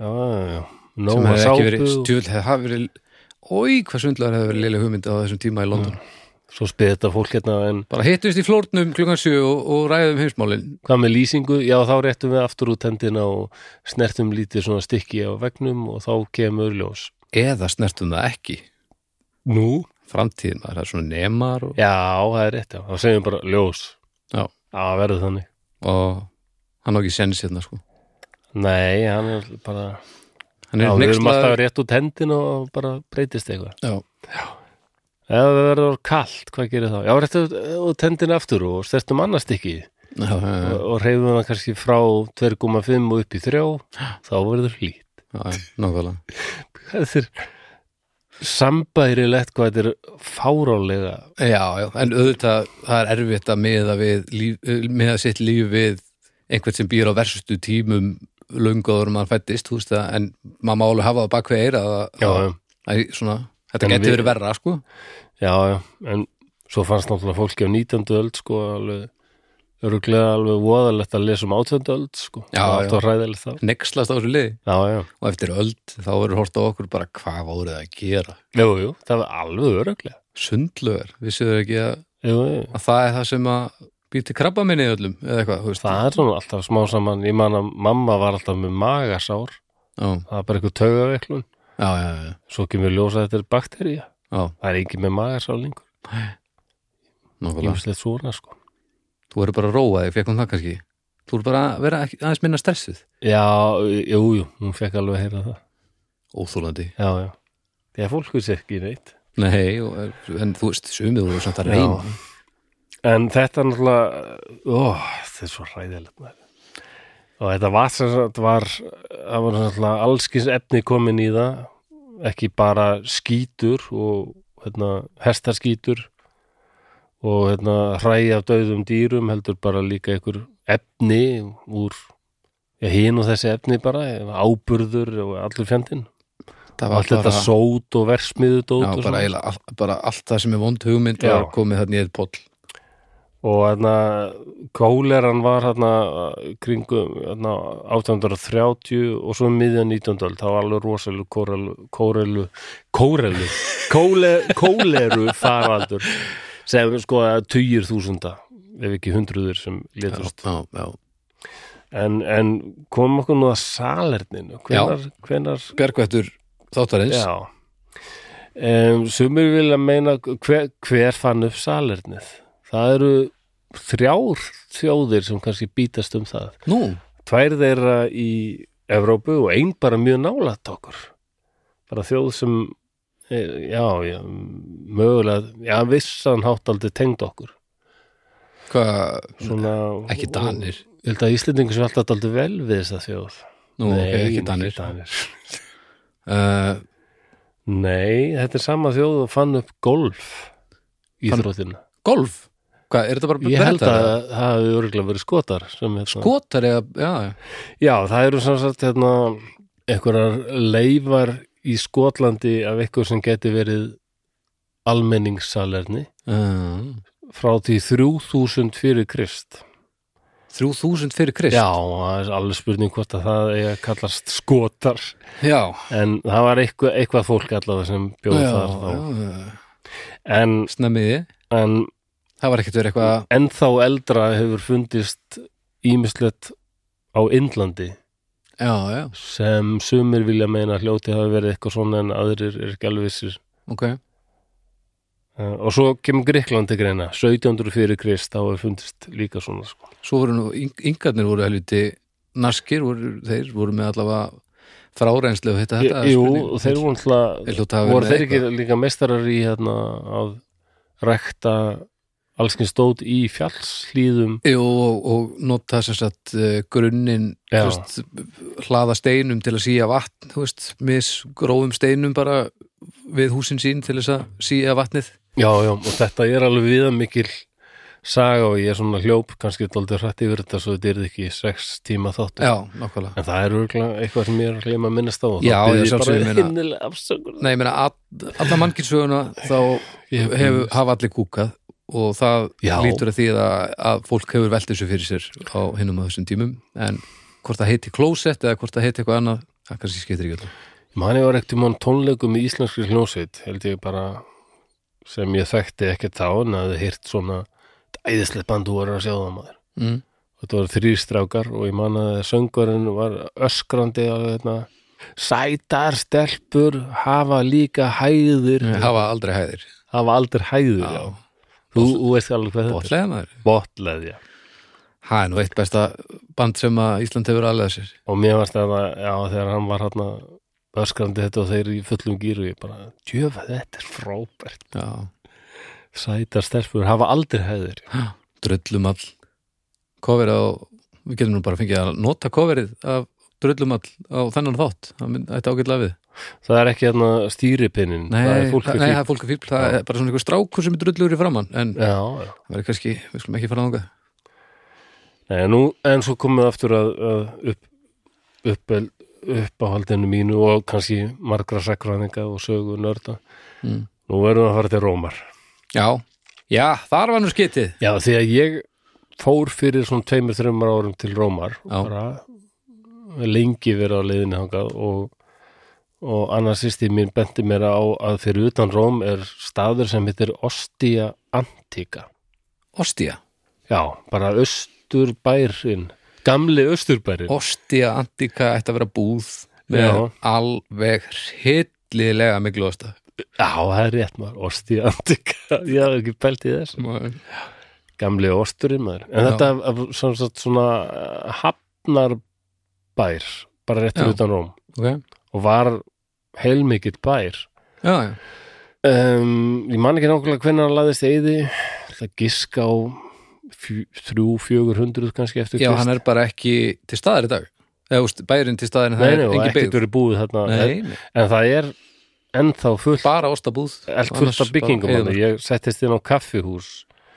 [SPEAKER 2] Já
[SPEAKER 1] já, já, já, Nóg
[SPEAKER 2] sem
[SPEAKER 1] af
[SPEAKER 2] hefði
[SPEAKER 1] sápu
[SPEAKER 2] ekki verið
[SPEAKER 1] og-
[SPEAKER 2] stjúl hefði hafi verið Ói, hvað sundlegar hefði verið liðlega hugmynd á þessum tíma í London
[SPEAKER 1] svo spyrir þetta fólk hérna en
[SPEAKER 2] Bara hittumst í flórnum klukkan 7 og, og ræðum heimsmálin
[SPEAKER 1] hvað með lýsingu, já þá réttum við aftur út hendina og snertum lítið svona stykki á vegnum og þá kemur ljós
[SPEAKER 2] Eða snertum það ekki
[SPEAKER 1] Nú?
[SPEAKER 2] Framtíðin, maður það er svona nemar og,
[SPEAKER 1] Já, það er rétt, já, þá segjum við bara ljós
[SPEAKER 2] Já.
[SPEAKER 1] já verður þannig
[SPEAKER 2] og hann á ekki sens hérna sko
[SPEAKER 1] Nei, hann er bara
[SPEAKER 2] Hann
[SPEAKER 1] já,
[SPEAKER 2] er
[SPEAKER 1] við erum alltaf
[SPEAKER 2] hneykslaður-
[SPEAKER 1] rétt út hendina og bara breytist eitthvað
[SPEAKER 2] Já,
[SPEAKER 1] Ef það verður kalt, hvað gerir þá? Já, réttu út hendina aftur og snertum annað stykkið
[SPEAKER 2] já, já, já,
[SPEAKER 1] og og hreyfum hana kannski frá 2,5 og upp í 3 þá verður hlýtt
[SPEAKER 2] já, já, nákvæmlega
[SPEAKER 1] þetta er sambærilegt hvað þetta er fárálega
[SPEAKER 2] Já, já, en auðvitað það er erfitt að miða, við, líf, eh, miða sitt líf við einhvern sem býr á versustu tímum lungaður maður fættist, þú veist það, en maður má alveg hafa það bak við eira að,
[SPEAKER 1] já,
[SPEAKER 2] að,
[SPEAKER 1] já,
[SPEAKER 2] að svona, þetta
[SPEAKER 1] En
[SPEAKER 2] getur
[SPEAKER 1] við-
[SPEAKER 2] verið verra, sko.
[SPEAKER 1] já, já, en svo fannst náttúrulega fólki á 19. öld sko alveg öruglega alveg voðalegt að lesa um 18. öld sko
[SPEAKER 2] Já,
[SPEAKER 1] Það var
[SPEAKER 2] já.
[SPEAKER 1] allt var hræðilegt þá
[SPEAKER 2] Nekslast á þessu liði
[SPEAKER 1] já, já,
[SPEAKER 2] og eftir öld þá verður hort á okkur bara hvað voruð það að gera?
[SPEAKER 1] jú, jú, það var alveg öruglega
[SPEAKER 2] Sundlögar, vissuðu ekki að,
[SPEAKER 1] jú, jú.
[SPEAKER 2] að það er það sem að býti krabba minni í öllum eða eitthvað, þú veist.
[SPEAKER 1] það er svona alltaf smá saman ég man að mamma var alltaf með magasár
[SPEAKER 2] Já,
[SPEAKER 1] það var bara eitthvað taugaveiklun
[SPEAKER 2] já, já, já,
[SPEAKER 1] svo kemur ljósa þetta er baktería
[SPEAKER 2] já,
[SPEAKER 1] það er ekki með magasár lengur
[SPEAKER 2] nákvæmlega.
[SPEAKER 1] Ímslegt svona sko
[SPEAKER 2] Þú verður bara að róa þig, fekk hún það kannski. Þú verður bara að vera ekki- aðeins minna stressuð.
[SPEAKER 1] Já, jú, jú, hún fekk alveg að heyra það
[SPEAKER 2] Óþólandi.
[SPEAKER 1] Já, já Því að fólk vissi ekki neitt
[SPEAKER 2] Nei, og, en þú veist, sumið voru samt að reyna
[SPEAKER 1] En þetta náttúrulega Ó, þetta er svo hræðilegt maður. Og þetta var sem sagt var það var náttúrulega allskins efni komin í það ekki bara skítur og hérna, hestaskítur og hérna, hræði af döðum dýrum heldur bara líka einhver efni úr já, hin og þessi efni bara áburður og allur fjandinn
[SPEAKER 2] Það
[SPEAKER 1] allt þetta
[SPEAKER 2] bara,
[SPEAKER 1] sót og versmiðu
[SPEAKER 2] já,
[SPEAKER 1] dót og,
[SPEAKER 2] bara,
[SPEAKER 1] svona.
[SPEAKER 2] eila, all, bara allt það sem er vond hugmynd
[SPEAKER 1] Já.
[SPEAKER 2] var komið þarna í eitt poll
[SPEAKER 1] og hérna kóleran var hérna kringum hérna, 830 og svo um miðjan 19. öld, það var alveg rosalu kórelu, kórelu, kórelu kóle, kóleru faraldur sem sko að tugir þúsunda ef ekki hundruður sem
[SPEAKER 2] já,
[SPEAKER 1] létust
[SPEAKER 2] já, já.
[SPEAKER 1] en, en komum okkur nú að salerninu hvenar, hvenar
[SPEAKER 2] Bjargvættur þáttarins
[SPEAKER 1] já um, sumir vilja meina hver, hver fann upp salernið það eru þrjár þjóðir sem kannski bítast um það
[SPEAKER 2] Nú,
[SPEAKER 1] tvær þeirra í Evrópu og ein bara mjög nálætt okkur bara þjóð sem eh, já, já mögulega, já, vissan hátt aldrei tengd okkur
[SPEAKER 2] Hvað,
[SPEAKER 1] Svona,
[SPEAKER 2] ekki danir
[SPEAKER 1] og- Ég held að Íslendingur sem alltaf aldrei vel við þessa þjóð
[SPEAKER 2] Nú, ok, ekki
[SPEAKER 1] ekki
[SPEAKER 2] danir
[SPEAKER 1] danir.
[SPEAKER 2] uh,
[SPEAKER 1] Nei, þetta er sama þjóð og fann upp golf íþróttina
[SPEAKER 2] Golf? Hvað, er þetta bara
[SPEAKER 1] Ég held
[SPEAKER 2] Bretar
[SPEAKER 1] að
[SPEAKER 2] eða?
[SPEAKER 1] það hafi örgulega verið skotar sem hérna-
[SPEAKER 2] Skotar eða, já, já
[SPEAKER 1] Já, það eru sem sagt hérna einhverjar leifar í Skotlandi af eitthvað sem geti verið almenningssalerni
[SPEAKER 2] Uh,
[SPEAKER 1] frá því 3000 fyrir krist.
[SPEAKER 2] 3000 fyrir krist
[SPEAKER 1] Já, það er alveg spurning hvort að það er að kallast skotar
[SPEAKER 2] já,
[SPEAKER 1] en það var eitthvað, eitthvað fólk allavega sem bjóð
[SPEAKER 2] já,
[SPEAKER 1] þar þá.
[SPEAKER 2] já.
[SPEAKER 1] En,
[SPEAKER 2] Snemmiði,
[SPEAKER 1] en
[SPEAKER 2] það var ekkert verið eitthvað
[SPEAKER 1] ennþá eldra hefur fundist ímislegt á Indlandi
[SPEAKER 2] Já, já,
[SPEAKER 1] sem sumir vilja meina að hljóti hafi verið eitthvað svona en aðrir er ekki alveg vissir
[SPEAKER 2] ok
[SPEAKER 1] Uh, og svo kemur Gríkland til greina 1700 fyrir Krist þá er fundist líka svona sko.
[SPEAKER 2] Svo voru nú, yng- yngarnir voru helviti naskir, voru, þeir voru með allavega frárenslu og þetta, þetta er
[SPEAKER 1] Jú,
[SPEAKER 2] spurning.
[SPEAKER 1] og þeir voru
[SPEAKER 2] Þeir
[SPEAKER 1] alltaf
[SPEAKER 2] hljóta að hafa
[SPEAKER 1] voru
[SPEAKER 2] verið
[SPEAKER 1] þeir
[SPEAKER 2] með
[SPEAKER 1] ekki líka meistarar í hérna að rækta allskins stóð í fjallslíðum
[SPEAKER 2] Jú, og, og nota sem sagt eh, grunninn þú
[SPEAKER 1] Já.
[SPEAKER 2] veist, hlaða steinum til að síja vatn þú veist, mis grófum steinum bara við húsin sín til þess að síja vatnið
[SPEAKER 1] já, já, og þetta er alveg viða mikil saga og ég er svona hljóp kannski daldið hrætt yfir þetta svo þetta er ekki sex tíma þáttu
[SPEAKER 2] Já, nákvæmlega
[SPEAKER 1] en það er örgulega eitthvað sem ég er að gleyma að minnast á og
[SPEAKER 2] Já,
[SPEAKER 1] þá
[SPEAKER 2] já,
[SPEAKER 1] byrði ég
[SPEAKER 2] sjálfsögðu, ég
[SPEAKER 1] bara
[SPEAKER 2] meina-
[SPEAKER 1] innilega afsökun
[SPEAKER 2] Nei, ég meina, all, alla mannkinsöguna þá
[SPEAKER 1] Ég-
[SPEAKER 2] hefur, hafa allir kúkað og það
[SPEAKER 1] Já.
[SPEAKER 2] lítur að því að, að fólk hefur velt þessu fyrir sér á hinnum að þessum tímum en hvort það heiti klósett eða hvort það heiti eitthvað annað það kannski skiptir ekki alltaf
[SPEAKER 1] Mani var ekkert um hann tónleikum í íslenskri hljónsveit, held ég bara sem ég þekkti ekkert þá en að þið hýrt svona æðislegt band þú voru að sjá það maður.
[SPEAKER 2] mm.
[SPEAKER 1] Þetta voru þrýr strákar og ég man að söngurinn var öskrandi að hérna, sætar stelpur hafa líka hæðir
[SPEAKER 2] hafa aldrei hæðir
[SPEAKER 1] hafa aldrei hæðir, já. Þú, þú veist alveg hvað þetta er.
[SPEAKER 2] bóttlega maður
[SPEAKER 1] Botleð, já.
[SPEAKER 2] það er nú eitt besta band sem að Ísland hefur alveg sér
[SPEAKER 1] Og mér varst að það, já, þegar hann var hérna öskrandi þetta og þeir í fullum gýru ég bara, djöfa, þetta er frábært.
[SPEAKER 2] Já.
[SPEAKER 1] Sætar stelpur hafa aldrei hæðir
[SPEAKER 2] drullumall cover á, við getum nú bara fengið að nota coverið af drullumall á þennan þátt, það mynd- ætti ágætlega við
[SPEAKER 1] Það er ekki hérna stýripinnin
[SPEAKER 2] Nei,
[SPEAKER 1] Það er fólk
[SPEAKER 2] það-
[SPEAKER 1] að
[SPEAKER 2] nei,
[SPEAKER 1] fíl
[SPEAKER 2] það er fólk að fíl það
[SPEAKER 1] Já.
[SPEAKER 2] er bara svona einhver strákur sem er drullur í framann en
[SPEAKER 1] Já, já.
[SPEAKER 2] það verður kannski, við skulum ekki fara þangað
[SPEAKER 1] Nei, nú, en svo komum við aftur að, að upp, upp, uppáhaldinu mínu og kannski margra sakræninga og sögu nörda
[SPEAKER 2] Mm.
[SPEAKER 1] Nú verðum við að fara til Rómar
[SPEAKER 2] Já, já, þar var nú skitið
[SPEAKER 1] Já, því að ég fór fyrir svona tveimur, þreimur árum til Rómar og
[SPEAKER 2] Já.
[SPEAKER 1] bara lengi verið á leiðinni hangað og, og annars sýsti mín benti mér á að fyrir utan Róm er staður sem heitir Ostia Antica
[SPEAKER 2] Ostia,
[SPEAKER 1] Já, bara austurbærin Gamli austurbærin
[SPEAKER 2] Ostia Antika ætti að vera búð með
[SPEAKER 1] Já.
[SPEAKER 2] alveg hillilega miklu ásta
[SPEAKER 1] Já, það er rétt maður, Ostia Antica Ég hafði ekki pælt í þess
[SPEAKER 2] Já,
[SPEAKER 1] Gamli austurinn maður En
[SPEAKER 2] Já.
[SPEAKER 1] þetta er sem sagt svona eh, hafnarbær bara rétt
[SPEAKER 2] Já.
[SPEAKER 1] fyrir utan Róm
[SPEAKER 2] Ok.
[SPEAKER 1] og var heilmikill bær
[SPEAKER 2] já,
[SPEAKER 1] um, Ég man ekki nákvæmlega hvernig hann laðist eyði Það giska á fjö- þrjú, fjögur hundruð kannski eftir
[SPEAKER 2] já
[SPEAKER 1] Krist.
[SPEAKER 2] hann er bara ekki til staðar í dag Eða, úst, bærin til staðar en það
[SPEAKER 1] Nei,
[SPEAKER 2] er
[SPEAKER 1] nei, og
[SPEAKER 2] engin
[SPEAKER 1] ekkert
[SPEAKER 2] byggð
[SPEAKER 1] verið búið þarna
[SPEAKER 2] Nei, nei,
[SPEAKER 1] En það er ennþá fullt
[SPEAKER 2] bara ostabúð
[SPEAKER 1] allt fullt af byggingum hann. ég settist inn á kaffihús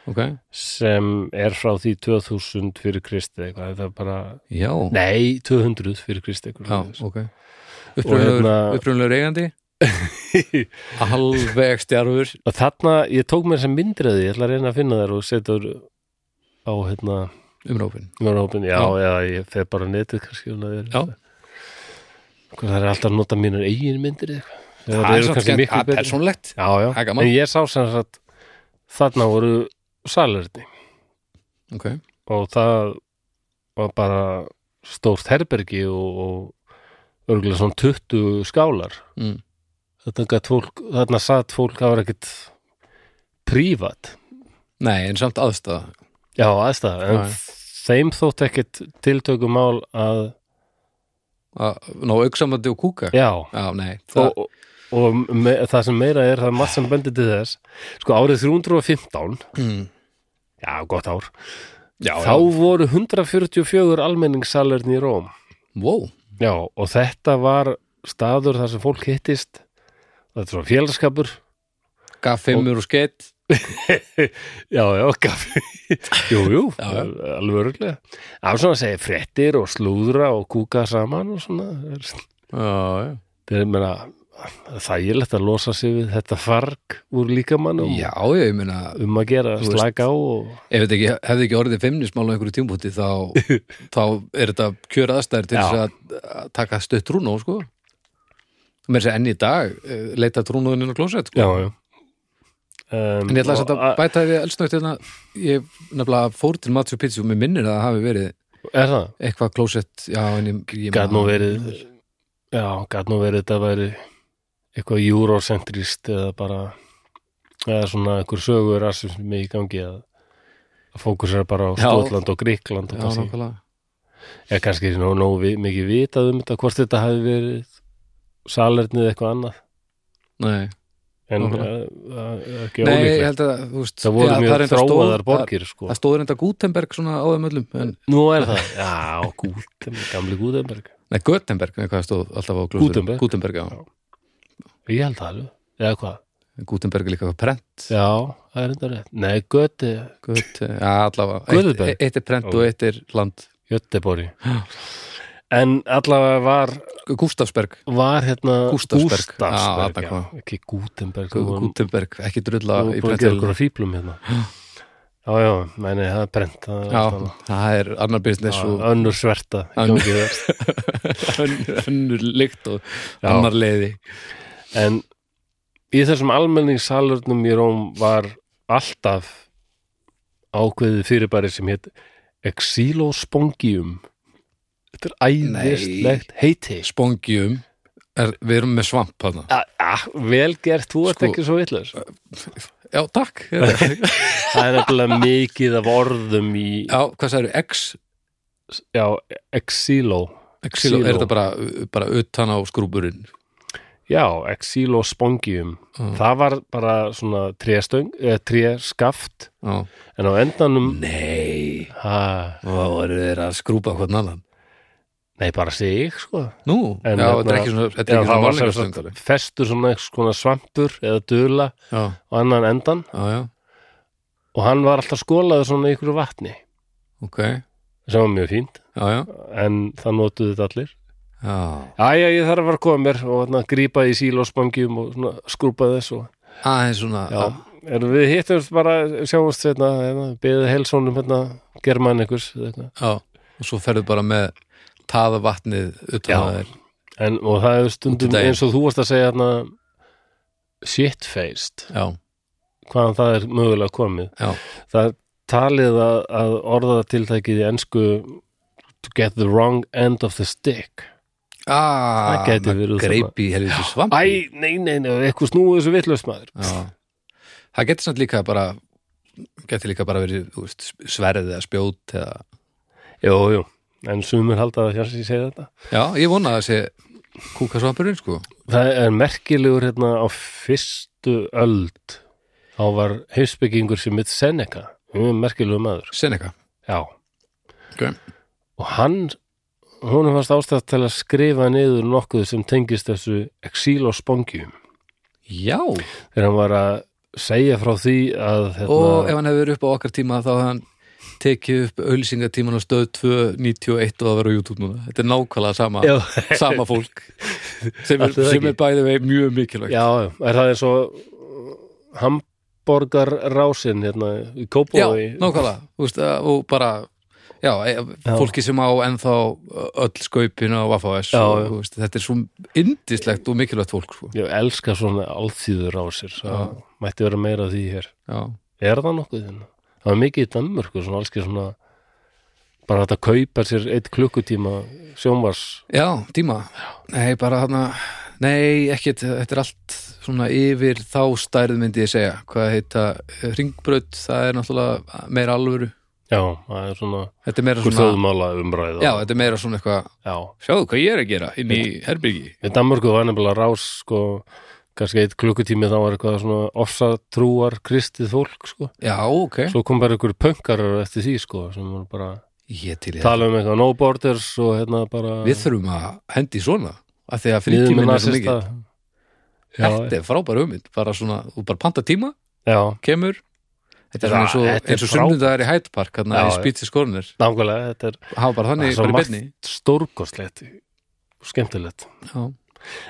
[SPEAKER 2] okay.
[SPEAKER 1] sem er frá því 2000 fyrir kristi eitthvað, það er bara
[SPEAKER 2] Já,
[SPEAKER 1] nei, 200 fyrir kristi
[SPEAKER 2] já,
[SPEAKER 1] eitthvað
[SPEAKER 2] ok Upprunalegur
[SPEAKER 1] hérna-
[SPEAKER 2] upprunalegur eigandi Alveg stjarfur
[SPEAKER 1] og þarna, ég tók mér sem myndriði ég ætla að reyna að finna þær og setja þær á hérna,
[SPEAKER 2] umrópin
[SPEAKER 1] mjörnhópin já,
[SPEAKER 2] Já.
[SPEAKER 1] já, ég fer bara á netið kannski um
[SPEAKER 2] Já.
[SPEAKER 1] Hvað, það er alltaf að nota mínar eigin myndir eitthvað Já,
[SPEAKER 2] Það
[SPEAKER 1] þær
[SPEAKER 2] er
[SPEAKER 1] eru
[SPEAKER 2] svo
[SPEAKER 1] kannski
[SPEAKER 2] skemmt,
[SPEAKER 1] miklu
[SPEAKER 2] það er
[SPEAKER 1] betri.
[SPEAKER 2] persónlegt
[SPEAKER 1] já, já,
[SPEAKER 2] Það er gaman.
[SPEAKER 1] en ég sá sem sagt þarna voru salerni
[SPEAKER 2] Ok,
[SPEAKER 1] og það var bara stórt herbergi og, og örgulega svona 20 skálar
[SPEAKER 2] mm.
[SPEAKER 1] þetta gætt fólk, þarna satt fólk það var ekkit prívat
[SPEAKER 2] Nei, en samt aðstæða
[SPEAKER 1] já aðstæða
[SPEAKER 2] Já,
[SPEAKER 1] en
[SPEAKER 2] já.
[SPEAKER 1] þeim þótt ekkit tiltökumál að
[SPEAKER 2] að ná auksamandi og kúka
[SPEAKER 1] já,
[SPEAKER 2] já nei, það,
[SPEAKER 1] og, og me, það sem meira er það er margt sem bendir til þess sko árið 315
[SPEAKER 2] mm,
[SPEAKER 1] já, gott ár
[SPEAKER 2] já,
[SPEAKER 1] þá
[SPEAKER 2] já.
[SPEAKER 1] voru 144 almenningssalern í Róm
[SPEAKER 2] Wow.
[SPEAKER 1] já, og þetta var staður þar sem fólk hittist þetta var félagskapur
[SPEAKER 2] gaf fimmur og skeitt
[SPEAKER 1] já, já, kaffi jú, jú,
[SPEAKER 2] Já, já.
[SPEAKER 1] alveg örgulega það var svona að segja frettir og slúðra og kúka saman og svona það er
[SPEAKER 2] já,
[SPEAKER 1] það er meina þægilegt að losa sig við þetta farg úr líkamannum
[SPEAKER 2] já, já, ég meina
[SPEAKER 1] um að gera
[SPEAKER 2] Þú veist.
[SPEAKER 1] slaka á og
[SPEAKER 2] ef þetta ekki, hefði ekki orðið femnismál á einhverju tímpúti þá, þá er þetta kjör aðstæður til
[SPEAKER 1] Já.
[SPEAKER 2] þess að, að taka stutt trúnó sko mér þess að segja enn í dag eh, leita trúnóðin inn á klósett sko.
[SPEAKER 1] já, já um,
[SPEAKER 2] en ég ætla samt
[SPEAKER 1] og
[SPEAKER 2] að bæta við elsnögt hérna, ég nefnilega fór til Matsjó Pizzu og mér minnir að það hafi verið
[SPEAKER 1] er það,
[SPEAKER 2] eitthvað klósett já, en ég, ég
[SPEAKER 1] gæt nú verið já, gæt nú verið þetta væri eitthvað eurocentrist eða bara eða svona einhver sögur rasismi í gangi að, að fókusera bara á
[SPEAKER 2] Já.
[SPEAKER 1] Skotland og Gríkland
[SPEAKER 2] já,
[SPEAKER 1] og kannski,
[SPEAKER 2] nákvæmlega
[SPEAKER 1] eða kannski nóg, nóg vi- mikið vitað um þetta hvort þetta hafi verið salernið eitthvað annað
[SPEAKER 2] Nei,
[SPEAKER 1] en
[SPEAKER 2] Nákvæmlega.
[SPEAKER 1] eh, það er ekki
[SPEAKER 2] Nei
[SPEAKER 1] ólíklegt
[SPEAKER 2] ég held að þú veist,
[SPEAKER 1] Það voru
[SPEAKER 2] já,
[SPEAKER 1] mjög
[SPEAKER 2] reyndar stóð-
[SPEAKER 1] þróaðar borgir
[SPEAKER 2] það,
[SPEAKER 1] sko.
[SPEAKER 2] það stóður enda Gutenberg svona á þeim öllum en,
[SPEAKER 1] Nú er það, já, Gutenberg, gamli Gutenberg
[SPEAKER 2] Nei, Gutenberg, eitthvað stóð alltaf á klósett
[SPEAKER 1] Gutenberg?
[SPEAKER 2] Gutenberg, já,
[SPEAKER 1] Ég held það alveg, eða hvað
[SPEAKER 2] Gutenberg er líka eitthvað prent
[SPEAKER 1] Já, það er enda rétt Nei, Göte,
[SPEAKER 2] Gut, já, allavega Eitt-
[SPEAKER 1] Gutenberg?
[SPEAKER 2] Eitt er prent
[SPEAKER 1] Já.
[SPEAKER 2] og eitt er land
[SPEAKER 1] Göteborg En allavega var,
[SPEAKER 2] Gustafsberg,
[SPEAKER 1] var hérna
[SPEAKER 2] Gústavsberg. Já,
[SPEAKER 1] Gústavsberg
[SPEAKER 2] þarna
[SPEAKER 1] já,
[SPEAKER 2] kom.
[SPEAKER 1] ekki Gutenberg
[SPEAKER 2] Gu- Gutenberg, ekki drulla
[SPEAKER 1] Það
[SPEAKER 2] í
[SPEAKER 1] er bara að gera
[SPEAKER 2] prentjálfur
[SPEAKER 1] okkur að fýblum hérna Já, já, meni, það er brent það er
[SPEAKER 2] Já,
[SPEAKER 1] allt annað.
[SPEAKER 2] það er annar business
[SPEAKER 1] Já,
[SPEAKER 2] og
[SPEAKER 1] Önnur sverta í
[SPEAKER 2] Önnur-
[SPEAKER 1] gangi þar.
[SPEAKER 2] önn- önnur lykt og
[SPEAKER 1] Já.
[SPEAKER 2] annar leiði
[SPEAKER 1] En í þessum almenningssalurnum í Róm var alltaf ákveðið fyrirbæri sem hétt Exilospongium. Þetta er æðislegt heiti.
[SPEAKER 2] Spongjum, er, við erum með svamp þarna.
[SPEAKER 1] A, a, vel gert, þú ert
[SPEAKER 2] Sko-
[SPEAKER 1] ekki svo vitlaus.
[SPEAKER 2] Já, takk Já,
[SPEAKER 1] Það er nefnilega mikið af orðum í,
[SPEAKER 2] hvað sagði, X
[SPEAKER 1] já, exilo.
[SPEAKER 2] Xilo,
[SPEAKER 1] Xylo.
[SPEAKER 2] er þetta bara, bara utan á skrúburinn
[SPEAKER 1] Já, exilospongium.
[SPEAKER 2] Mm.
[SPEAKER 1] Það var bara svona tréstöng, eh, tréskaft,
[SPEAKER 2] Já.
[SPEAKER 1] en á endanum,
[SPEAKER 2] Nei,
[SPEAKER 1] ha,
[SPEAKER 2] þá eru þeir að skrúpa hvern annan
[SPEAKER 1] nei, bara sig, sko.
[SPEAKER 2] Nú,
[SPEAKER 1] En
[SPEAKER 2] já,
[SPEAKER 1] hérna-
[SPEAKER 2] þetta er ekki svona, þetta er
[SPEAKER 1] Já,
[SPEAKER 2] ekki
[SPEAKER 1] það
[SPEAKER 2] svona
[SPEAKER 1] var sem
[SPEAKER 2] málningarstöngari
[SPEAKER 1] sagt festur svona einhvers konar svampur eða dula
[SPEAKER 2] Já,
[SPEAKER 1] á annan endan
[SPEAKER 2] já, já,
[SPEAKER 1] og hann var alltaf skólaður svona í einhverju vatni
[SPEAKER 2] ok Já,
[SPEAKER 1] sem var mjög fínt
[SPEAKER 2] já,
[SPEAKER 1] en það notuðu þetta allir
[SPEAKER 2] já
[SPEAKER 1] Æja, ég þarf að fara að koma mér og hérna, grípa í sílósbangjum og svona, skrúpa þess og
[SPEAKER 2] Aðeins svona
[SPEAKER 1] já, en við hittum bara sjáumst hérna, hérna beðið helsónum hérna, germann einhvers hérna. eða eitthvað.
[SPEAKER 2] já, og svo ferðu bara með taða vatnið utan
[SPEAKER 1] Já.
[SPEAKER 2] að þeir
[SPEAKER 1] en, og það er stundum
[SPEAKER 2] daginn.
[SPEAKER 1] eins og þú varst að segja hérna, shit-faced
[SPEAKER 2] Já,
[SPEAKER 1] hvaðan það er mögulega komið
[SPEAKER 2] já,
[SPEAKER 1] það er talið að, að orðatiltækið í ensku to get the wrong end of the stick Það
[SPEAKER 2] ah,
[SPEAKER 1] gæti
[SPEAKER 2] með
[SPEAKER 1] verið
[SPEAKER 2] greip í helviti svamp
[SPEAKER 1] Æ, nei, nei, nei, eitthvað snúið þessu vitlaust maður
[SPEAKER 2] Það geti samt líka bara geti líka bara verið þú veist, sverðið eða spjót eða
[SPEAKER 1] Jú, jú, en sumur halda það hér sem ég segi þetta
[SPEAKER 2] Já, ég vona að það sé kúkasvampurinn sko
[SPEAKER 1] Það er merkilegur hérna á fyrstu öld þá var heimsbyggingur sem mitt Seneca mjög merkilegur maður,
[SPEAKER 2] Seneca
[SPEAKER 1] já
[SPEAKER 2] Ok.
[SPEAKER 1] og hann hún fannst ástætt til að skrifa niður nokkuð sem tengist þessu exilospongjum
[SPEAKER 2] Já,
[SPEAKER 1] þegar hann var að segja frá því að hérna,
[SPEAKER 2] og ef hann hefur verið upp á okkar tíma þá hefði hann tekið upp auðlýsingatíman á stöð 2.91 og það verið á YouTube núna. Þetta er nákvæmlega sama,
[SPEAKER 1] já,
[SPEAKER 2] sama fólk sem er,
[SPEAKER 1] Ætli það
[SPEAKER 2] sem
[SPEAKER 1] ekki?
[SPEAKER 2] er bæði vei mjög mikilvægt.
[SPEAKER 1] já, er það eins og uh, hamborgarrásin hérna, í
[SPEAKER 2] Já,
[SPEAKER 1] Kópói
[SPEAKER 2] nákvæmlega. Þú veist, að- og bara, já, e-
[SPEAKER 1] Já.
[SPEAKER 2] fólki sem á ennþá öll skaupin á Vaffavæs.
[SPEAKER 1] Já, já.
[SPEAKER 2] Þetta er svo yndislegt og mikilvægt fólk. Sko.
[SPEAKER 1] ég elska svona alþýður rásir
[SPEAKER 2] Já.
[SPEAKER 1] það mætti vera meira af því hér
[SPEAKER 2] Já,
[SPEAKER 1] er það nokkuð hérna? það var mikið í Danmörku svona allski svona bara hægt að kaupa sér eitt klukkutíma sjónvars
[SPEAKER 2] já tíma. Nei, bara þarna, nei, ekkit, þetta er allt svona yfir eh, þá stærð myndi ég segja. Hvað heita, ringbraut, það er náttúrulega meira alvöru.
[SPEAKER 1] já, það er svona
[SPEAKER 2] Þetta er meira
[SPEAKER 1] Hvort
[SPEAKER 2] svona,
[SPEAKER 1] þjóðmála umræða
[SPEAKER 2] já, þetta er meira svona eitthvað
[SPEAKER 1] já.
[SPEAKER 2] sjáðu hvað ég er að gera inn í herbyrgi
[SPEAKER 1] Í Danmörku var nefnilega rás sko, kannski eitt klukkutími þá var eitthvað svona ofsatrúar kristið fólk sko.
[SPEAKER 2] Já, ok
[SPEAKER 1] svo kom bara ykkur pönkarar eftir því sko, sem voru bara
[SPEAKER 2] Ég til ég
[SPEAKER 1] tala um eitthvað no borders og hérna bara
[SPEAKER 2] Við þurfum að hendi í svona af því að
[SPEAKER 1] niður með
[SPEAKER 2] frítíminn er svo mikið
[SPEAKER 1] nasista.
[SPEAKER 2] Þetta er frábær hugmynd, bara svona þú bara panta tíma,
[SPEAKER 1] já,
[SPEAKER 2] kemur Þetta er
[SPEAKER 1] Já,
[SPEAKER 2] svona eins og,
[SPEAKER 1] þetta er
[SPEAKER 2] eins og
[SPEAKER 1] frábært.
[SPEAKER 2] sunnudagar í Hyde Park hann
[SPEAKER 1] Já,
[SPEAKER 2] að
[SPEAKER 1] já.
[SPEAKER 2] spýtis kornir
[SPEAKER 1] nákvæmlega þetta er
[SPEAKER 2] hafa bara þannig,
[SPEAKER 1] svo
[SPEAKER 2] bara í
[SPEAKER 1] margt
[SPEAKER 2] beinni
[SPEAKER 1] stórkostlegt og skemmtilegt
[SPEAKER 2] Já,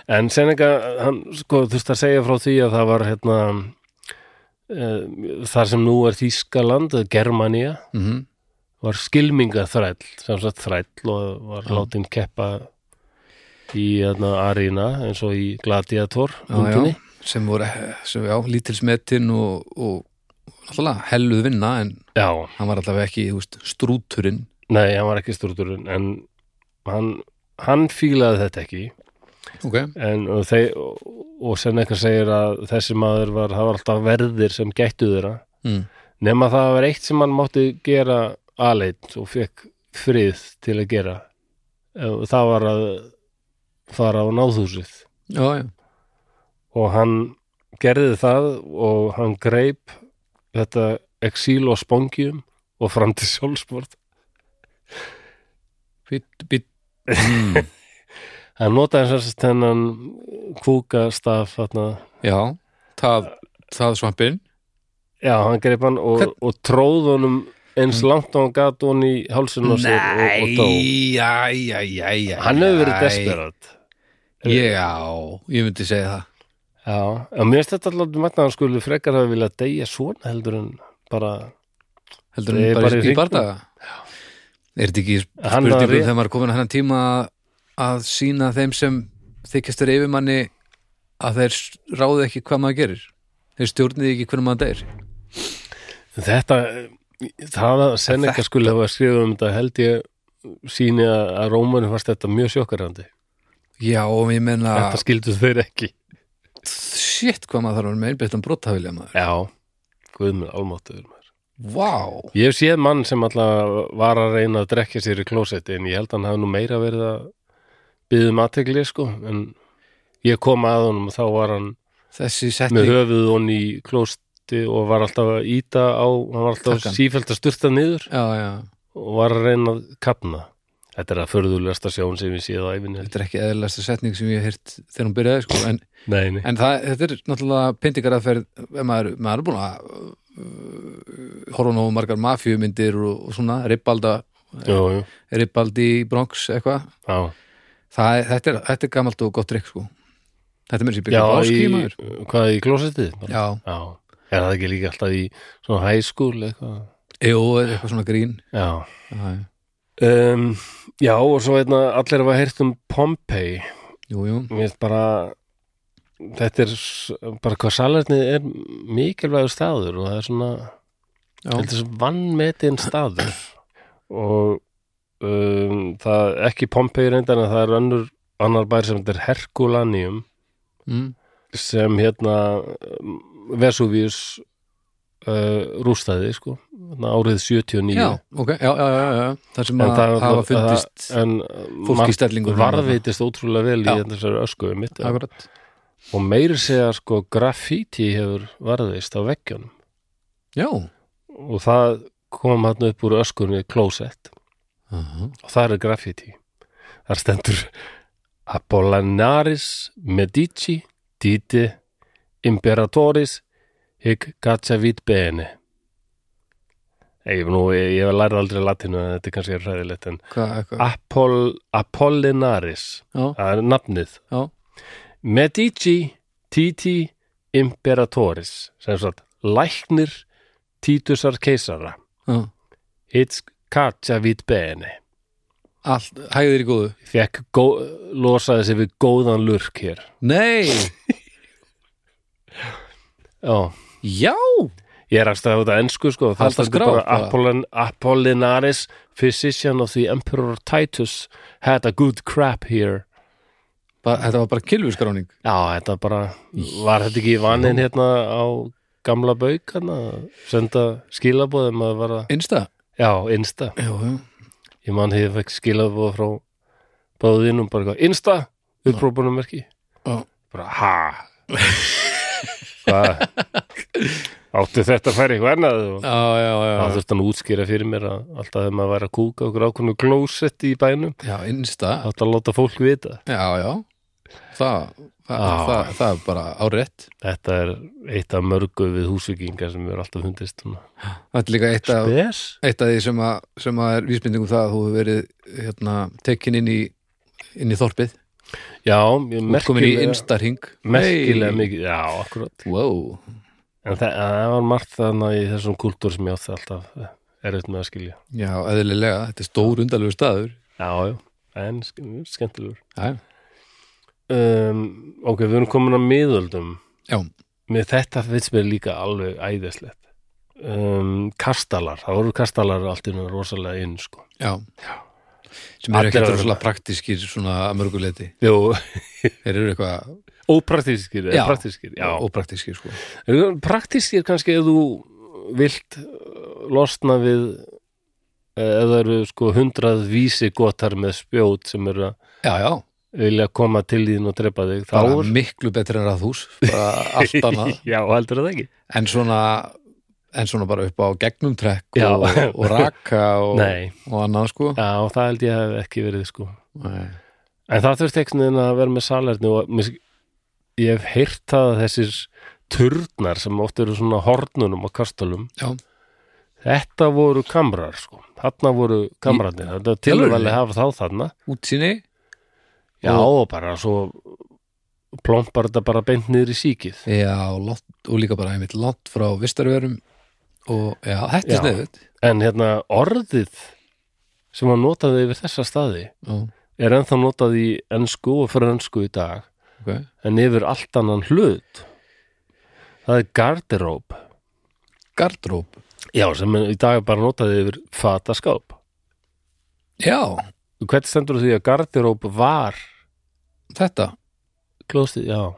[SPEAKER 1] En Seneca, hann sko þurfti að segja frá því að það var hérna e, þar sem nú er Þýskaland, eða Germania
[SPEAKER 2] mm
[SPEAKER 1] var skilmingaþræll sem sagt þræll og var
[SPEAKER 2] Já.
[SPEAKER 1] látin keppa í hérna, arena eins og í Gladiator
[SPEAKER 2] já,
[SPEAKER 1] myndinni.
[SPEAKER 2] já, sem voru sem, já, lítilsmetin og, og náttúrulega helluð vinna en
[SPEAKER 1] Já,
[SPEAKER 2] hann var allavega ekki, þú veist, strúturinn
[SPEAKER 1] nei, hann var ekki stúrturinn en hann, hann fílaði þetta ekki
[SPEAKER 2] Ok,
[SPEAKER 1] en og, þeir, og, og Seneca segir að þessi maður var, það var alltaf verðir sem gættu þeirra
[SPEAKER 2] mm.
[SPEAKER 1] nema það var eitt sem hann mátti gera aðleitt og fekk frið til að gera Eh, það var að fara á náðhúsið
[SPEAKER 2] já, já
[SPEAKER 1] og hann gerði það og hann greip þetta exíl og spongjum og fram til sjálfsbort
[SPEAKER 2] Bít, bít mm.
[SPEAKER 1] hann notaði þess að hennan kúkastaf þarna.
[SPEAKER 2] Já, það, það svampin
[SPEAKER 1] já, hann greip hann og,
[SPEAKER 2] Hvern- Mm.
[SPEAKER 1] og tróð honum eins langt og hann gat honum í hálsinn á sér og, og dó
[SPEAKER 2] já, já, já, já
[SPEAKER 1] hann hefur verið desperat
[SPEAKER 2] Já, ég myndi segja það
[SPEAKER 1] Já, en mér finnst þetta alltaf magna að hann skulle frekar hafa viljað deyja svona heldur en bara
[SPEAKER 2] Heldur
[SPEAKER 1] Ég
[SPEAKER 2] hún
[SPEAKER 1] er
[SPEAKER 2] bara í,
[SPEAKER 1] bara í
[SPEAKER 2] í
[SPEAKER 1] hringnum.
[SPEAKER 2] bardaga Er þetta ekki
[SPEAKER 1] Hann var
[SPEAKER 2] spurningum
[SPEAKER 1] rétt.
[SPEAKER 2] þegar maður er komin að hennan tíma að- að sína þeim sem þykjastur yfirmanni að þeir ráði ekki hvað maður gerir þeir stjórnið ekki hvernig maður deyr
[SPEAKER 1] þetta það að Seneca skulle hafa skrifað um þetta held ég síni að að Rómanu fannst þetta mjög sjokkarandi
[SPEAKER 2] Já, og ég menna
[SPEAKER 1] Þetta skildu þeir ekki
[SPEAKER 2] shit hvað maður þarf að vera með einbyttan brottafilja maður
[SPEAKER 1] Já, guðmur, almáttuður maður
[SPEAKER 2] Vá,
[SPEAKER 1] Ég hef séð mann sem alltaf var að reyna að drekja sér í klósetti en ég held að hann hafi nú meira verið að byggðum aðtegli sko en ég kom að honum og þá var hann
[SPEAKER 2] þessi
[SPEAKER 1] með
[SPEAKER 2] setning
[SPEAKER 1] höfuð hon í klósti og var alltaf að íta á hann var alltaf
[SPEAKER 2] Takkan.
[SPEAKER 1] sífælt að sturta niður
[SPEAKER 2] Já, já,
[SPEAKER 1] og var að reyna að kapna þetta er að förðulegasta sjón sem ég séð á æfinni
[SPEAKER 2] þetta er ekki eðlæsta setning sem ég hef heyrt þegar hún byrjaði sko, en
[SPEAKER 1] nei, nei,
[SPEAKER 2] En það, þetta er náttúrulega pyntingaraðferð ef maður, maður er búin að uh, horfa nógu margar mafjumyndir og, og svona, Ripbalda
[SPEAKER 1] jú, jú,
[SPEAKER 2] Ripbaldi í Bronx eitthvað
[SPEAKER 1] já
[SPEAKER 2] Það er- þetta, er, þetta er gamalt og gott drikk sko Þetta er mér sem byggja
[SPEAKER 1] í,
[SPEAKER 2] báski maður
[SPEAKER 1] hvað í klósettið? Já.
[SPEAKER 2] Já,
[SPEAKER 1] er það ekki líka alltaf í svona high school eitthvað?
[SPEAKER 2] jú, eða eitthvað svona grín
[SPEAKER 1] Já
[SPEAKER 2] Já, já.
[SPEAKER 1] um, já, og svo einna allir hafa heyrt um Pompeii
[SPEAKER 2] Jú, jú,
[SPEAKER 1] mér finnst bara þetta er s- bara hvað salarnið er mikilvægur staður og það er svona
[SPEAKER 2] já,
[SPEAKER 1] Þetta er svo vannmetin staður og um, það ekki Pompei reyndar en það er önnur annar bær sem þetta er Herkulanium
[SPEAKER 2] mm,
[SPEAKER 1] sem hérna um, Vesuvius uh, rústaði sko hérna árið 79
[SPEAKER 2] já, ok, já, já, já, já Það sem
[SPEAKER 1] En
[SPEAKER 2] að
[SPEAKER 1] það er
[SPEAKER 2] hafa
[SPEAKER 1] náttúrulega-
[SPEAKER 2] fundist
[SPEAKER 1] en
[SPEAKER 2] fólk í stellingur
[SPEAKER 1] varðveitist ótrúlega vel
[SPEAKER 2] Já.
[SPEAKER 1] í hérna þessari ösku mitt
[SPEAKER 2] Akkurat,
[SPEAKER 1] og meiri segja sko graffíti hefur varðveist á veggjónum
[SPEAKER 2] já
[SPEAKER 1] og það kom hann upp úr öskunni klósett
[SPEAKER 2] Aha.
[SPEAKER 1] og það er graffiti þar stendur Apollinaris Medici Dite Imperatoris Hic Gacavit Bene Ég, nú, ég, ég lærði aldrei latinu en þetta er kannski ræðilegt en
[SPEAKER 2] Hvað, eitthvað,
[SPEAKER 1] Apoll, Apollinaris
[SPEAKER 2] já,
[SPEAKER 1] það er nafnið
[SPEAKER 2] já
[SPEAKER 1] Medici Titi Imperatoris sem sagt læknir Títusar keisara
[SPEAKER 2] Já,
[SPEAKER 1] Hic Gacavit Bene
[SPEAKER 2] allt, hægðir í góðu
[SPEAKER 1] fekk gó, losaði sig við góðan lurk hér
[SPEAKER 2] Nei,
[SPEAKER 1] Já,
[SPEAKER 2] já
[SPEAKER 1] ég rakst það á þetta ensku sko, það
[SPEAKER 2] Halda
[SPEAKER 1] stendur
[SPEAKER 2] skrá,
[SPEAKER 1] bara
[SPEAKER 2] bara.
[SPEAKER 1] Apollin, Apollinaris, physician of the emperor Titus had a good crap here
[SPEAKER 2] bara, Þetta var bara kilfurskráning
[SPEAKER 1] Já, þetta bara, var þetta ekki vaninn hérna á gamla bauk hérna, senda skilabóðum að vera
[SPEAKER 2] Einsta,
[SPEAKER 1] já, Insta
[SPEAKER 2] Já, já.
[SPEAKER 1] ég man því að fekk skilaboð frá báðinum bara eitthvað, Insta upprópunum merki
[SPEAKER 2] Já.
[SPEAKER 1] bara ha hvað átti þetta að færa eitthvað annað og
[SPEAKER 2] Já, já,
[SPEAKER 1] það
[SPEAKER 2] já.
[SPEAKER 1] þurfti hann að útskýra fyrir mér að alltaf þegar maður væri að kúka okkur ákveðnu klósetti í bænum
[SPEAKER 2] Já, innsta.
[SPEAKER 1] átti að láta fólk vita
[SPEAKER 2] Já, já. Það, það,
[SPEAKER 1] Já.
[SPEAKER 2] það, það er bara árétt.
[SPEAKER 1] þetta er eitt af mörgu við húsvikingar sem er alltaf fundist svona.
[SPEAKER 2] Það er líka eitt af,
[SPEAKER 1] spes
[SPEAKER 2] eitt af því sem að, sem að er vísbendingum það að þú hefur verið hérna, tekin inn í, inn í þorpið.
[SPEAKER 1] já, ég
[SPEAKER 2] Merkilega. í
[SPEAKER 1] merkilega,
[SPEAKER 2] instarhing.
[SPEAKER 1] merkilega mikið já, akkurat
[SPEAKER 2] Wow.
[SPEAKER 1] en það, það var margt þannig í þessum kultúr sem ég átti alltaf erut með að skilja
[SPEAKER 2] Já, eðlilega. Þetta er stór undarlegu staður.
[SPEAKER 1] já, já, en ske- skemmtilegur
[SPEAKER 2] Já,
[SPEAKER 1] um, ok, við erum komin að miðöldum
[SPEAKER 2] já.
[SPEAKER 1] með þetta finnst mér líka alveg æðislegt um, kastalar, það voru kastalar allt í nú rosalega inn sko
[SPEAKER 2] já. Sem eru
[SPEAKER 1] Allir
[SPEAKER 2] ekkert
[SPEAKER 1] að vera
[SPEAKER 2] rosalega praktískir svona að mörguleiti.
[SPEAKER 1] Jú,
[SPEAKER 2] Þeir eru eitthvað
[SPEAKER 1] ópraktískir, eða
[SPEAKER 2] Já.
[SPEAKER 1] praktískir já,
[SPEAKER 2] ópraktískir, sko.
[SPEAKER 1] Eru Praktískir kannski ef þú vilt uh, losna við eh, ef það eru sko hundrað vísi gotar með spjót sem eru að
[SPEAKER 2] Já, já.
[SPEAKER 1] vilja koma til þín og drepa þig þá
[SPEAKER 2] Bara
[SPEAKER 1] er
[SPEAKER 2] miklu betri en ráðhús. Bara allt annað.
[SPEAKER 1] Já, heldur það ekki
[SPEAKER 2] en svona en svona bara upp á gegnum trekk
[SPEAKER 1] Já.
[SPEAKER 2] og, og raka og,
[SPEAKER 1] Nei,
[SPEAKER 2] og annað sko
[SPEAKER 1] já, það held ég hef ekki verið sko
[SPEAKER 2] Nei.
[SPEAKER 1] En það þurfti ekki að vera með salerni og mér sk- ég hef heyrt það að þessir turnar sem oft eru svona hornunum og kastalum
[SPEAKER 2] já,
[SPEAKER 1] Þetta voru kamrar sko Þarna voru kamrarnir Þetta tilvæli
[SPEAKER 2] alvörunni?
[SPEAKER 1] hafa þá þarna
[SPEAKER 2] útsýni
[SPEAKER 1] Já,
[SPEAKER 2] Og-
[SPEAKER 1] og bara svo plompar þetta bara beint niður í síkið.
[SPEAKER 2] já, og lot, og líka bara einmitt látt frá vistarverum og já, þetta
[SPEAKER 1] Já.
[SPEAKER 2] er sniðut
[SPEAKER 1] En hérna orðið sem hann notaði yfir þessa staði er ennþá notað í ennsku og frönsku í dag
[SPEAKER 2] okay.
[SPEAKER 1] en yfir allt annan hlut. Það er garderobe.
[SPEAKER 2] gardróp
[SPEAKER 1] Já, sem er- í dag er bara notaði yfir fataskáp.
[SPEAKER 2] já,
[SPEAKER 1] Hvernig stendur því að garderobe var
[SPEAKER 2] þetta
[SPEAKER 1] klóstið? Já.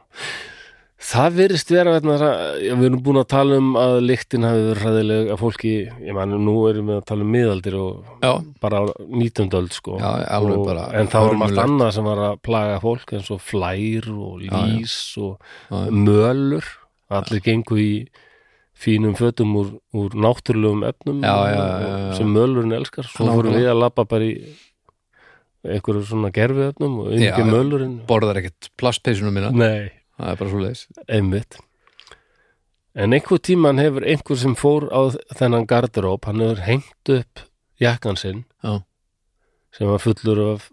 [SPEAKER 1] Það virðist vera vegna þess að já, við erum búin að tala um að lyktin hafi verið hræðileg að fólki, ég man, nú erum við að tala um miðaldir og
[SPEAKER 2] já,
[SPEAKER 1] bara á 19. öld sko
[SPEAKER 2] já, alveg
[SPEAKER 1] og,
[SPEAKER 2] bara
[SPEAKER 1] en það var margt
[SPEAKER 2] hörmulegt.
[SPEAKER 1] annað sem var að plaga fólk eins og flær og
[SPEAKER 2] Já, já.
[SPEAKER 1] lís
[SPEAKER 2] Já,
[SPEAKER 1] og mölur allir gengu í fínum fötum úr, úr náttúrulegum efnum
[SPEAKER 2] Já, já,
[SPEAKER 1] og-
[SPEAKER 2] já, já.
[SPEAKER 1] sem mölurinn elskar svo
[SPEAKER 2] Nákvæmlega.
[SPEAKER 1] fórum við að labba bara í einhverju svona gerfi efnum og
[SPEAKER 2] Já,
[SPEAKER 1] yngi
[SPEAKER 2] já.
[SPEAKER 1] mölurinn
[SPEAKER 2] borðar ekkert plastpeysunum mína
[SPEAKER 1] nei,
[SPEAKER 2] það er bara svo leis
[SPEAKER 1] einmitt en einhver tíman hefur einhver sem fór á þennan garderóp hann hefur hengt upp jakkan sinn
[SPEAKER 2] Já.
[SPEAKER 1] sem var fullur af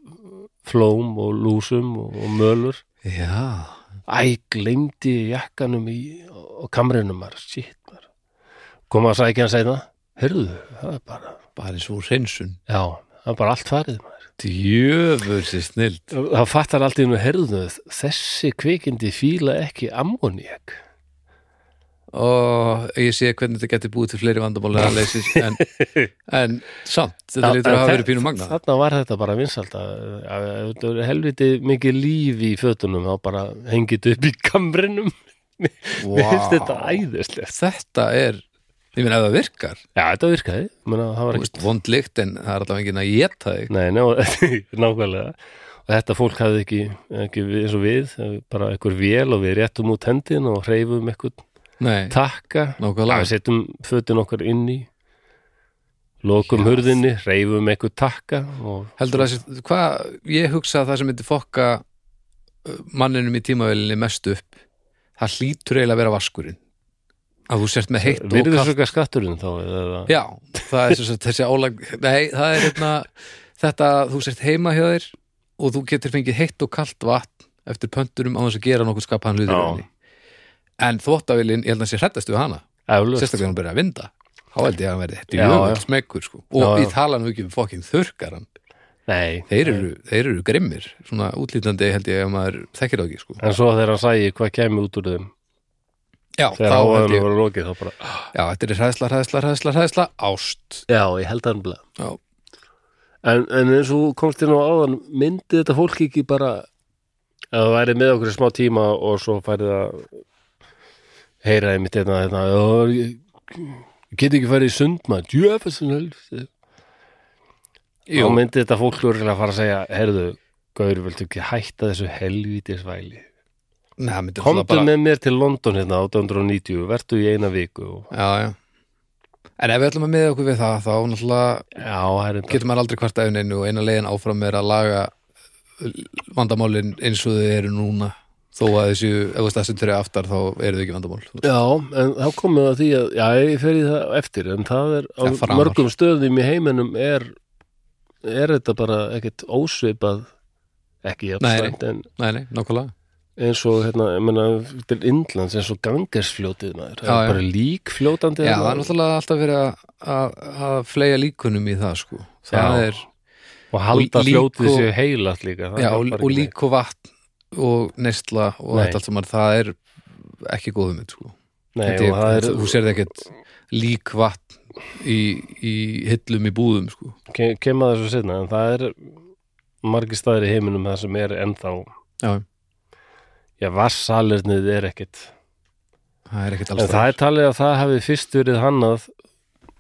[SPEAKER 1] flóm og lúsum og, og mölur
[SPEAKER 2] já,
[SPEAKER 1] æ, gleymdi ég jakkanum í og kamrinum mar, shit mar. kom að sækja hann segna heyrðu, það er bara
[SPEAKER 2] bara eins og hreinsun
[SPEAKER 1] já, það er bara allt farið maður.
[SPEAKER 2] djöfursi snild
[SPEAKER 1] það fattar allt í hennu heyrðu þessi kvikindi fíla ekki ammoniak
[SPEAKER 2] og ég sé hvernig þetta getur búið til fleiri vandamál en, að leysir, en, en samt, þetta
[SPEAKER 1] Já,
[SPEAKER 2] lítur
[SPEAKER 1] en
[SPEAKER 2] að hafa
[SPEAKER 1] þe-
[SPEAKER 2] verið pínum magna
[SPEAKER 1] Þarna var þetta bara vinsalt að, að, að, að helviti mikið líf í fötunum þá bara hengið upp í kamrinum
[SPEAKER 2] wow.
[SPEAKER 1] Mér finnst þetta æðislegt
[SPEAKER 2] þetta er, ég meina ef það virkar
[SPEAKER 1] Já, þetta virkaði, menna, það var
[SPEAKER 2] þú
[SPEAKER 1] ekki
[SPEAKER 2] veist, vondlikt en það er allavega enginn að geta þig
[SPEAKER 1] Nei, ná, nákvæmlega og þetta fólk hafði ekki, ekki við, eins og við, bara einhver vél og við réttum út hendin og hreyfum eitthvað
[SPEAKER 2] nei,
[SPEAKER 1] takka
[SPEAKER 2] nákvæmlega
[SPEAKER 1] að setjum fötin okkar inn í lokum hurðinni, hreyfum eitthvað takka og
[SPEAKER 2] heldur það sér, hvað, ég hugsa að það sem myndi fokka uh, manninum í tímavelinni mest upp það hlýtur eiginlega að vera vaskurinn að þú sért með heitt og kalt
[SPEAKER 1] virðisauka skatturinn þá eða,
[SPEAKER 2] Já, það er sem sagt þessi álag Nei, það er hérna þetta að þú sért heima hjá þér og þú getur fengið heitt og kalt vatn eftir pönturum á þess að gera nokkuð skapaðan hlutur í
[SPEAKER 1] Já.
[SPEAKER 2] henni. En þvóttavilin, ég held að sé hrættast við hana
[SPEAKER 1] eflaust.
[SPEAKER 2] sérstaklega hann byrja að vinda þá held ég að hann verði þetta
[SPEAKER 1] Já,
[SPEAKER 2] jöfnveld
[SPEAKER 1] já.
[SPEAKER 2] smekkur sko. og
[SPEAKER 1] Já, já.
[SPEAKER 2] í talanum ekki um fokkin þurrkaran
[SPEAKER 1] Nei,
[SPEAKER 2] þeir eru, þeir eru grimmir svona útlítandi held ég að maður þekkir það ekki sko.
[SPEAKER 1] En svo þegar hann sæi hvað kemur út úr þeim
[SPEAKER 2] Já,
[SPEAKER 1] þegar
[SPEAKER 2] þá held
[SPEAKER 1] áhæðan
[SPEAKER 2] ég,
[SPEAKER 1] voru lokið þá bara
[SPEAKER 2] já, þetta er hræðsla, hræðsla, hræðsla, hræðsla ást
[SPEAKER 1] Já, ég held hann blað
[SPEAKER 2] Já,
[SPEAKER 1] en, en eins og þú komst inn á áðan myndi þetta fólk ekki bara að það væri með okkur í smá tíma og svo færið að heyra einmitt einna þetta og hérna, ég, get ekki farið í sundmaður djöfessin helviti
[SPEAKER 2] Jú.
[SPEAKER 1] þá myndi þetta fólk örugglega fara að segja heyrðu, Gaur, viltu ekki hætta þessu helvítisvæli
[SPEAKER 2] Nei, það myndi
[SPEAKER 1] komdu
[SPEAKER 2] alltaf bara
[SPEAKER 1] með mér til London hérna 1890 vertu í eina viku og...
[SPEAKER 2] já, já. En ef við ætlum að miða okkur við það þá náttúrulega
[SPEAKER 1] já, herrinn
[SPEAKER 2] getur maður aldrei hvart efninu og eina leiðin áfram er að laga uh, vandamálin eins og þau eru núna þó að þessu, ef þú stafsum fyrir aftar þá eru þau ekki vandamál
[SPEAKER 1] Já, en þá komum við að því að, já, ég fer í það eftir, en það er á
[SPEAKER 2] Já, framar.
[SPEAKER 1] mörgum stöðum í heiminum er, er þetta bara ekkert ósvipað,
[SPEAKER 2] Nei,
[SPEAKER 1] ekki jafnstæmt, en
[SPEAKER 2] Nei, nei, nákvæmlega
[SPEAKER 1] eins og, hérna, ég meina, til Indlands, eins og gangesfljótið maður, það
[SPEAKER 2] Já,
[SPEAKER 1] er
[SPEAKER 2] já.
[SPEAKER 1] bara líkfljótandi. hérna
[SPEAKER 2] Já,
[SPEAKER 1] þarna.
[SPEAKER 2] það er náttúrulega alltaf verið að- að að fleja líkunum í það sko Það
[SPEAKER 1] Já.
[SPEAKER 2] er
[SPEAKER 1] Og halda
[SPEAKER 2] og lík
[SPEAKER 1] fljótið
[SPEAKER 2] og-
[SPEAKER 1] séu heilat líka. það
[SPEAKER 2] Já,
[SPEAKER 1] hjálpar
[SPEAKER 2] og,
[SPEAKER 1] ekki
[SPEAKER 2] og
[SPEAKER 1] neitt.
[SPEAKER 2] lík og vatn og neysla og
[SPEAKER 1] Nei.
[SPEAKER 2] þetta allt saman, það er ekki góðum mynd, sko.
[SPEAKER 1] Nei,
[SPEAKER 2] Þetta
[SPEAKER 1] og það er,
[SPEAKER 2] þú sérði ekkert lík vatn í, í hillum í búðum, sko.
[SPEAKER 1] ke- kem að þessu sinna, en það er margir staðir í heiminum það sem er ennþá,
[SPEAKER 2] Já,
[SPEAKER 1] já, vassalernið er ekkert
[SPEAKER 2] það er ekkert
[SPEAKER 1] En
[SPEAKER 2] alls
[SPEAKER 1] það er talið að það hafi fyrst verið hannað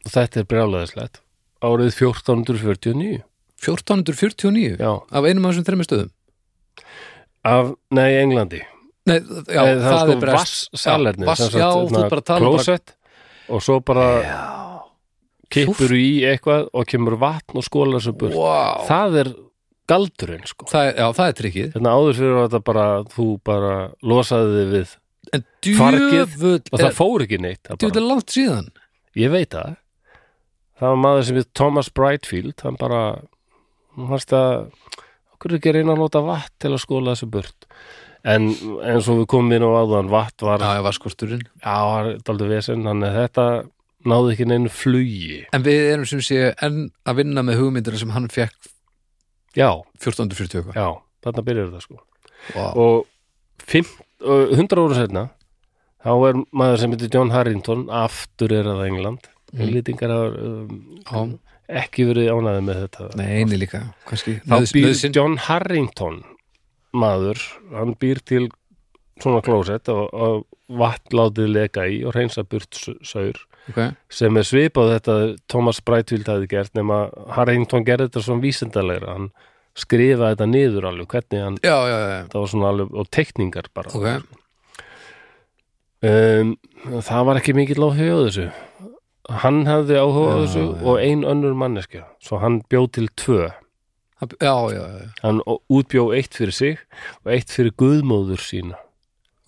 [SPEAKER 1] og þetta er brjálæðislegt árið 1449
[SPEAKER 2] 1449
[SPEAKER 1] já,
[SPEAKER 2] af einum af þessum þreymur stöðum.
[SPEAKER 1] af, nei, Englandi
[SPEAKER 2] Nei, þ- já,
[SPEAKER 1] Nei,
[SPEAKER 2] það,
[SPEAKER 1] sko
[SPEAKER 2] er bara...
[SPEAKER 1] vassalernið
[SPEAKER 2] Já, vass-
[SPEAKER 1] sem sagt,
[SPEAKER 2] já, þú
[SPEAKER 1] hérna,
[SPEAKER 2] ert bara að tala um bara-
[SPEAKER 1] klósett og svo bara kippur
[SPEAKER 2] Fjórtán-
[SPEAKER 1] í eitthvað og kemur vatn og skólar svo burt
[SPEAKER 2] Vá,
[SPEAKER 1] það er galdurinn sko
[SPEAKER 2] það er, já, það er trikkið.
[SPEAKER 1] Þannig áður fyrir var þetta bara, þú bara losaði þig við
[SPEAKER 2] En
[SPEAKER 1] Fargið
[SPEAKER 2] djöfull
[SPEAKER 1] og
[SPEAKER 2] er,
[SPEAKER 1] það fór ekki neitt. það
[SPEAKER 2] djöfull
[SPEAKER 1] Bara,
[SPEAKER 2] er langt síðan.
[SPEAKER 1] ég veit það. Það var maður sem við Thomas Brightfield, hann bara, hann fannst að, okkur ekki að reyna að nota vatn til að skóla þessu burt. En eins og við komum inn á áðan, vatn var,
[SPEAKER 2] Já, já, vaskorturinn.
[SPEAKER 1] já, var daldi vesinn, þannig að þetta náði ekki neinu flugi.
[SPEAKER 2] En við erum sem sé enn að vinna með hugmyndina sem hann fekk
[SPEAKER 1] Já,
[SPEAKER 2] 1440 eitthvað.
[SPEAKER 1] já, þarna byrjar þetta sko.
[SPEAKER 2] Vá.
[SPEAKER 1] Og fimm, og 100 óra setna, þá er maður sem heitir John Harrington, aftur er að England. Mm. Lýtingar hafa
[SPEAKER 2] Já.
[SPEAKER 1] um, ekki verið ánæði með þetta.
[SPEAKER 2] Nei, eini líka, kannski
[SPEAKER 1] þá
[SPEAKER 2] Nauðs-
[SPEAKER 1] býr
[SPEAKER 2] nauðsyn.
[SPEAKER 1] John Harrington maður, hann býr til svona klósett og, og vatn látið leka í og reynsa burt s- saur
[SPEAKER 2] Ok.
[SPEAKER 1] sem er svipað þetta Thomas Brightfield hafði gert nema Harrington gerði þetta svona vísindalegra hann skrifaði þetta niður alveg hvernig hann,
[SPEAKER 2] Já, já, já, já.
[SPEAKER 1] það var svona alveg og teikningar bara
[SPEAKER 2] ok
[SPEAKER 1] um, það var ekki mikill áhuga á þessu hann hafði áhuga á
[SPEAKER 2] Já,
[SPEAKER 1] þessu
[SPEAKER 2] já.
[SPEAKER 1] og ein önnur manneskja svo hann bjó til tvö
[SPEAKER 2] Hann- Já, já, já,
[SPEAKER 1] hann útbjó eitt fyrir sig og eitt fyrir guðmóður sína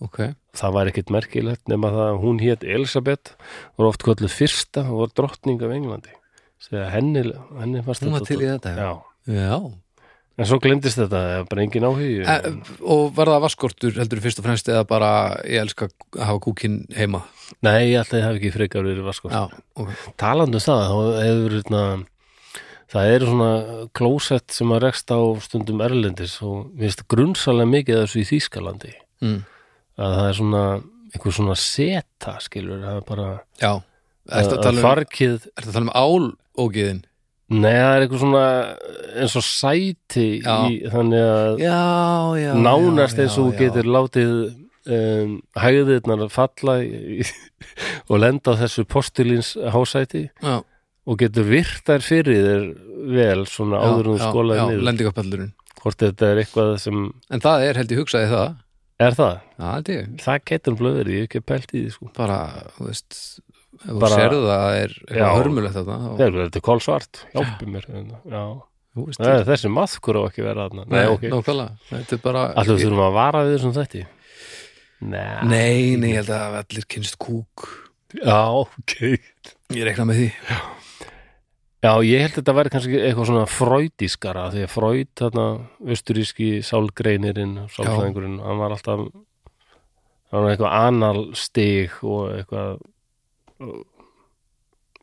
[SPEAKER 2] ok
[SPEAKER 1] það var ekkit merkilegt nema það að hún hét Elisabeth var oft kvöldu fyrsta og var drottning af Englandi þegar henni, henni fannst
[SPEAKER 2] Hún var til í þetta, já
[SPEAKER 1] já.
[SPEAKER 2] Já,
[SPEAKER 1] en svo glemdist þetta, það var bara engin áhugi
[SPEAKER 2] e, og var það vaskortur heldur fyrst og fremst eða bara ég elska að hafa kúkinn heima
[SPEAKER 1] nei, alltaf það hafi ekki frekar verið var
[SPEAKER 2] Já, ok
[SPEAKER 1] talandi um það, þá hefur hérna, það eru svona klósett sem að rekst á stundum erlendis og mér finnst grunnsalega mikið af þessu í Þýskalandi
[SPEAKER 2] mm.
[SPEAKER 1] að það er svona einhver svona seta skilur, það er bara
[SPEAKER 2] Já, ertu að,
[SPEAKER 1] að
[SPEAKER 2] tala um,
[SPEAKER 1] fargið
[SPEAKER 2] ertu að tala um álógiðin
[SPEAKER 1] Nei, það er eitthvað svona eh, eins og sæti
[SPEAKER 2] Já.
[SPEAKER 1] í, þannig að
[SPEAKER 2] Já, já
[SPEAKER 1] nánast
[SPEAKER 2] já,
[SPEAKER 1] eins og þú
[SPEAKER 2] já.
[SPEAKER 1] getur látið um, hægðirnar falla í, og lenda á þessu postulins hásæti
[SPEAKER 2] Já,
[SPEAKER 1] og getur virtar fyrir þér vel svona
[SPEAKER 2] já,
[SPEAKER 1] áður en þú
[SPEAKER 2] já,
[SPEAKER 1] skólaði
[SPEAKER 2] Já,
[SPEAKER 1] niður
[SPEAKER 2] lendingapallurinn
[SPEAKER 1] hvort þetta er eitthvað sem
[SPEAKER 2] En það er held ég hugsaði það
[SPEAKER 1] er það,
[SPEAKER 2] Já, held ég
[SPEAKER 1] það getur blöður ég hef ekki pælt í því sko
[SPEAKER 2] Bara, þú veist Ef þú
[SPEAKER 1] Bara-
[SPEAKER 2] sérðu það er
[SPEAKER 1] Já.
[SPEAKER 2] eitthvað hörmulegt þetta þá-
[SPEAKER 1] Þegar þetta er kolsvart, hjálpi mér hérna. Já,
[SPEAKER 2] Þú veist,
[SPEAKER 1] Nei, þessi maðkur á ekki að vera þarna Eh, Nei, ok,
[SPEAKER 2] nákvæmlega Þetta er bara
[SPEAKER 1] allir þurfum að vara við þessum þætti Nei,
[SPEAKER 2] Nei, nei, ég held að allir kynst kúk
[SPEAKER 1] já, ok
[SPEAKER 2] Ég reikna með því
[SPEAKER 1] Já, ég held að þetta væri kannski eitthvað svona fröydískara því að fröyd, þarna, austuríski sálgreinirinn, sálfræðingurinn hann var alltaf hann var eitthvað analstig og eitthvað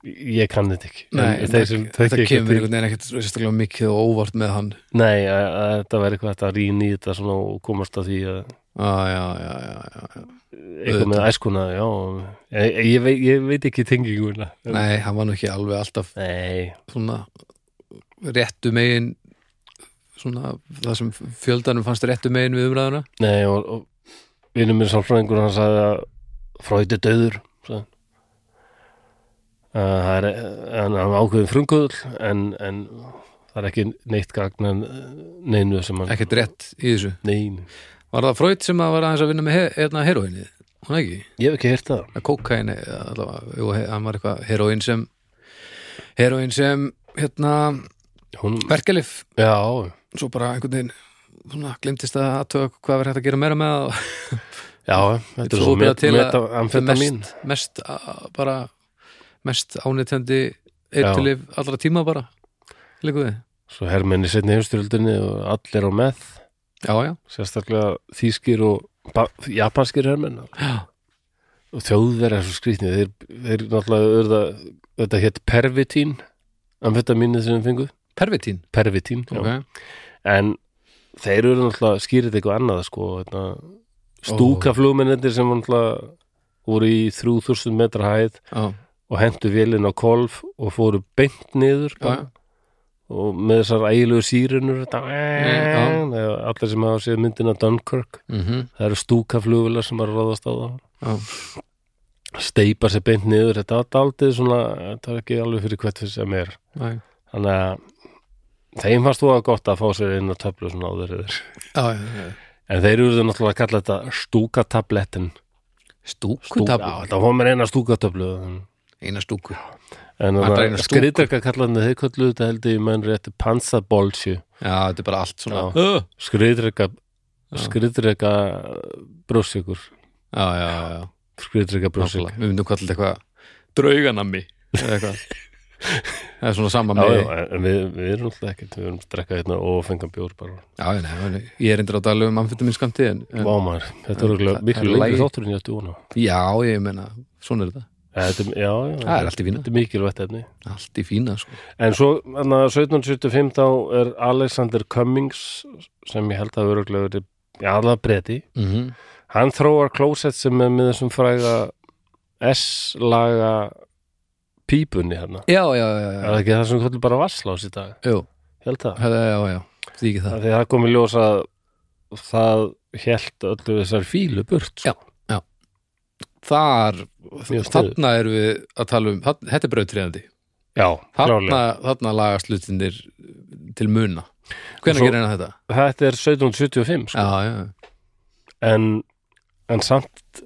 [SPEAKER 1] ég kann þetta ekki En þeir sem
[SPEAKER 2] þetta kemur
[SPEAKER 1] þekkja til-
[SPEAKER 2] einhvern veginn ekkert sérstaklega mikið og óvart með hann
[SPEAKER 1] Nei, að, að þetta væri eitthvað þetta rýni í þetta svona og komast að því að
[SPEAKER 2] ah, Já, já, já, já, já
[SPEAKER 1] eitthvað með æskuna, já ég, ég, veit, ég veit ekki tenginguna
[SPEAKER 2] Nei, hann var nú ekki alveg alltaf
[SPEAKER 1] Nei,
[SPEAKER 2] svona réttu megin svona það sem fjöldanum fannst réttu megin við umræðuna
[SPEAKER 1] Nei, og, og vinnum minn sálfræðingur hann sagði að Freud er döður sagði. hann. Uh, það er en hann er ákveðin frunguðl en, en það er ekki neitt gagn en eh, neinu sem hann
[SPEAKER 2] ekkert rétt í þessu
[SPEAKER 1] neinu.
[SPEAKER 2] Var það Freud sem að var aðeins að vinna með he- hérna heroinni? Hún ekki?
[SPEAKER 1] Ég hef ekki heyrt það.
[SPEAKER 2] Að kókaini, allavega, jú, he- hann var eitthvað heroin sem heroin sem, hérna
[SPEAKER 1] Hún,
[SPEAKER 2] verkelif,
[SPEAKER 1] já,
[SPEAKER 2] svo bara einhvern veginn svona, glimtist að aðtöga hvað verið hægt að gera meira með það og
[SPEAKER 1] já, þetta er
[SPEAKER 2] Svo
[SPEAKER 1] svo
[SPEAKER 2] byrja
[SPEAKER 1] met,
[SPEAKER 2] til að-
[SPEAKER 1] metamfetamin.
[SPEAKER 2] mest, mest a- bara mest ánýtjandi eitthulif allra tíma bara líkuði,
[SPEAKER 1] Svo hermenni setni heimstyrjöldinni og allir á með,
[SPEAKER 2] já já,
[SPEAKER 1] sérstaklega þýskir og ba- japanskir hermenn.
[SPEAKER 2] já.
[SPEAKER 1] og þjóðverðar er svo skrýtni þeir, þeir náttúrulega urða, þetta hétt pervitín amfetamínið sem þeir fengu,
[SPEAKER 2] pervitín
[SPEAKER 1] pervitín já.
[SPEAKER 2] okay.
[SPEAKER 1] en þeir eru náttúrulega skýrið eitthvað annað sko, hérna, stúkaflugmennir sem náttúrulega voru í 3000 metra hæð
[SPEAKER 2] já,
[SPEAKER 1] og hentu vélinn á kolf og fóru beint niður
[SPEAKER 2] já,
[SPEAKER 1] bara, og með þessar ægilegu sírunur þetta,
[SPEAKER 2] Mm,
[SPEAKER 1] eða allir sem hafa séð myndina Dunkirk,
[SPEAKER 2] mm
[SPEAKER 1] það eru stúkaflugvilar sem eru að ráðast á það
[SPEAKER 2] já.
[SPEAKER 1] steipa sér beint niður þetta er aldrei svona, þetta er ekki alveg fyrir hvert fyrir sem er
[SPEAKER 2] Næ.
[SPEAKER 1] þannig að þeim fannst þú að gott að fá sér inn á töflu svona áður yfir
[SPEAKER 2] já, já, já.
[SPEAKER 1] en þeir eru náttúrulega að kalla þetta stúkatablettin
[SPEAKER 2] stúkutabú,
[SPEAKER 1] já, þetta var mér eina stúkatöflu
[SPEAKER 2] eina stúku
[SPEAKER 1] en
[SPEAKER 2] Var bara eina stúku.
[SPEAKER 1] skriðdekka kallarni þeir kallu þetta held ég menn rétti pansabolsju
[SPEAKER 2] já, þetta er bara allt svona
[SPEAKER 1] Já. skriðdekka skriðdekka brjósikur
[SPEAKER 2] já, já, já, já.
[SPEAKER 1] skriðdekka brjósik
[SPEAKER 2] Nákvæmlega. við myndum kallið eitthvað drauganami eða eitthvað það er svona sama
[SPEAKER 1] já,
[SPEAKER 2] með
[SPEAKER 1] já, en við, við erum alltaf ekkert við erum að drekka hérna og fengan bjór bara
[SPEAKER 2] Já, já, nei, nei, ég er endur á dælu um amfetaminskammti en, en
[SPEAKER 1] Vámar, þetta er
[SPEAKER 2] það-
[SPEAKER 1] örugglega
[SPEAKER 2] það
[SPEAKER 1] miklu
[SPEAKER 2] er
[SPEAKER 1] lengri
[SPEAKER 2] lagi.
[SPEAKER 1] þáttur en ég ætti vona
[SPEAKER 2] já, ég meina, svona er þetta
[SPEAKER 1] Þetta, er- já, já,
[SPEAKER 2] Það er allt í fína.
[SPEAKER 1] Þetta er mikilvægt efni
[SPEAKER 2] Allt í fína, sko
[SPEAKER 1] En svo, þannig að 1775 þá er Alexander Cummings sem ég held að öruglega verið allar breyti,
[SPEAKER 2] mm -hmm.
[SPEAKER 1] hann þróar klósett sem er með þessum fræga S-laga pípunni hérna
[SPEAKER 2] Já, já, já,
[SPEAKER 1] Er
[SPEAKER 2] já,
[SPEAKER 1] það ekki það sem kvöldu bara vasslás í dag?
[SPEAKER 2] Jú,
[SPEAKER 1] Ég Held það?
[SPEAKER 2] það, já, já, því ekki það
[SPEAKER 1] Af Því að það kom í ljós að það hélt öllu þessar fílu burt sko.
[SPEAKER 2] Já. Þar,
[SPEAKER 1] Mjög sniðugt.
[SPEAKER 2] þarna erum við að tala um þarna- Þetta er brautriðandi
[SPEAKER 1] já
[SPEAKER 2] Þarna,
[SPEAKER 1] klálega
[SPEAKER 2] þarna lagast hlutinir til muna Hvenær
[SPEAKER 1] Svo-
[SPEAKER 2] gerir hann þetta?
[SPEAKER 1] Þetta er 1775 sko.
[SPEAKER 2] Já, já, já,
[SPEAKER 1] en, en samt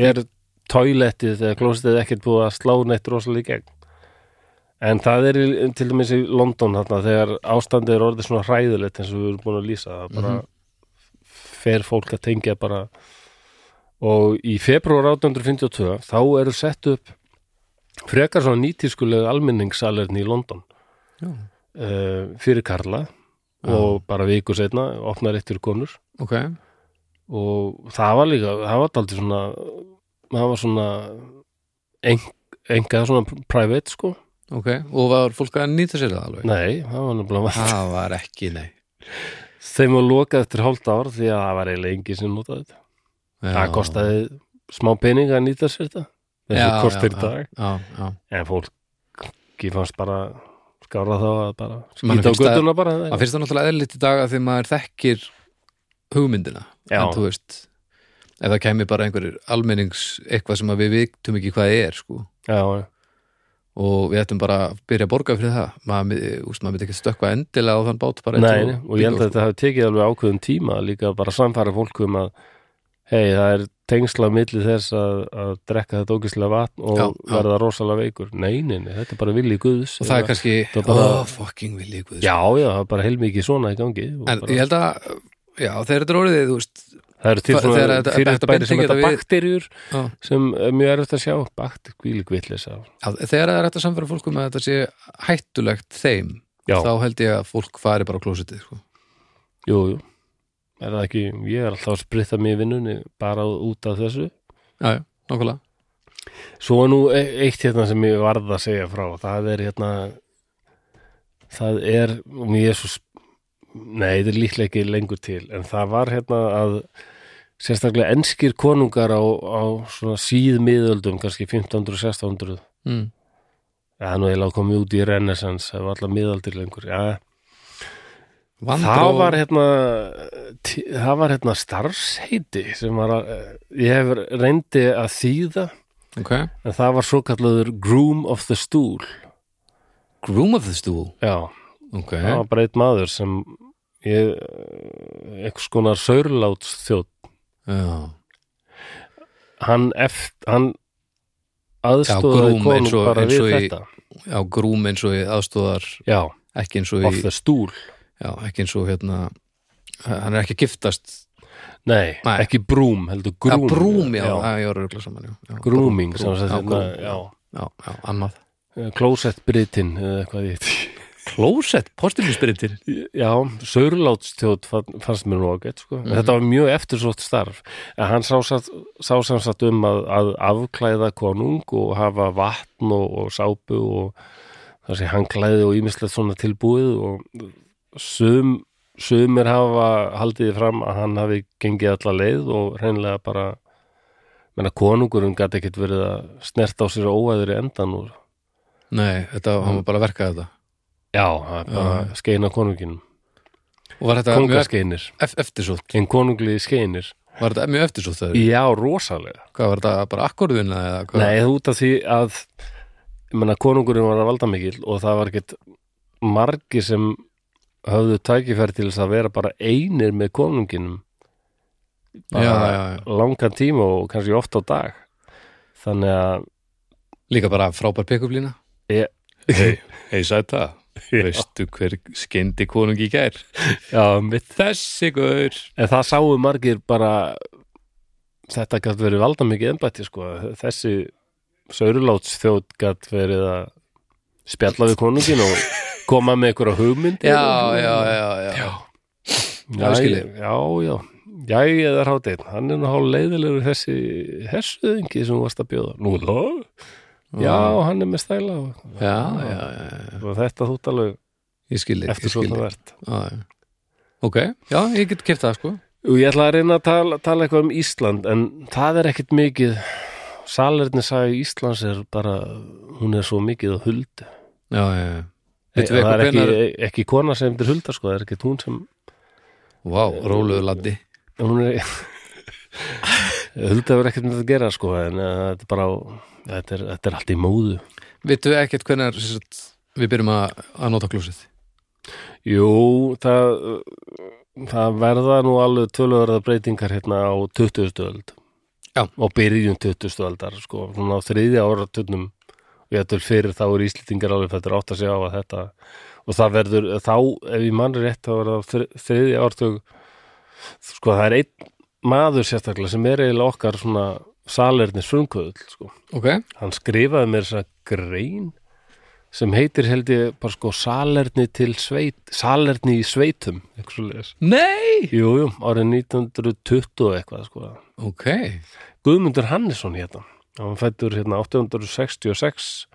[SPEAKER 1] er toilettið eða klósettið ekkert búið að slá neitt rosalega í gegn en það er í, til dæmis í London þarna, þegar ástandið er orðið svona hræðilegt eins og við erum búin að lýsa það
[SPEAKER 2] Mhm.
[SPEAKER 1] bara fer fólk að tengja bara og í februar 1852 þá eru sett upp frekar svona nýtískulega almenningssalerni í London
[SPEAKER 2] já.
[SPEAKER 1] uh, fyrir Karla og bara viku setna opnar eitt fyrir konur
[SPEAKER 2] Ok,
[SPEAKER 1] og það var líka það var aldrei svona það var svona eng, enga svona private sko
[SPEAKER 2] ok Og var fólk að nýta sér það alveg?
[SPEAKER 1] nei, það var nefnilega
[SPEAKER 2] Það var ekki, nei
[SPEAKER 1] þeim var lokað eftir hálft ár því að það var eiginlega engi sem notaði þetta
[SPEAKER 2] já.
[SPEAKER 1] það kostaði smá pening að nýta sér þetta þessi
[SPEAKER 2] Já,
[SPEAKER 1] já,
[SPEAKER 2] já,
[SPEAKER 1] kostir í dag
[SPEAKER 2] Já, já
[SPEAKER 1] en fólk ekki fannst bara skára þá að bara
[SPEAKER 2] Manni
[SPEAKER 1] skýta á
[SPEAKER 2] finnst það-
[SPEAKER 1] göttuna bara
[SPEAKER 2] Það finnst það náttúrulega eðlitt í dag að því maður þekkir hugmyndina
[SPEAKER 1] Já.
[SPEAKER 2] en þú veist ef það kæmi bara einhverjir almennings eitthvað sem að við vitum ekki hvað er sko.
[SPEAKER 1] já, já,
[SPEAKER 2] og við ættum bara að byrja að borga fyrir það maður, mi- úst, maður myndi ekki stökkva endilega á þann bát bara
[SPEAKER 1] nei, nei, og ég held að
[SPEAKER 2] sko.
[SPEAKER 1] þetta hafi tekið alveg ákveðum tíma líka bara samfæra fólk um að hei, það er tengsla á milli þess að, að drekka þetta ógislega vatn og
[SPEAKER 2] Já, já.
[SPEAKER 1] verða rosalega veikur nei, nei, nei, þetta er bara vilji guðs
[SPEAKER 2] og það er kannski,
[SPEAKER 1] þetta bara-
[SPEAKER 2] oh fucking vil ég
[SPEAKER 1] Já, já, það er bara heilmikið svona í gangi og
[SPEAKER 2] en
[SPEAKER 1] bara,
[SPEAKER 2] ég held að, já þegar þetta er orðið þú veist,
[SPEAKER 1] Það eru til
[SPEAKER 2] það- þegar
[SPEAKER 1] svona
[SPEAKER 2] þetta- þetta
[SPEAKER 1] fyrirbæri
[SPEAKER 2] binding
[SPEAKER 1] sem þetta
[SPEAKER 2] þetta við-
[SPEAKER 1] bakterjur
[SPEAKER 2] Já.
[SPEAKER 1] sem er mjög erfitt að sjá bakt, hvílík vitleisa
[SPEAKER 2] að, þegar það er þetta samfæra fólkum að þetta sé hættulegt þeim
[SPEAKER 1] Já,
[SPEAKER 2] þá held ég að fólk fari bara á klósitið sko.
[SPEAKER 1] jú, jú Er það ekki, ég er alltaf að spritta mig í vinnunni bara út af þessu
[SPEAKER 2] já, já, nákvæmlega
[SPEAKER 1] Svo er nú e- eitt hérna sem ég varð að segja frá það er hérna það er, ég er svo sp- nei, þetta er líklega ekki lengur til en það var hérna að sérstaklega enskir konungar á, á svona síðmiðöldum kannski 1500-1600
[SPEAKER 2] mm.
[SPEAKER 1] það er nú eiginlega komið út í Renaissance það var alltaf miðaldir lengur já,
[SPEAKER 2] Vandró-
[SPEAKER 1] það var hérna tí- það var hérna starfsheiti sem var að, ég hef reyndi að þýða
[SPEAKER 2] ok
[SPEAKER 1] en það var svo kallaður groom of the stool
[SPEAKER 2] Groom of the Stool
[SPEAKER 1] já,
[SPEAKER 2] ok,
[SPEAKER 1] það var bara einn maður sem ég, eh, einhvers konar saurláts þjótt
[SPEAKER 2] já,
[SPEAKER 1] hann, eft, hann
[SPEAKER 2] groom
[SPEAKER 1] aðstóðaði
[SPEAKER 2] eins
[SPEAKER 1] konum
[SPEAKER 2] og-
[SPEAKER 1] bara
[SPEAKER 2] eins
[SPEAKER 1] við
[SPEAKER 2] og í-
[SPEAKER 1] þetta
[SPEAKER 2] já grúm eins og í aðstóðar
[SPEAKER 1] já,
[SPEAKER 2] ekki eins og
[SPEAKER 1] of
[SPEAKER 2] í,
[SPEAKER 1] the stool
[SPEAKER 2] já, ekki eins og hérna hann er ekki að giftast
[SPEAKER 1] nei,
[SPEAKER 2] Nei.
[SPEAKER 1] ekki brúm, heldur
[SPEAKER 2] grúm,
[SPEAKER 1] grúm
[SPEAKER 2] já, brúm, já,
[SPEAKER 1] já.
[SPEAKER 2] já. ég var að rugla saman já, já,
[SPEAKER 1] grooming
[SPEAKER 2] brúm,
[SPEAKER 1] sem sagt,
[SPEAKER 2] já,
[SPEAKER 1] hérna,
[SPEAKER 2] grúm, já. já, já, annað
[SPEAKER 1] já, closet britin eða eitthvað ég heiti
[SPEAKER 2] Closet, postilinsbyrðir
[SPEAKER 1] Já, saurlátstjóð fannst mér nú ágætt sko. Þetta var mjög eftirsótt starf en hann sá, satt, sá sem sagt um að, að afklæða konung og hafa vatn og, og sápu og þessi hangklæði og ímislegt svona tilbúið og sum, sumir hafa haldið fram að hann hafi gengið alla leið og hreinlega bara menna konungurinn gat ekkit verið að snerta á sér óæður í endan og
[SPEAKER 2] Nei, þetta, hann var bara að verka þetta
[SPEAKER 1] já, það er bara skeina konunginum
[SPEAKER 2] og var þetta mjög
[SPEAKER 1] kongaskeinir,
[SPEAKER 2] ef- eftirsótt
[SPEAKER 1] en konungli skeinir
[SPEAKER 2] var þetta mjög eftirsótt þegar,
[SPEAKER 1] Já, rosalega.
[SPEAKER 2] hvað var þetta bara akkorðuna eða hvað,
[SPEAKER 1] Nei, út af því að ég menna, konungurinn var að valda mikill og það var ekkert margir sem höfðu tækifæri til þess að vera bara einir með konunginum bara
[SPEAKER 2] já, já, já.
[SPEAKER 1] langan tíma og kannski oft á dag. Þannig að
[SPEAKER 2] líka bara frábær pekuplína
[SPEAKER 1] ég,
[SPEAKER 2] Hei, hei sæta veistu hver skeindi konung í gær
[SPEAKER 1] já, mitt,
[SPEAKER 2] þessi gaur
[SPEAKER 1] en það sáu margir bara þetta gætt verið valda mikið embætti sko. Þessi sauruláts þjótt gætt verið að spjalla við konungin og koma með einhverja hugmyndir
[SPEAKER 2] já, já, já, já, Já,
[SPEAKER 1] Já,
[SPEAKER 2] ég skil
[SPEAKER 1] já, já, já, ég er hátinn, hann er nú hálf leiðilegur þessi hersuðingi sem þú varst að bjóða. Nú, þá? Já, hann er með stæla og,
[SPEAKER 2] já, já, já, já.
[SPEAKER 1] og þetta þútt alveg
[SPEAKER 2] ég skildi
[SPEAKER 1] eftir svona verðt.
[SPEAKER 2] ok, já, ég get keft það sko
[SPEAKER 1] Og ég ætla að reyna að tala, tala eitthvað um Ísland, en það er ekkit mikið, salerni sagði Íslands er bara, hún er svo mikið á huldu.
[SPEAKER 2] já, já, já Veitum við
[SPEAKER 1] Það
[SPEAKER 2] eitthvað
[SPEAKER 1] er ekki,
[SPEAKER 2] hvenær-
[SPEAKER 1] ekki kona sem til hulda, sko, það er ekkit hún sem
[SPEAKER 2] Vá, róluðu laddi
[SPEAKER 1] hún er Hulda verður ekkert með það að gera sko en eh, þetta er bara þetta er, þetta er allt í móðu
[SPEAKER 2] Vittu ekkert hvenær sem sagt, við byrjum að, að nota klósið
[SPEAKER 1] Jú, það það verða nú alveg tölverða breytingar hérna á 20. öld
[SPEAKER 2] Já.
[SPEAKER 1] og byrjun 20. öldar sko, svona á þriðja ára tunnum og ég ætlum fyrir þá eru Íslendingar alveg þetta átt að segja á að þetta og það verður, þá ef ég mann rétt þá verða á þri- þriðja ártug sko það er einn maður sérstaklega sem er eiginlega okkar svona salernis frumkvöðull sko
[SPEAKER 2] ok,
[SPEAKER 1] hann skrifaði mér þess að grein sem heitir held ég bara sko salerni til sveit salerni í sveitum eitthvað svoleiðis.
[SPEAKER 2] nei
[SPEAKER 1] jú, jú, árið 1920 eitthvað sko.
[SPEAKER 2] ok,
[SPEAKER 1] Guðmundur Hannesson hérna hann fættur hérna 866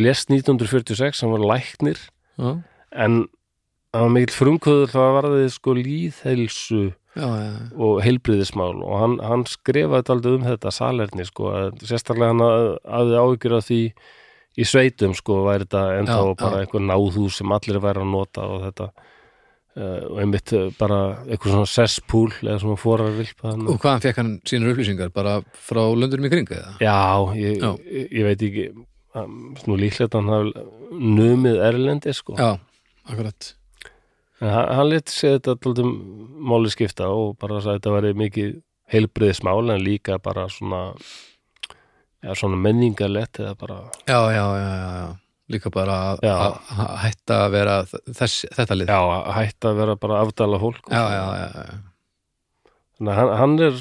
[SPEAKER 1] lest 1946 hann var læknir
[SPEAKER 2] já,
[SPEAKER 1] en hann var mikill frumkvöður það varðið sko líðhelsu
[SPEAKER 2] já, já,
[SPEAKER 1] og heilbriðismál og hann, hann skrifaði aldrei um þetta salerni sko, að sérstaklega hann hafði áhyggjur af því í sveitum sko væri þetta ennþá
[SPEAKER 2] Já,
[SPEAKER 1] bara
[SPEAKER 2] já.
[SPEAKER 1] einhver náðhús sem allir væri að nota og þetta uh, og einmitt eh, bara einhver svona cesspool eða svona forarvilpa hann
[SPEAKER 2] og hvaðan fekk hann sínar upplýsingar bara frá löndurum í kring eða
[SPEAKER 1] Já, ég,
[SPEAKER 2] Já.
[SPEAKER 1] Ég, ég veit ekki um, svona líklegt að hann hafði numið erlendi sko
[SPEAKER 2] já, akkurat
[SPEAKER 1] en hann, hann let sér þetta alltum máli skipta og bara sagði að þetta væri mikið heilbriðismál en líka bara svona já, svona menningarlegt eða bara
[SPEAKER 2] já, já, já, já, já. líka bara að-
[SPEAKER 1] Já.
[SPEAKER 2] að að hætta að vera þess, þetta lið
[SPEAKER 1] já, að hætta að vera bara afdala fólk
[SPEAKER 2] já, já, já, já.
[SPEAKER 1] Þannig að hann, hann er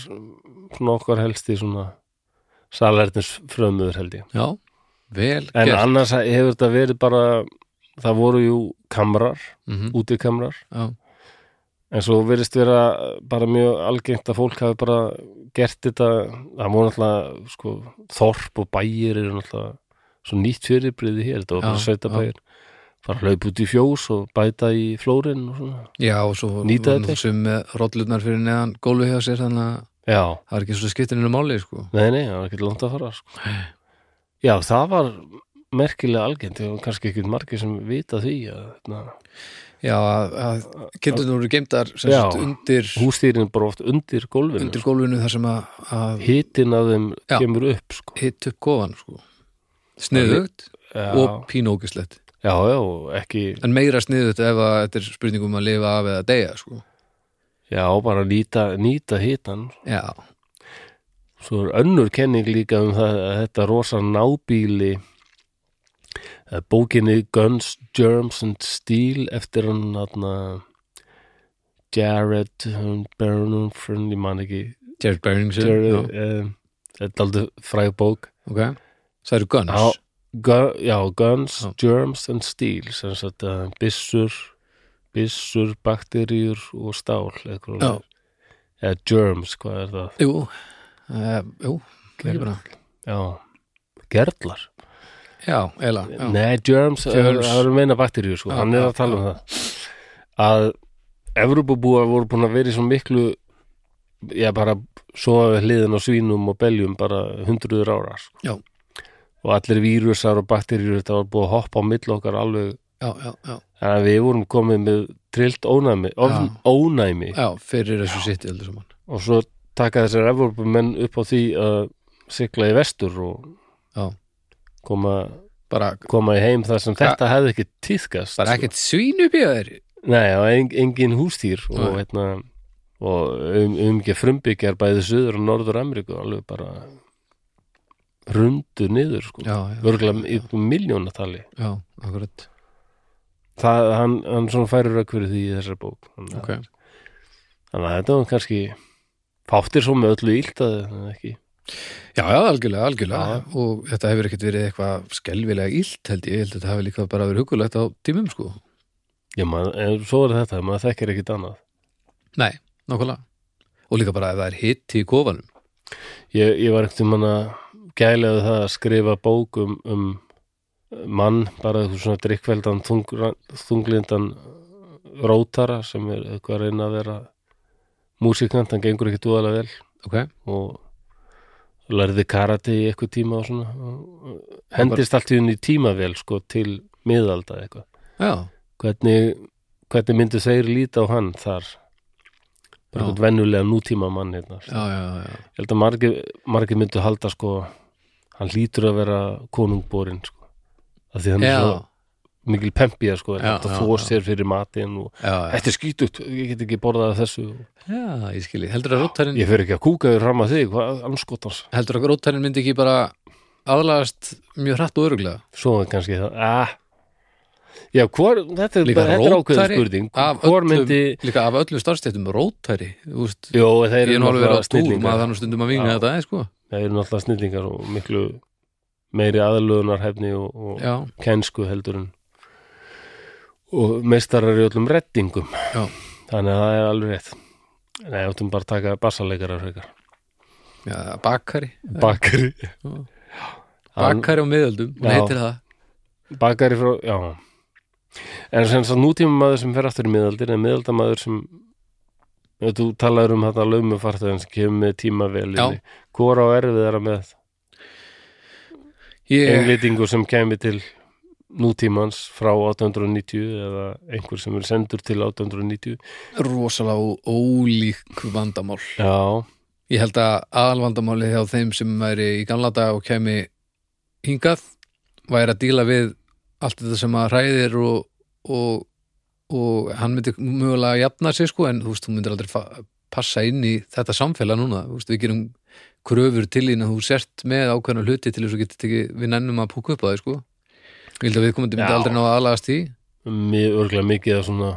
[SPEAKER 1] svona okkar helsti svona salernins frömuður held ég
[SPEAKER 2] já. vel
[SPEAKER 1] en
[SPEAKER 2] gert
[SPEAKER 1] annars hefur þetta verið bara það voru jú kamrar,
[SPEAKER 2] Mhm,
[SPEAKER 1] útikamrar
[SPEAKER 2] já.
[SPEAKER 1] En svo verðist vera bara mjög algengt að fólk hafi bara gert þetta, það voru náttúrulega sko, þorp og bæir eru náttúrulega svo nýtt fyrirbriði hér, þetta var bara
[SPEAKER 2] Já,
[SPEAKER 1] sveita bæir, bara hlaup út í fjós og bæta í flórin og svona.
[SPEAKER 2] já, og svo
[SPEAKER 1] Nýta þetta.
[SPEAKER 2] sem með rollurnar fyrir neðan gólfi hjá sér þannig að
[SPEAKER 1] Já,
[SPEAKER 2] það er ekki svo skiptininu máli sko.
[SPEAKER 1] nei, nei, það var ekkert langt að fara, sko. Já, hérna, það var merkilega algengt, það var kannski ekkert margir sem vita því að, na,
[SPEAKER 2] Já, að, að kindurnar voru geimdar sem
[SPEAKER 1] Já.
[SPEAKER 2] sagt undir,
[SPEAKER 1] hústýrin bara oft undir gólfinu
[SPEAKER 2] undir gólfinu þar sem að, að
[SPEAKER 1] hitin að þeim
[SPEAKER 2] Já.
[SPEAKER 1] kemur upp sko.
[SPEAKER 2] hitt upp kofan sko. sniðugt
[SPEAKER 1] já,
[SPEAKER 2] og pínókislegt
[SPEAKER 1] já, já, og ekki
[SPEAKER 2] en meira sniðugt ef að þetta er spurningum að lifa af eða deyja sko.
[SPEAKER 1] já, bara nýta, nýta hitan
[SPEAKER 2] já,
[SPEAKER 1] svo er önnur kenning líka um það að þetta rosa nábýli að bókinni Guns, Germs and Steel eftir hann atna, Jared um, Bernum, friendly man ekki
[SPEAKER 2] Jared Beringson
[SPEAKER 1] Jared,
[SPEAKER 2] já,
[SPEAKER 1] um, þetta er aldrei fræg bók
[SPEAKER 2] ok, það eru Guns
[SPEAKER 1] Já, gu, já Guns,
[SPEAKER 2] Já.
[SPEAKER 1] Germs and Steel sem sagt að byssur byssur, bakteríur og stál eitthvað
[SPEAKER 2] Já.
[SPEAKER 1] eða germs, hvað er það?
[SPEAKER 2] jú, uh, jú ekki bara.
[SPEAKER 1] Já, gerlar
[SPEAKER 2] já, eila já.
[SPEAKER 1] Nei, germs,
[SPEAKER 2] Germs.
[SPEAKER 1] það er að meina bakteríur sko,
[SPEAKER 2] Já,
[SPEAKER 1] hann er
[SPEAKER 2] já,
[SPEAKER 1] að tala um það að Evrópubúar voru búin að vera í svo miklu já bara sofa við hliðin á svínum og beljum bara hundruður ára sko.
[SPEAKER 2] Já.
[SPEAKER 1] og allir vírusar og bakteríur þetta var búið að hoppa á milli okkar alveg
[SPEAKER 2] já, já, já,
[SPEAKER 1] Þannig að við vorum komið með trillt ónæmi, of,
[SPEAKER 2] Já.
[SPEAKER 1] ónæmi
[SPEAKER 2] já, fyrir þessu sitt öllu saman
[SPEAKER 1] og svo taka þessar Evrópumenn upp á því að sigla í vestur og
[SPEAKER 2] Já.
[SPEAKER 1] koma,
[SPEAKER 2] bara,
[SPEAKER 1] koma í heim þar sem
[SPEAKER 2] Bara-
[SPEAKER 1] þetta hefði ekki tíðkast.
[SPEAKER 2] bara ekkert svín upp í þeir
[SPEAKER 1] Nei, og en, engin hústýr og,
[SPEAKER 2] Nei.
[SPEAKER 1] hérna, og um, umgeð frumbyggjar bæði Suður og Norður Ameríku alveg bara rundu niður sko.
[SPEAKER 2] já, já,
[SPEAKER 1] Vörglega í miljónatali.
[SPEAKER 2] já, akkurat
[SPEAKER 1] Það, hann, hann svona færir rauk fyrir því í þessari bók. Þannig að-
[SPEAKER 2] ok,
[SPEAKER 1] Þannig að þetta var kannski fáttir svo með öllu ílt að það er ekki.
[SPEAKER 2] Já, já, algjörlega, algjörlega
[SPEAKER 1] Já.
[SPEAKER 2] og þetta hefur ekkert verið eitthvað skelvilega illt held ég, ég held að þetta hafi líka bara verið hugulegt á tímum sko.
[SPEAKER 1] Já, maður, en svo er þetta, maður þekkir ekkit annað.
[SPEAKER 2] Nei, nákvæmlega og líka bara ef það er hitt í kofanum
[SPEAKER 1] Ég, ég var ekkert um hann að gælaði það að skrifa bók um, um mann, bara eitthvað svona drikkveldan þungra- þunglindan rótara sem er eitthvað að reyna að vera músikant, hann gengur ekki dúðalega vel
[SPEAKER 2] Ok,
[SPEAKER 1] og lærði karate í eitthvað tíma og svona og hendist allt í hún í tímavel sko til miðalda eitthvað
[SPEAKER 2] já,
[SPEAKER 1] hvernig, hvernig myndu þeir líta á hann þar bara
[SPEAKER 2] Já.
[SPEAKER 1] eitthvað vennulega nútíma mann hérna.
[SPEAKER 2] já, já, já
[SPEAKER 1] ég held að margir, margir myndu halda sko, hann lítur að vera konungborinn sko. af því hann
[SPEAKER 2] Já,
[SPEAKER 1] er svo mikil pempið sko,
[SPEAKER 2] Já,
[SPEAKER 1] þetta
[SPEAKER 2] já,
[SPEAKER 1] þó
[SPEAKER 2] já.
[SPEAKER 1] sér fyrir matinn og
[SPEAKER 2] já, já,
[SPEAKER 1] þetta er skýtut, ég get ekki borðað af þessu
[SPEAKER 2] já, ég skilji heldur að rótarinn,
[SPEAKER 1] ég fer ekki að kúka yfir fram að þig hvað anskotans,
[SPEAKER 2] heldur að rótarinn myndi ekki bara aðlagast mjög hratt og öruglega
[SPEAKER 1] svo er kannski það ah. já, hvor, þetta er,
[SPEAKER 2] Líka
[SPEAKER 1] bara- þetta er ákveðin
[SPEAKER 2] rótari
[SPEAKER 1] spurning
[SPEAKER 2] af
[SPEAKER 1] hvor
[SPEAKER 2] öllum,
[SPEAKER 1] myndi
[SPEAKER 2] líka af öllum starfstættum rótari, þú veist
[SPEAKER 1] Jó, þeir
[SPEAKER 2] ég er
[SPEAKER 1] eru
[SPEAKER 2] nú alveg verið á
[SPEAKER 1] náttúrulega
[SPEAKER 2] túr,
[SPEAKER 1] snillingar.
[SPEAKER 2] maður þannig stundum að vinga
[SPEAKER 1] Já.
[SPEAKER 2] þetta, aðeins, sko
[SPEAKER 1] það eru náttúrulega snillingar og miklu meiri aðlöðunarhefni og, og
[SPEAKER 2] Já,
[SPEAKER 1] kensku heldur en og meistarar í öllum reddingum
[SPEAKER 2] Já.
[SPEAKER 1] þannig að það er alveg rétt Nei, áttum bara að taka bassaleikarar frekar
[SPEAKER 2] já, bakari
[SPEAKER 1] Bakari Hann-
[SPEAKER 2] bakari á miðöldum, hún
[SPEAKER 1] Já.
[SPEAKER 2] heitir það
[SPEAKER 1] Bakari frá, já En sem þess að nútíma maður sem fer aftur í miðaldir en miðaldamaður sem ef þú talaður um þetta laumafartöðan sem kemur með tímavelinni hvora á erfið þeirra með
[SPEAKER 2] Ég,
[SPEAKER 1] englýtingur sem kemi til nútímans frá 890 eða einhver sem er sendur til 890
[SPEAKER 2] rosalega ó- ólík vandamál.
[SPEAKER 1] Já,
[SPEAKER 2] Ég held að aðalvandamálið hjá þeim sem væri í gamla dag og kemi hingað væri að díla við allt þetta sem að hræðir og, og, og hann myndi mögulega jafna sig sko en þú veist, þú myndir aldrei fa- passa inn í þetta samfélag núna, þú veist, við gerum kröfur til þín að þú sért með ákveðna hluti til þess að geta tekið, við nennum að púka upp á það sko. Ég held að við komandi myndi
[SPEAKER 1] Já.
[SPEAKER 2] aldrei ná að aðlagast því
[SPEAKER 1] mjög örglega mikið af svona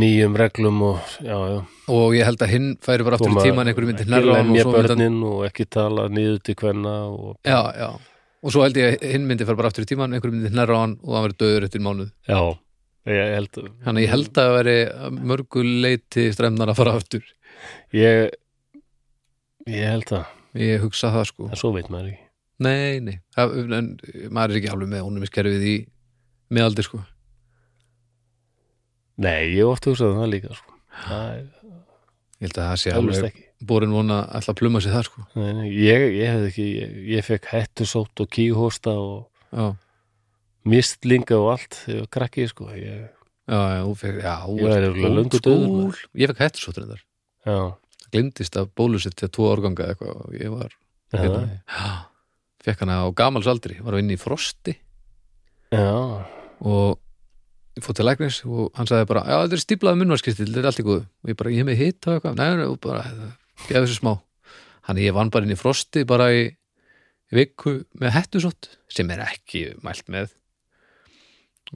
[SPEAKER 1] nýjum reglum og já, já
[SPEAKER 2] og ég held að hinn færi bara aftur í
[SPEAKER 1] Koma-
[SPEAKER 2] tíman einhverju myndi
[SPEAKER 1] ekki
[SPEAKER 2] hnerra hann og
[SPEAKER 1] lemja
[SPEAKER 2] svo myndi hann
[SPEAKER 1] börnin og ekki tala niður til hvenna og
[SPEAKER 2] já, já. og svo held ég að hinn myndi fara bara aftur í tíman einhverju myndi hnerra hann og hann verið döður eftir mánuð
[SPEAKER 1] já, ég held
[SPEAKER 2] þannig að ég held að það veri að mörgu leiti stremnar að fara aftur
[SPEAKER 1] ég, ég held það,
[SPEAKER 2] ég hugsa það sko
[SPEAKER 1] en svo veit maður ekki
[SPEAKER 2] nei, nei, það, en maður er ekki alveg með ónumiskerfið í meðaldir sko
[SPEAKER 1] Nei, ég hef oft hugsaði það líka sko. Það er
[SPEAKER 2] ég held að það sé
[SPEAKER 1] alveg
[SPEAKER 2] alveg
[SPEAKER 1] ekki
[SPEAKER 2] borin vona að ætla að pluma sér það sko
[SPEAKER 1] Nei, nei, ég, ég hefði ekki, ég, ég fekk hættusótt og kíhósta og
[SPEAKER 2] já,
[SPEAKER 1] mistlinga og allt þegar ég var krakki sko. ég,
[SPEAKER 2] já, já, þú fekk, já, þú
[SPEAKER 1] Ég
[SPEAKER 2] ert
[SPEAKER 1] væri örugglega
[SPEAKER 2] old
[SPEAKER 1] löngu dauður,
[SPEAKER 2] school. Ég fekk hættur svo trendar
[SPEAKER 1] já,
[SPEAKER 2] Glimtist að bólusetja tvo árganga eða eitthvað og ég var
[SPEAKER 1] Já.
[SPEAKER 2] hérna, já, fekk hana á gamals aldri var að vinna í frosti
[SPEAKER 1] já,
[SPEAKER 2] og ég fór til læknis og hann sagði bara, já þetta er stíplaði munnvarskistil þetta er allt í góðu, og ég bara, ég hef með hitt og eitthvað, nei, nei, og bara, gefa þessu smá hann ég vann bara inn í frosti bara í í viku með hettusótt sem er ekki mælt með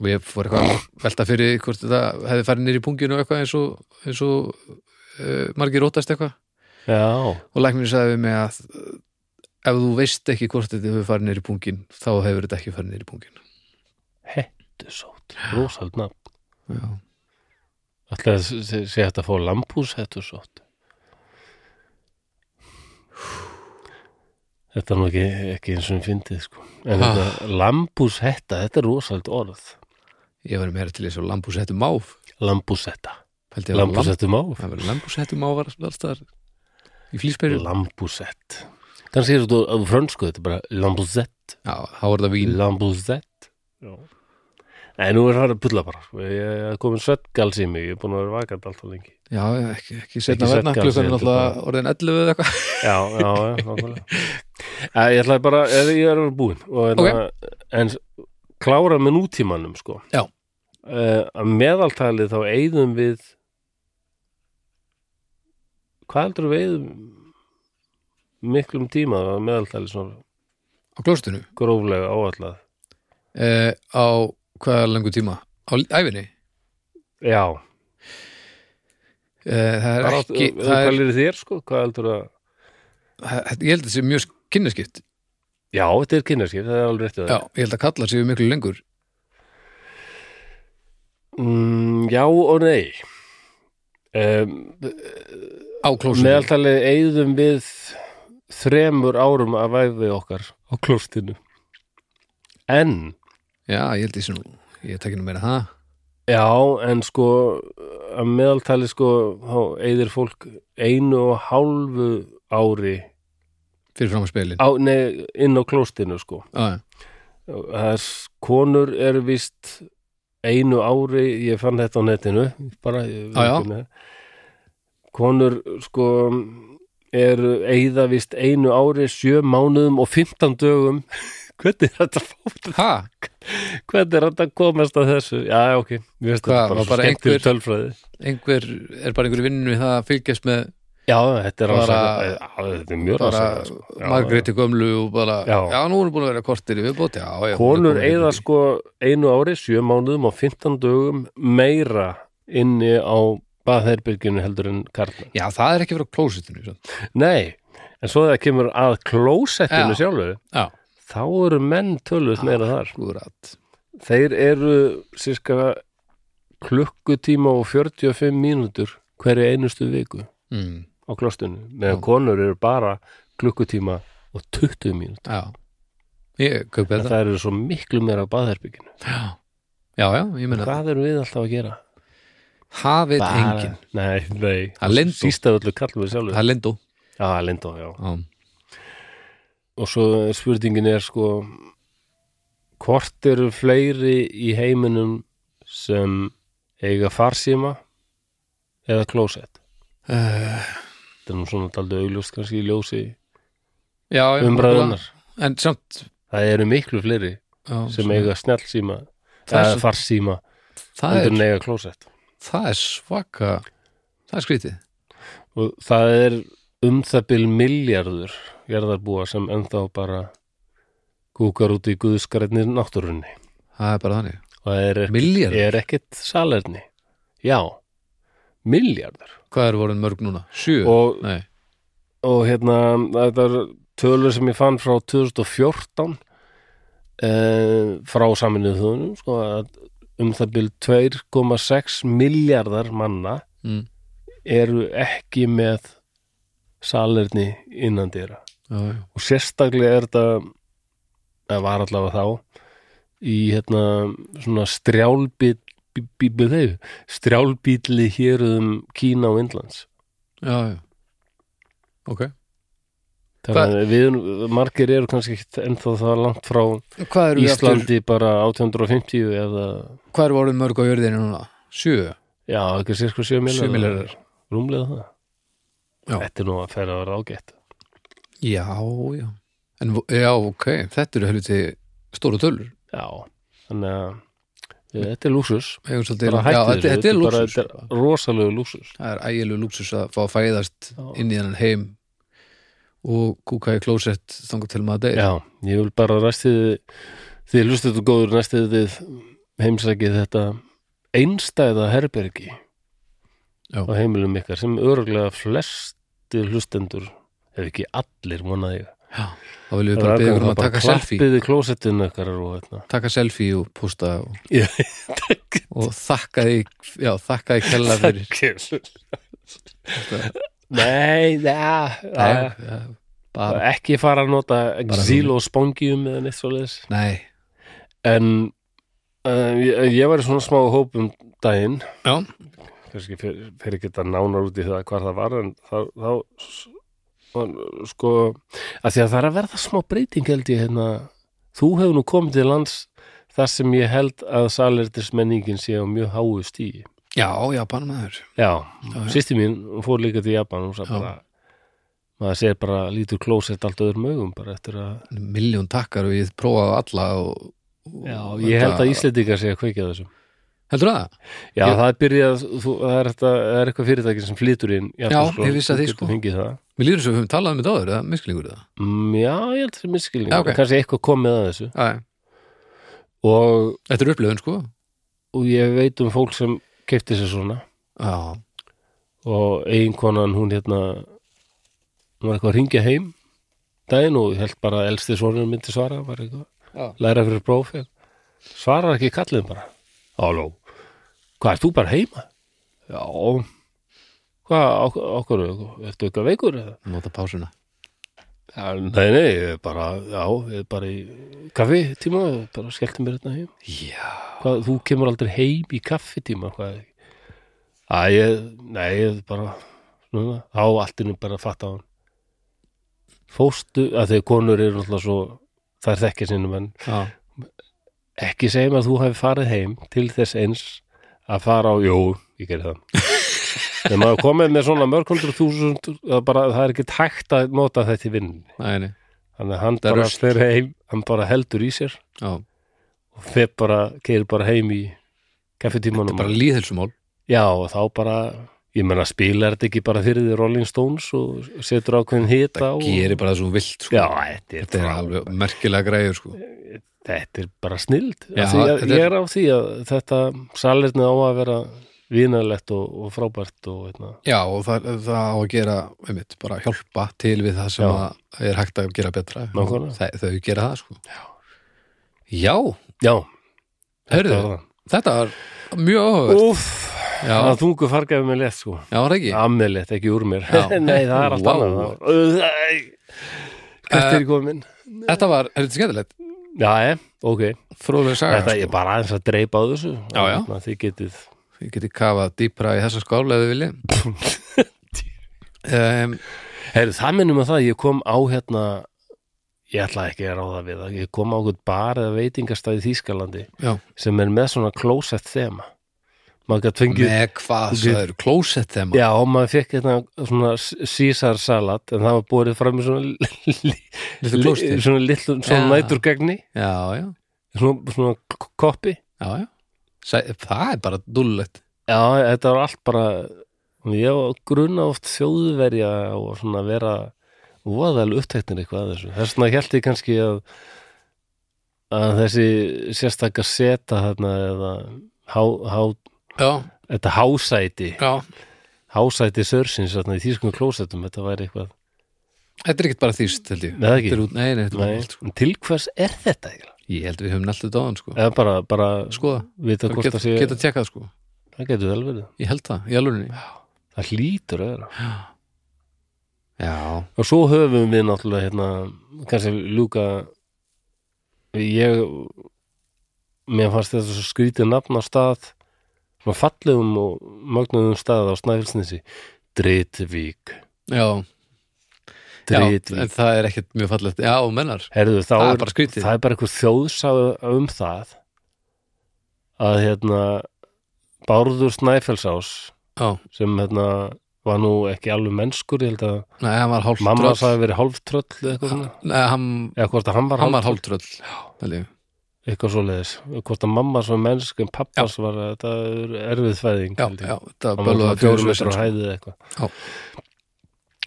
[SPEAKER 2] og ég fór eitthvað að velta fyrir hvort þetta hefði farið nýr í punginu og eitthvað eins og, eins og uh, margir rótast eitthvað
[SPEAKER 1] já
[SPEAKER 2] og læknir sagði við mig að uh, ef þú veist ekki hvort þetta hefur farið nýr í pungin þá hefur þetta ekki farið nýr í pungin
[SPEAKER 1] hettusótt, rosald nafn
[SPEAKER 2] já
[SPEAKER 1] alltaf sé sé hægt að fá lampús hettusótt þetta er nú ekki, ekki eins og við fyndið sko en
[SPEAKER 2] Ah.
[SPEAKER 1] þetta lampús hetta, þetta er rosald orð
[SPEAKER 2] Ég verið meira til þess að lambúsettu máf
[SPEAKER 1] lampús hetta,
[SPEAKER 2] Pældi að
[SPEAKER 1] lampús hetta má
[SPEAKER 2] Það verið lambúsettu máf allstaðar í flýsperju
[SPEAKER 1] lampúsett kannski er þetta á á frönsku, þetta er bara lampúsett
[SPEAKER 2] Já, þá er það vín
[SPEAKER 1] lampúsett nei, nú er það að pulla bara sko. ég er komin svettgals í mig, ég er búin að vera vakant alltaf lengi
[SPEAKER 2] Já, ekki, ekki setna
[SPEAKER 1] Ekki
[SPEAKER 2] verna klukkan
[SPEAKER 1] svefngasi,
[SPEAKER 2] er
[SPEAKER 1] heldur
[SPEAKER 2] náttúrulega orðin 11 eða eitthvað
[SPEAKER 1] já, já, já, nákvæmlega Eh, ég ætlaði bara, eh, ég er að vera búinn og hérna, en s- klára með nútímanum sko
[SPEAKER 2] Já.
[SPEAKER 1] Eh, að meðaltalið þá eigðum við hvað heldur við eigðum miklum tíma að meðaltalið svona
[SPEAKER 2] á klóstinu
[SPEAKER 1] gróflega áallað
[SPEAKER 2] eh, á hvaða lengur tíma á l- ævinni
[SPEAKER 1] já,
[SPEAKER 2] eh, Það er
[SPEAKER 1] Bara átt-
[SPEAKER 2] ekki
[SPEAKER 1] eh,
[SPEAKER 2] það
[SPEAKER 1] hvað
[SPEAKER 2] er,
[SPEAKER 1] er þér sko, hvað heldur að
[SPEAKER 2] það- Ég held að þetta sé mjög kynneskipt
[SPEAKER 1] já, þetta er kynarskip, það er alveg réttið
[SPEAKER 2] Já, ég held að kalla séu miklu lengur
[SPEAKER 1] mm, já og nei um,
[SPEAKER 2] á klóstinu
[SPEAKER 1] meðaltalið eigðum við þremur árum að væfi okkar á klostinu en
[SPEAKER 2] Já, ég held að þessi nú Ég tekki nú meira það
[SPEAKER 1] já, en sko að meðaltalið sko þá eigðir fólk einu og hálfu ári
[SPEAKER 2] fyrir fram að spilin
[SPEAKER 1] á, nei, inn á klostinu sko
[SPEAKER 2] Já,
[SPEAKER 1] það er, konur eru víst einu ári, ég fann þetta á netinu bara ég-
[SPEAKER 2] Já, já.
[SPEAKER 1] hérna. konur sko eru eigða víst einu ári sjö mánuðum og 15 dögum hvernig er þetta fótt
[SPEAKER 2] ha,
[SPEAKER 1] hvernig er þetta að komast að þessu já, já, ok, mér finnst
[SPEAKER 2] Hvað,
[SPEAKER 1] þetta
[SPEAKER 2] var
[SPEAKER 1] bara,
[SPEAKER 2] bara
[SPEAKER 1] bara skemmtir
[SPEAKER 2] einhver-
[SPEAKER 1] tölfræði
[SPEAKER 2] einhver er bara einhver í vinnu við það að fylgjast með
[SPEAKER 1] já, þetta er
[SPEAKER 2] Bara-
[SPEAKER 1] rannsakað Já, þetta er mjög
[SPEAKER 2] bara
[SPEAKER 1] rannsakað sko. Já,
[SPEAKER 2] Margréti gömlu og bara, já,
[SPEAKER 1] Já.
[SPEAKER 2] nú erum búin að vera kortir í viðbót, já, já.
[SPEAKER 1] konur
[SPEAKER 2] hún er komin
[SPEAKER 1] eigða
[SPEAKER 2] í-
[SPEAKER 1] sko einu ári, sjö mánuðum og 15 dögum meira inni á baðherbyrginu heldur en karlmenn.
[SPEAKER 2] Já, það er ekki frá klósitinu, svo.
[SPEAKER 1] Nei, en svo það kemur að
[SPEAKER 2] Já.
[SPEAKER 1] klósettinu
[SPEAKER 2] Ah.
[SPEAKER 1] sjálfu,
[SPEAKER 2] Já.
[SPEAKER 1] þá eru menn tölvöld meira þar.
[SPEAKER 2] Skúrat.
[SPEAKER 1] Þeir eru sirka klukkutíma og 45 mínútur hverju einustu viku
[SPEAKER 2] Mm,
[SPEAKER 1] á klostinu, meðan konur eru bara klukkutíma og 20 mínútur.
[SPEAKER 2] já. Ég kaupi
[SPEAKER 1] En
[SPEAKER 2] þetta.
[SPEAKER 1] það eru svo miklu meira á baðherbyrginu.
[SPEAKER 2] Já. já, já, ég meina,
[SPEAKER 1] Hvað erum við alltaf að gera?
[SPEAKER 2] það veit enginn.
[SPEAKER 1] Nei, nei
[SPEAKER 2] Það er Lindó.
[SPEAKER 1] Síst af öllu kallum við sjálfur
[SPEAKER 2] Það er lindó.
[SPEAKER 1] Já, það er Lindó, já
[SPEAKER 2] Já.
[SPEAKER 1] Og svo spurningin er sko Hvort eru fleiri í heiminum sem eiga farsíma eða klósett
[SPEAKER 2] Uh,
[SPEAKER 1] Þetta er nú svona daldið augljóst kannski í ljósi
[SPEAKER 2] já, já. nákvæmlega.
[SPEAKER 1] umræðunar
[SPEAKER 2] En samt,
[SPEAKER 1] Það eru miklu fleiri
[SPEAKER 2] já,
[SPEAKER 1] sem eiga snjallsíma
[SPEAKER 2] Það er
[SPEAKER 1] eða
[SPEAKER 2] svo-
[SPEAKER 1] farsíma
[SPEAKER 2] það er,
[SPEAKER 1] undir en eiga klósett
[SPEAKER 2] það er svaka, það er skrítið.
[SPEAKER 1] og það er um það bil miljardur gerðarbúa sem ennþá bara kúkar út í guðskarinni náttúrunni
[SPEAKER 2] Það er bara þannig.
[SPEAKER 1] og það er,
[SPEAKER 2] Miljardur?
[SPEAKER 1] er ekkit salerni já, miljardur
[SPEAKER 2] Hvað er vorin mörg núna? Sjö?
[SPEAKER 1] og,
[SPEAKER 2] Nei.
[SPEAKER 1] og hérna þetta er tölur sem ég fann frá 2014 eh, frá saminuð þúðunum sko, að um það bil 2,6 miljardar manna
[SPEAKER 2] Mm.
[SPEAKER 1] eru ekki með salerni innan dýra
[SPEAKER 2] Já, já.
[SPEAKER 1] og sérstaklega er þetta það var allavega þá í hérna svona strjálbýtli strjálbýtli héruðum Kína og Indlands
[SPEAKER 2] Já, já. Ok.
[SPEAKER 1] þannig að við margir eru kannski ekki ennþá það langt frá
[SPEAKER 2] Hvað eru við aftur?
[SPEAKER 1] Íslandi bara 1850 eða
[SPEAKER 2] Hvað eru orðin mörg á jörðinu núna? sjö
[SPEAKER 1] Já, ekki sér sko 7
[SPEAKER 2] Sjö
[SPEAKER 1] miljardur
[SPEAKER 2] milljarðar.
[SPEAKER 1] Rúmlega það
[SPEAKER 2] Já.
[SPEAKER 1] Þetta er nú að færa að vera ágætt
[SPEAKER 2] já, já en, vo- já, ok, þetta eru helviti stóra tölur
[SPEAKER 1] Já, þannig að ég, þetta er lúsus
[SPEAKER 2] Eigum svolítið,
[SPEAKER 1] Bara
[SPEAKER 2] já, þetta,
[SPEAKER 1] hættu þessu,
[SPEAKER 2] þetta er
[SPEAKER 1] bara-
[SPEAKER 2] lúksus
[SPEAKER 1] Þetta er rosalegu lúsus
[SPEAKER 2] það er ægilegu lúksus að fá að fæðast
[SPEAKER 1] Já.
[SPEAKER 2] inn í hennan heim og kúka í klósett þangar til maður deyr
[SPEAKER 1] Já, ég vil bara ræstið því hlustið þú góður næstið þið heimsækið þetta einstæða herbergi
[SPEAKER 2] Já.
[SPEAKER 1] á heimilum ykkar sem örgulega flesti hlustendur ef ekki allir vonaði ég
[SPEAKER 2] Já. þá viljum við bara beða um að taka selfie
[SPEAKER 1] klappiði klósettinu ykkar og hérna
[SPEAKER 2] taka selfie og posta og,
[SPEAKER 1] Já.
[SPEAKER 2] og þakka því já, þakka því kella fyrir
[SPEAKER 1] Nei, já, já,
[SPEAKER 2] Nei, já, bara,
[SPEAKER 1] ekki fara að nota
[SPEAKER 2] Bara
[SPEAKER 1] Xylo spongium eða neitt svoleiðis
[SPEAKER 2] nei
[SPEAKER 1] en uh, ég, ég var í svona smá hóp um daginn
[SPEAKER 2] já,
[SPEAKER 1] kannski fer, fer ekki þetta nánar út í það hvað það var en þá, þá s- var, sko að því að það er að verða smá breyting held ég hérna, þú hefur nú komið til lands þar sem ég held að salertismenningin sé á mjög háu stíi
[SPEAKER 2] já, já, bara maður
[SPEAKER 1] Já,
[SPEAKER 2] Já, já.
[SPEAKER 1] sýsti mín hún fór líka til Japan hún sagði
[SPEAKER 2] Já.
[SPEAKER 1] bara maður sér bara lítur klósett allt öðrum augum bara eftir að
[SPEAKER 2] miljón takkar og ég prófaði alla og, og
[SPEAKER 1] ég held að
[SPEAKER 2] þetta-
[SPEAKER 1] Íslendingar sé að kveikja þessu
[SPEAKER 2] heldur það?
[SPEAKER 1] Já,
[SPEAKER 2] Ég-
[SPEAKER 1] það er byrjað, þú, það, er þetta, það er eitthvað fyrirtæki sem flytur inn japanskt
[SPEAKER 2] Já, ég vissi að því,
[SPEAKER 1] klósett, þú getur
[SPEAKER 2] sko.
[SPEAKER 1] fengið það.
[SPEAKER 2] Mér líður svo við höfum talað um þetta áður, það er misklingur það
[SPEAKER 1] Mm, Já, ég held þessi miskilning
[SPEAKER 2] Já, ok.
[SPEAKER 1] kannski eitthvað komið að þessu
[SPEAKER 2] Æ.
[SPEAKER 1] og,
[SPEAKER 2] Þetta er upplöfun sko
[SPEAKER 1] og ég veit um fólk sem keipti sér svona
[SPEAKER 2] Já,
[SPEAKER 1] og eiginkonan hún hérna hún var eitthvað að ringja heim daginn og held bara að elsti sonur myndi svara var
[SPEAKER 2] Já.
[SPEAKER 1] eitthvað, læra fyrir próf hérna. svarar ekki kallið bara Halló, hvað ert þú bara heima? Já Hvað, okkur, ertu eitthvað veikur eða?
[SPEAKER 2] nota pásuna
[SPEAKER 1] Já, Nei, nei, ég er bara, já, ég er bara í kaffi tíma, bara skellti mér hérna heim
[SPEAKER 2] Já,
[SPEAKER 1] hvað, þú kemur aldrei heim í kaffitíma hvað Æ, ég, nei, ég bara svona, á alltinu bara að fatta hann fóstu, að þegar konur eru náttúrulega svo, það er þekkja sinni menn,
[SPEAKER 2] já,
[SPEAKER 1] ekki segjum að þú hafi farið heim til þess eins að fara á, jú, ég gerði það þegar maður komið með svona mörg hundru þúsund, það, bara, það er ekki hægt að nota þetta í vinn
[SPEAKER 2] næni
[SPEAKER 1] þannig að hann
[SPEAKER 2] Það er
[SPEAKER 1] bara
[SPEAKER 2] rusl.
[SPEAKER 1] fer heim hann bara heldur í sér
[SPEAKER 2] Já,
[SPEAKER 1] og fer bara, keir bara heim í
[SPEAKER 2] þetta er
[SPEAKER 1] kaffitímanum
[SPEAKER 2] bara líðhelsumál
[SPEAKER 1] Já, og þá bara, ég menna spilar þetta ekki bara fyrir því Rolling Stones og setur ákveðin hita og...
[SPEAKER 2] Gerir bara það sem þú vilt sko
[SPEAKER 1] Já, þetta er,
[SPEAKER 2] Þetta er
[SPEAKER 1] frá-
[SPEAKER 2] alveg merkilega græður sko
[SPEAKER 1] þetta er bara snild.
[SPEAKER 2] Já,
[SPEAKER 1] ég,
[SPEAKER 2] þetta er-
[SPEAKER 1] ég er á því að þetta salernið á að vera vinalegt og, og frábært og hérna. veitna.
[SPEAKER 2] Já, og það, það á að gera, einmitt, bara hjálpa til við það sem
[SPEAKER 1] Já.
[SPEAKER 2] að er hægt að gera betra
[SPEAKER 1] Nákvæmlega.
[SPEAKER 2] Þau, þau gera það sko Já, Já
[SPEAKER 1] Já,
[SPEAKER 2] hörðu,
[SPEAKER 1] það var það.
[SPEAKER 2] þetta var mjög áhugavert
[SPEAKER 1] Úf,
[SPEAKER 2] Já,
[SPEAKER 1] það þungu fargaði með lett sko.
[SPEAKER 2] já, var það ekki
[SPEAKER 1] Amelett, ekki úr mér.
[SPEAKER 2] Já.
[SPEAKER 1] Nei, það er allt
[SPEAKER 2] Vá. Eh.
[SPEAKER 1] annað. Það var- Æ, Hvert er í komin?
[SPEAKER 2] Þetta var, er þetta skemmtilegt?
[SPEAKER 1] Já, ég, ok.
[SPEAKER 2] Fróðlega saga
[SPEAKER 1] Þetta er
[SPEAKER 2] sko.
[SPEAKER 1] bara aðeins að dreipa á þessu.
[SPEAKER 2] Já, já.
[SPEAKER 1] Þannig að Þið getið...
[SPEAKER 2] Ég geti kafað dýpra í þessa skál ef þið vilji um,
[SPEAKER 1] Heyrðu, það minnum að það, ég kom á hérna ég ætla ekki að ráða við það ég kom á einhvern bar eða veitingastæði í Þýskalandi
[SPEAKER 2] Já.
[SPEAKER 1] sem er með svona klósett þema maður gætt fengið
[SPEAKER 2] Með hvað,
[SPEAKER 1] þú
[SPEAKER 2] það eru klósett þeim
[SPEAKER 1] Já, og maður fekk hérna svona Caesar salat en það var borið fram í svona
[SPEAKER 2] Litlu klósetti.
[SPEAKER 1] svona, litlu, svona
[SPEAKER 2] Já.
[SPEAKER 1] næturgagni
[SPEAKER 2] Já, já,
[SPEAKER 1] svona, svona k- koppi
[SPEAKER 2] já, já. Sæ, það er bara dullett
[SPEAKER 1] Já, þetta var allt bara ég var grunna oft þjóðverja og svona vera voðal uppteknir eitthvað að þessu þess vegna held ég kannski að að þessi sérstakka seta þarna eða há, há,
[SPEAKER 2] Já,
[SPEAKER 1] þetta hásæti
[SPEAKER 2] já,
[SPEAKER 1] hásæti sörsins þarna í þýskum klósettum þetta væri eitthvað
[SPEAKER 2] þetta er ekkert bara þýst held ég
[SPEAKER 1] Nei, það ekki.
[SPEAKER 2] Þetta er út- Nei, nei, þetta er út um
[SPEAKER 1] Nei,
[SPEAKER 2] allt sko.
[SPEAKER 1] en til hvers er þetta eiginlega?
[SPEAKER 2] Ég held við höfum nælt þetta á hann sko
[SPEAKER 1] eða bara, bara
[SPEAKER 2] Skoða,
[SPEAKER 1] vita
[SPEAKER 2] bara
[SPEAKER 1] hvort
[SPEAKER 2] geta,
[SPEAKER 1] Eh, það sé
[SPEAKER 2] geta tjekkað sko
[SPEAKER 1] það getur vel verið,
[SPEAKER 2] Ég held það, í alvörinni
[SPEAKER 1] það hlýtur að vera
[SPEAKER 2] Já,
[SPEAKER 1] Og svo höfum við náttúrulega hérna, kannski ljúka ég mér fannst þetta svo skrítið nafn á stað svona fallegum og mögnuðum stað á Snæfellsnesi Dritvík
[SPEAKER 2] já, já En
[SPEAKER 1] Dritvík
[SPEAKER 2] það er ekkert mjög fallegt Já, þú mennar,
[SPEAKER 1] Herðu, þá
[SPEAKER 2] það er
[SPEAKER 1] er,
[SPEAKER 2] bara skrítið
[SPEAKER 1] það er bara eitthvað þjóðsáð um það að hérna Bárður Snæfellsás
[SPEAKER 2] Já.
[SPEAKER 1] sem hérna var nú ekki alveg mennskur, ég held að
[SPEAKER 2] Nei, hann var hálf
[SPEAKER 1] mamma
[SPEAKER 2] tröll
[SPEAKER 1] sagði verið hálftröll eða eitthvað svona,
[SPEAKER 2] Nei, hann,
[SPEAKER 1] eða hvort að hann var
[SPEAKER 2] hann var
[SPEAKER 1] hálftröll
[SPEAKER 2] hálf tröll Já,
[SPEAKER 1] eitthvað svoleiðis, hvort að mamma svo mennsk en pappas var að þetta er erfið fæðing
[SPEAKER 2] já,
[SPEAKER 1] held ég.
[SPEAKER 2] já þetta
[SPEAKER 1] hann var
[SPEAKER 2] bölvaði
[SPEAKER 1] fjórum metrar á hæðið
[SPEAKER 2] Já.
[SPEAKER 1] eitthvað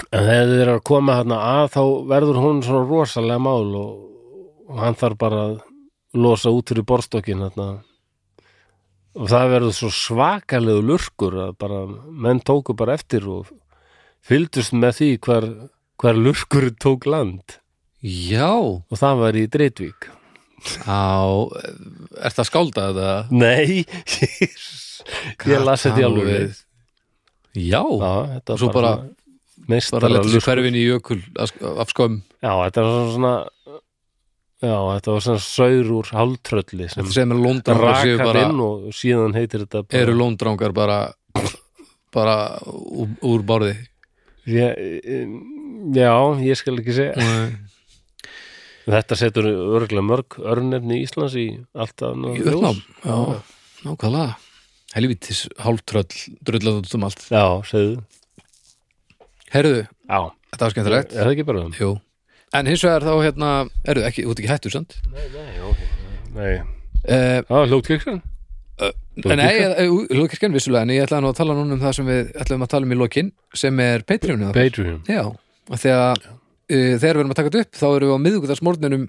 [SPEAKER 1] en þegar þeir eru að koma hérna að þá verður hún svona rosalega mál og, og hann þarf bara að losa út fyrir borstokkin hérna. og það verður svo svakalegu lurkur að bara menn tóku bara eftir og fylgdust með því hver, hver lurkur tók land
[SPEAKER 2] Já,
[SPEAKER 1] og það var í Dreitvík
[SPEAKER 2] á, er það skáldað eða?
[SPEAKER 1] Nei, ég, ég las þetta í alveg við.
[SPEAKER 2] Já,
[SPEAKER 1] Já, þetta
[SPEAKER 2] Og svo
[SPEAKER 1] var bara,
[SPEAKER 2] bara- bara
[SPEAKER 1] meistara
[SPEAKER 2] lett þessi hverfin í jökul af af skömm
[SPEAKER 1] Já, þetta var svona Já, þetta var svona saur úr háltrölli sem
[SPEAKER 2] Þetta sem er lóndrangar séu
[SPEAKER 1] rakar
[SPEAKER 2] bara,
[SPEAKER 1] inn og síðan heitir þetta bara,
[SPEAKER 2] eru lóndrangar bara, bara úr, úr borði
[SPEAKER 1] ég, eh, Já, ég skal ekki segja Þetta setur örgulega mörg örnefni Íslands í alltaf
[SPEAKER 2] í uppnám Já, nákvæmlega Helvítis hálftröll, drullat út um allt
[SPEAKER 1] Já, segðu
[SPEAKER 2] Herðu,
[SPEAKER 1] Já,
[SPEAKER 2] þetta var
[SPEAKER 1] er
[SPEAKER 2] skemmtilegt
[SPEAKER 1] það ekki bara um? það?
[SPEAKER 2] Jú En hins vegar þá hérna, erðu ekki, þú ert ekki hættur sant?
[SPEAKER 1] Nei, Ah,
[SPEAKER 2] Uh,
[SPEAKER 1] það var hljótkirkjan
[SPEAKER 2] nei, Lókirkjan vissulega, en ég ætla nú að tala núna um það sem við ætlum að tala um í lokin, sem er Patreonið okkar.
[SPEAKER 1] Patreon
[SPEAKER 2] Já, og þegar, uh, þegar við erum að taka þetta upp þá erum við á miðvíkudagsmórninum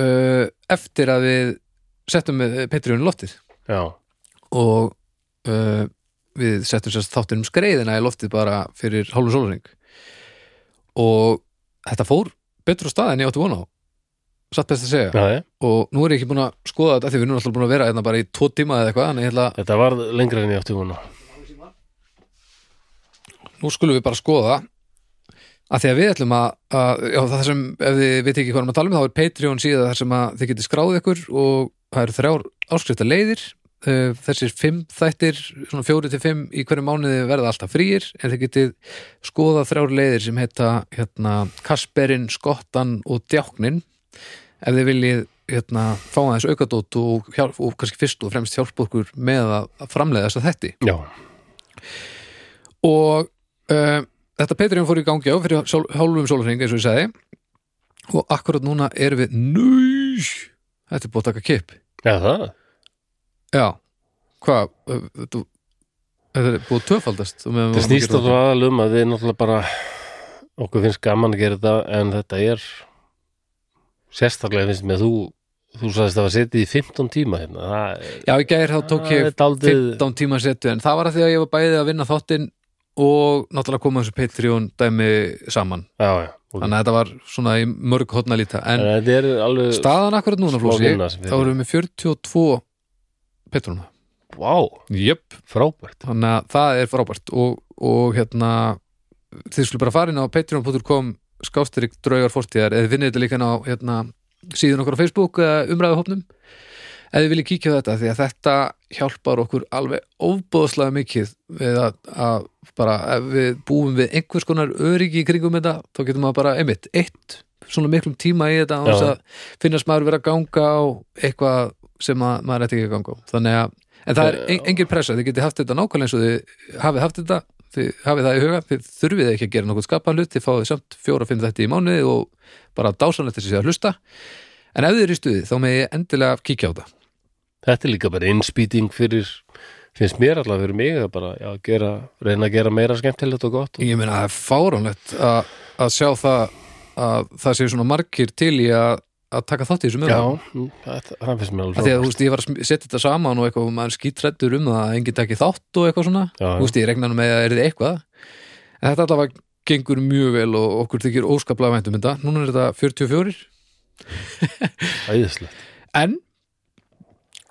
[SPEAKER 2] uh, eftir að við settum uh, Patreon í loftið
[SPEAKER 1] Já,
[SPEAKER 2] og uh, við settum sérst þáttin um skreiðina í loftið bara fyrir hálfum sólaring og þetta fór betur á stað en ég átti vona á satt best að segja
[SPEAKER 1] já, já
[SPEAKER 2] og nú er ég ekki búin að skoða þetta af því við erum alltaf búin að vera hérna bara í tvo tíma eða eitthvað en ég ætla
[SPEAKER 1] Þetta var lengra en ég átti vona
[SPEAKER 2] nú skulum við bara skoða að því að við ætlum að, að já, það sem, ef þið veit ekki hvað erum að tala um þá er Patreon síða þar sem að þið getið skráð ykkur og það eru þrjár áskrifta leiðir þessir fimm þættir svona fjóri til fimm í hverju mánuði verða alltaf frýir en þið getið skoða þrjár leiðir sem heita hérna, Kasperin, Skottan og Djáknin ef þið viljið hérna, fá aðeins aukadótt og, hjálp, og kannski fyrst og fremst hjálpa okkur með að að framleiða þess að þætti
[SPEAKER 1] Já,
[SPEAKER 2] og uh, þetta Patreon fór í gangi á fyrir sól, hálfum sólarhring eins og ég sagði og akkurat núna erum við nýj, þetta er búið að taka kip
[SPEAKER 1] já það
[SPEAKER 2] já, hvað uh, þú- þetta er búið að töfaldast
[SPEAKER 1] Það snýst að það aðalum að við náttúrulega bara okkur finnst gaman að gera þetta en þetta er sérstaklega finnst mér þú þú sagðist að það var setið í 15 tíma hérna það,
[SPEAKER 2] já, í gær þá tók
[SPEAKER 1] það
[SPEAKER 2] ég
[SPEAKER 1] er daldið
[SPEAKER 2] 15 tíma setu en það var að því að ég var bæðið að vinna þáttinn og náttúrulega koma þessu Patreon dæmi saman,
[SPEAKER 1] já, já, ok.
[SPEAKER 2] þannig að þetta var svona í mörg hotna líta,
[SPEAKER 1] en,
[SPEAKER 2] en
[SPEAKER 1] þetta er alveg
[SPEAKER 2] staðan akkurat núna
[SPEAKER 1] Eh, smá
[SPEAKER 2] flósi,
[SPEAKER 1] vinna sem
[SPEAKER 2] þá
[SPEAKER 1] fyrir.
[SPEAKER 2] erum við með 42 Patreona
[SPEAKER 1] vá,
[SPEAKER 2] jöp
[SPEAKER 1] frábært
[SPEAKER 2] þannig að það er frábært og, og hérna þið skulle bara fara inn á patreon.com skástrík draugar fortíðar eða þið finnið þetta líka inn á hérna, síðan okkur á Facebook eða umræðuhopnum eða þið viljið kíkja á þetta því að þetta hjálpar okkur alveg óbóðslega mikið við að, að bara ef við búum við einhvers konar öryggi í kringum þetta þá getum maður bara einmitt eitt svona miklum tíma í þetta án þess
[SPEAKER 1] Já.
[SPEAKER 2] að finnast maður vera að ganga á eitthvað sem að, maður ætti ekki að ganga á þannig að En það er en- engin pressa, þið getið haft þetta nákvæmlega eins og þið hafið haft þetta, þið hafið það í huga, þið þurfið ekki að gera nokkuð skapan hlut, þið fáið samt fjóra, fimm þetta í mánuði og bara dásanlegt þessi að hlusta. En ef þið eru í stuði, þá með ég endilega kíkja á það.
[SPEAKER 1] þetta er líka bara innspýting fyrir finnst mér allavega fyrir mig að bara já, gera, reyna að gera meira skemmtilegt og gott og,
[SPEAKER 2] Ég meina, það er fáránlegt að, að sjá það að það séu svona margir til í að, að taka þátt í þessum
[SPEAKER 1] já,
[SPEAKER 2] umræðum.
[SPEAKER 1] mm, það, það finnst mér alveg
[SPEAKER 2] Af Því að, þú
[SPEAKER 1] frábært.
[SPEAKER 2] veist, ég var að sm- setja þetta saman og eitthvað og maður skítrættur um það að enginn taki þátt og eitthvað svona.
[SPEAKER 1] Já, já.
[SPEAKER 2] Þú veist, ég regna nú með að er þið eitthvað en þetta allavega gengur mjög vel og okkur þykir óskaplega væntum þetta núna er þetta 44
[SPEAKER 1] æðislegt,
[SPEAKER 2] en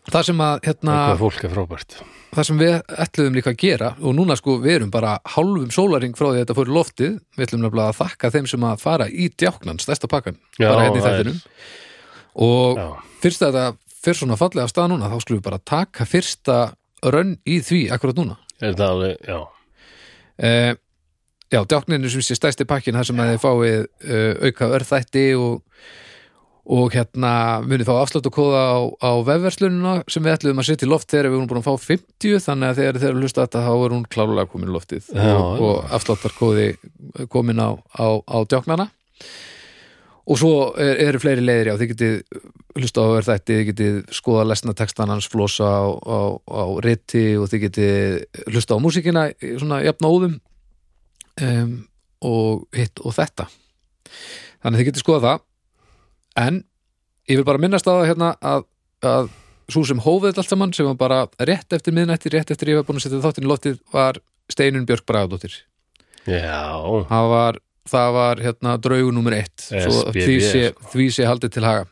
[SPEAKER 2] það sem að hérna,
[SPEAKER 1] eitthvað fólk er frábært
[SPEAKER 2] það sem við ætluðum líka að gera og núna sko við erum bara hálfum sólaring frá því að þetta fór í loftið við ætlum nefnilega að þakka þeim sem að fara í djáknan stærsta pakkan,
[SPEAKER 1] Já,
[SPEAKER 2] bara hérna í
[SPEAKER 1] það er-
[SPEAKER 2] þættinum og
[SPEAKER 1] já,
[SPEAKER 2] fyrst að þetta fyrst svona fallega af stað núna þá skulum við bara taka fyrsta rönn í því akkurat núna
[SPEAKER 1] er það alveg, já
[SPEAKER 2] uh, eh, Já, djákninu sem sé stæsti pakkin þar sem að þið fáið uh, auka örþætti og, og hérna munið þá afslátt og kóða á, á vefverslunina sem við ætluðum að setja í loft þegar við erum búin að fá 50 þannig að þegar þeir eru að hlusta þetta þá er hún klárulega komin í loftið
[SPEAKER 1] Já,
[SPEAKER 2] og, og afsláttarkóði komin á, á, á djáknana og svo er, eru fleiri leiðir já, þið getið hlusta á verðætti þið getið skoða lesna textan hans flosa á, á, á riti og þið getið hlusta á músíkina í svona jafn óðum um, og hitt og þetta þannig að þið getið skoða það en ég vil bara minnast á það hérna að, að svo sem hófið þetta allt saman sem var bara rétt eftir miðnætti, rétt eftir ég var búin að setja þáttinn í loftið var Steinun Björk Bragadóttir
[SPEAKER 1] Já,
[SPEAKER 2] það var, það var hérna draugu nummer eitt svo
[SPEAKER 1] SBB,
[SPEAKER 2] því sé,
[SPEAKER 1] sko.
[SPEAKER 2] því sé haldið til haga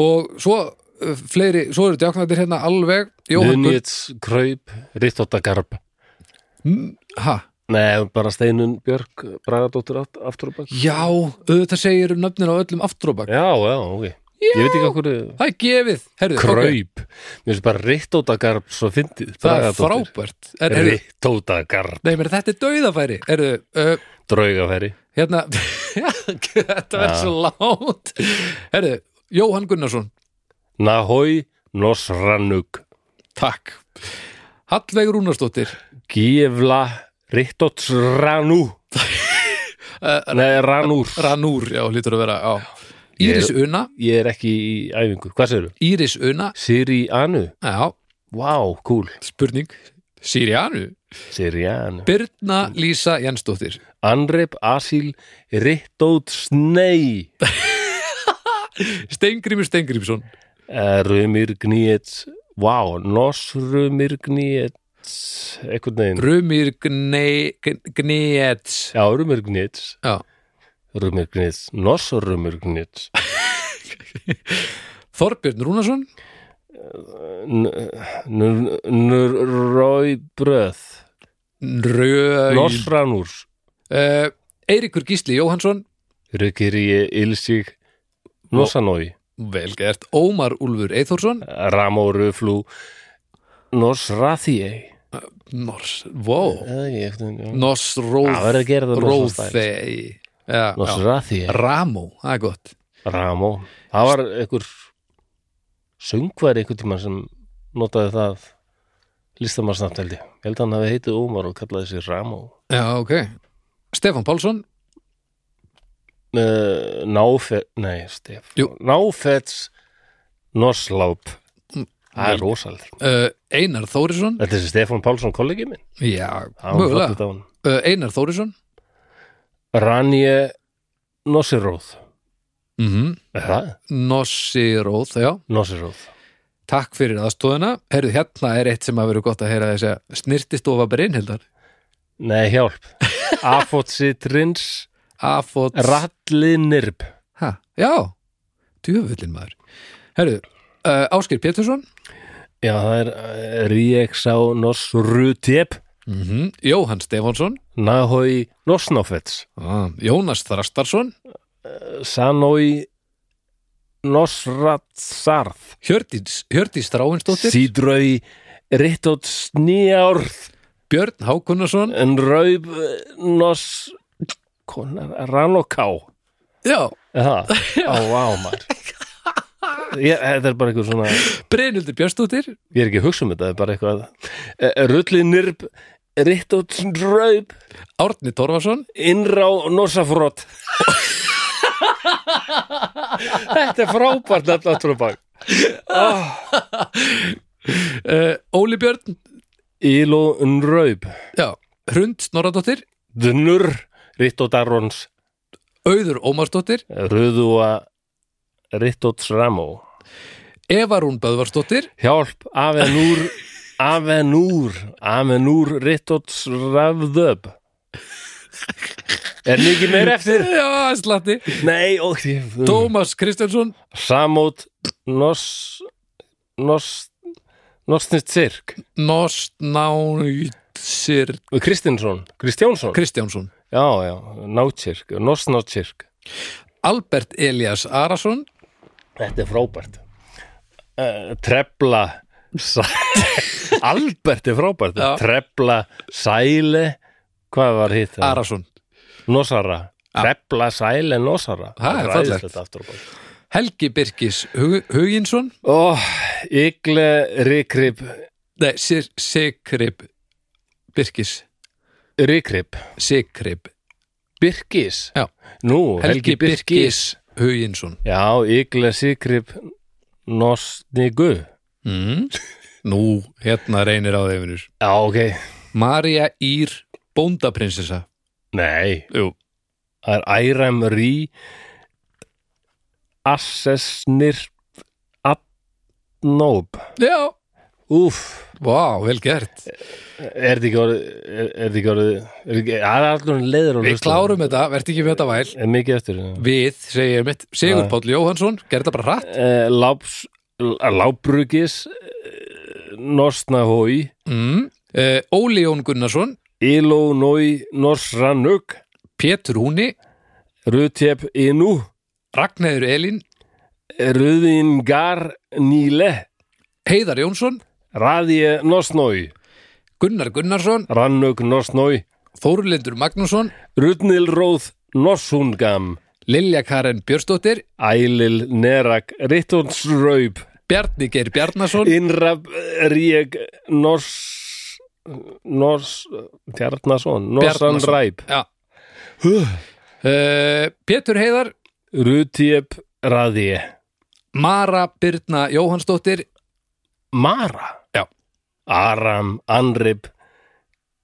[SPEAKER 2] og svo uh, fleiri, svo eru djáknættir hérna alveg Jóhann Gunn
[SPEAKER 1] Nunits, Kraup, Rittotagarp
[SPEAKER 2] Mm, ha,
[SPEAKER 1] Nei, bara Steinun Björk Bragadóttur aft- aftur og bak
[SPEAKER 2] já, auðvitað segir um nöfnin á öllum afturóbak,
[SPEAKER 1] Já, já, ok Ég veit ekki okkur
[SPEAKER 2] það er gefið herðu, ok,
[SPEAKER 1] Kraup, mér finnst bara Rittotagarp svo fyndið,
[SPEAKER 2] það er
[SPEAKER 1] Bragadóttur
[SPEAKER 2] frábært er, er,
[SPEAKER 1] Rittotagarp,
[SPEAKER 2] nei, mér þetta er dauðafæri herðu, uh,
[SPEAKER 1] draugafæri
[SPEAKER 2] hérna þetta verður
[SPEAKER 1] Já.
[SPEAKER 2] svo látt herðu, Jóhann Gunnarsson
[SPEAKER 1] Nahoi Nosranug
[SPEAKER 2] takk Hallveig Rúnarsdóttir
[SPEAKER 1] Gífla Rittotsranu Nei, Ranur
[SPEAKER 2] Ranúr, já, lítur að vera á. Íris Una,
[SPEAKER 1] Ég er ekki í æfingu, hvað segirðu?
[SPEAKER 2] Íris Una
[SPEAKER 1] Siri Anu,
[SPEAKER 2] já,
[SPEAKER 1] vá, wow, cool
[SPEAKER 2] spurning Sirianu,
[SPEAKER 1] Siri Anu
[SPEAKER 2] Birna Lísa Jensdóttir
[SPEAKER 1] Anrep Asil Rittót Snei
[SPEAKER 2] Steingrímur Steingrímsson
[SPEAKER 1] Rumir Gníets Vá, Nosrumir Gníets einhvern veginn
[SPEAKER 2] Rumir Gneets
[SPEAKER 1] Já, Rumir Gníets
[SPEAKER 2] Já.
[SPEAKER 1] Rumir Gníets, Nosrumir Gníets
[SPEAKER 2] Þorbjörn Rúnarsson
[SPEAKER 1] Nurrói Bröð
[SPEAKER 2] Röð
[SPEAKER 1] Nosranur
[SPEAKER 2] uh, Eiríkur Gísli Jóhansson
[SPEAKER 1] Rukirie Ilsig Nosanói
[SPEAKER 2] vel gert, Ómar Úlfur Eithórsson
[SPEAKER 1] Ramóruflú Nosrathie
[SPEAKER 2] Nors, wow
[SPEAKER 1] Það verður
[SPEAKER 2] Nosróð
[SPEAKER 1] að gera það Nosrathie
[SPEAKER 2] Róðei ja, já.
[SPEAKER 1] Nosrathie
[SPEAKER 2] Ramó, það er gott
[SPEAKER 1] Ramó, það var einhver söngværi einhver tíma sem notaði það listamannsnafn held ég Ég held að hann hafi heitið Ómar og kallaði sig Ramó
[SPEAKER 2] Já, ok Stefán Pálsson,
[SPEAKER 1] uh, Náfet, nei Stef
[SPEAKER 2] Jú.
[SPEAKER 1] Náfets Nosláp
[SPEAKER 2] Mm.
[SPEAKER 1] Það
[SPEAKER 2] vel.
[SPEAKER 1] er rosalega
[SPEAKER 2] uh, Einar Þórisson
[SPEAKER 1] Þetta er þessi Stefán Pálsson kollegi minn
[SPEAKER 2] Já,
[SPEAKER 1] Hann var
[SPEAKER 2] mögulega
[SPEAKER 1] fallegt á hann.
[SPEAKER 2] uh, Einar Þórisson
[SPEAKER 1] Ranje Nosiróð
[SPEAKER 2] mm -hmm.
[SPEAKER 1] Er það?
[SPEAKER 2] Nossi Róð, já
[SPEAKER 1] Nosiróð
[SPEAKER 2] Takk fyrir aðstóðina Herðu, hérna er eitt sem að vera gott að heyra þess að snirtistofa Brynhildar
[SPEAKER 1] Nei, hjálp Afótsitrins
[SPEAKER 2] Afot
[SPEAKER 1] Rallinirb
[SPEAKER 2] ha, Já, djöfullin maður Herðu, uh, Áskir Pétursson
[SPEAKER 1] Já, það er eh, Ríeksá Nosrutjep
[SPEAKER 2] mm Jóhann Stefánsson
[SPEAKER 1] Nahoi Nosnofets
[SPEAKER 2] ah, Jónas Þrastarsson
[SPEAKER 1] Sanoi Nosratsarð
[SPEAKER 2] Hjördís, Hjördís Þráinsdóttir
[SPEAKER 1] Sídraui Rittót Sníárð
[SPEAKER 2] Björn Hákunarsson
[SPEAKER 1] En Raub Nos Konar Ranoká
[SPEAKER 2] Já,
[SPEAKER 1] Er Það, á ámar Ég, þetta er bara eitthvað svona Ég
[SPEAKER 2] Brynhildur Björnsdóttir
[SPEAKER 1] er ekki að hugsa um þetta, þetta er bara eitthvað Eh, Rullinirb Rittót Raub
[SPEAKER 2] Árni Torfarsson
[SPEAKER 1] Innrá Nosafrott Þetta er frábært nafn aftur og bak
[SPEAKER 2] uh, Óli Björn
[SPEAKER 1] Íló Nraub
[SPEAKER 2] já, Hrund Snorradóttir
[SPEAKER 1] Dnur Rittót Arons
[SPEAKER 2] Auður Ómarsdóttir
[SPEAKER 1] Röðua Rittót Sramó
[SPEAKER 2] Eva Rún Böðvarsdóttir
[SPEAKER 1] Hjálp Avenúr Avenúr Avenúr Rittót Sravðöb Er mikið meir eftir?
[SPEAKER 2] já, slatti
[SPEAKER 1] Nei, ok Tóm
[SPEAKER 2] Tómas Kristjánsson
[SPEAKER 1] Samót Nos Nos Nosnit Sirk
[SPEAKER 2] Nostnánsir
[SPEAKER 1] Kristinsson Kristjánsson
[SPEAKER 2] Kristjánsson
[SPEAKER 1] Já, já, nátsirk, nosnátsirk
[SPEAKER 2] Albert Elias Arason
[SPEAKER 1] Þetta er frábært uh, Trefla Sa- Albert er frábært
[SPEAKER 2] Já.
[SPEAKER 1] Trefla, sæle Hvað var hitt? það?
[SPEAKER 2] Arason
[SPEAKER 1] Nosara Trefla, sæle, nosara
[SPEAKER 2] Ha, er
[SPEAKER 1] Ræðislegt
[SPEAKER 2] fallegt.
[SPEAKER 1] aftur á bak.
[SPEAKER 2] Helgi Birkis Hug, Huginsson
[SPEAKER 1] Ó, Ygle Rikrib
[SPEAKER 2] Nei, Sir- Sigrib Birkis,
[SPEAKER 1] Rikrib
[SPEAKER 2] Sigrib
[SPEAKER 1] Birkis?
[SPEAKER 2] Já.
[SPEAKER 1] Nú,
[SPEAKER 2] Helgi Birkis Huginsson
[SPEAKER 1] Já, Ygle Sigrib Nosnigu
[SPEAKER 2] mm. Nú, hérna reynir á þeim vinur.
[SPEAKER 1] Já, ok
[SPEAKER 2] María Ír Bóndaprinsessa
[SPEAKER 1] Nei,
[SPEAKER 2] Jú,
[SPEAKER 1] það er Æram Rí Assessnir Adnób
[SPEAKER 2] já,
[SPEAKER 1] Úf,
[SPEAKER 2] vá, vel gert
[SPEAKER 1] er þetta ekki orðið er er þetta ekki orðið er ekki- það er allur leiður á
[SPEAKER 2] Við
[SPEAKER 1] hlustanum.
[SPEAKER 2] klárum þetta, verð ekki með þetta væl
[SPEAKER 1] Er mikið eftir já.
[SPEAKER 2] Við, segir mitt, Sigur
[SPEAKER 1] Já.
[SPEAKER 2] Páll Jóhansson Gerði þetta bara hratt
[SPEAKER 1] Eh, Láps Lábrugis eh, Nosnahói
[SPEAKER 2] mm. uh, Óli Jón Gunnarsson
[SPEAKER 1] Ilónói Norsranug
[SPEAKER 2] Pétur Húni,
[SPEAKER 1] Rutjep Inú
[SPEAKER 2] Ragnæður Elín
[SPEAKER 1] Ruðingar Níle
[SPEAKER 2] Heiðar Jónsson,
[SPEAKER 1] Radie Nosnói
[SPEAKER 2] Gunnar Gunnarsson
[SPEAKER 1] Rannug Nosnói
[SPEAKER 2] Þórulindur Magnússon
[SPEAKER 1] Rudnilróð Norsungam
[SPEAKER 2] Lilja Karen Björsdóttir
[SPEAKER 1] Ælil Nerak Rittonsröyb
[SPEAKER 2] Bjarni Geir Bjarnason
[SPEAKER 1] Innrab Rík Nors Nors Bjarnason Norsan
[SPEAKER 2] Bjarnason.
[SPEAKER 1] Ræp
[SPEAKER 2] ja. uh, Pétur Heiðar
[SPEAKER 1] Rutjep Radie
[SPEAKER 2] Mara Birna Jóhansdóttir
[SPEAKER 1] Mara
[SPEAKER 2] Já.
[SPEAKER 1] Aram Anrib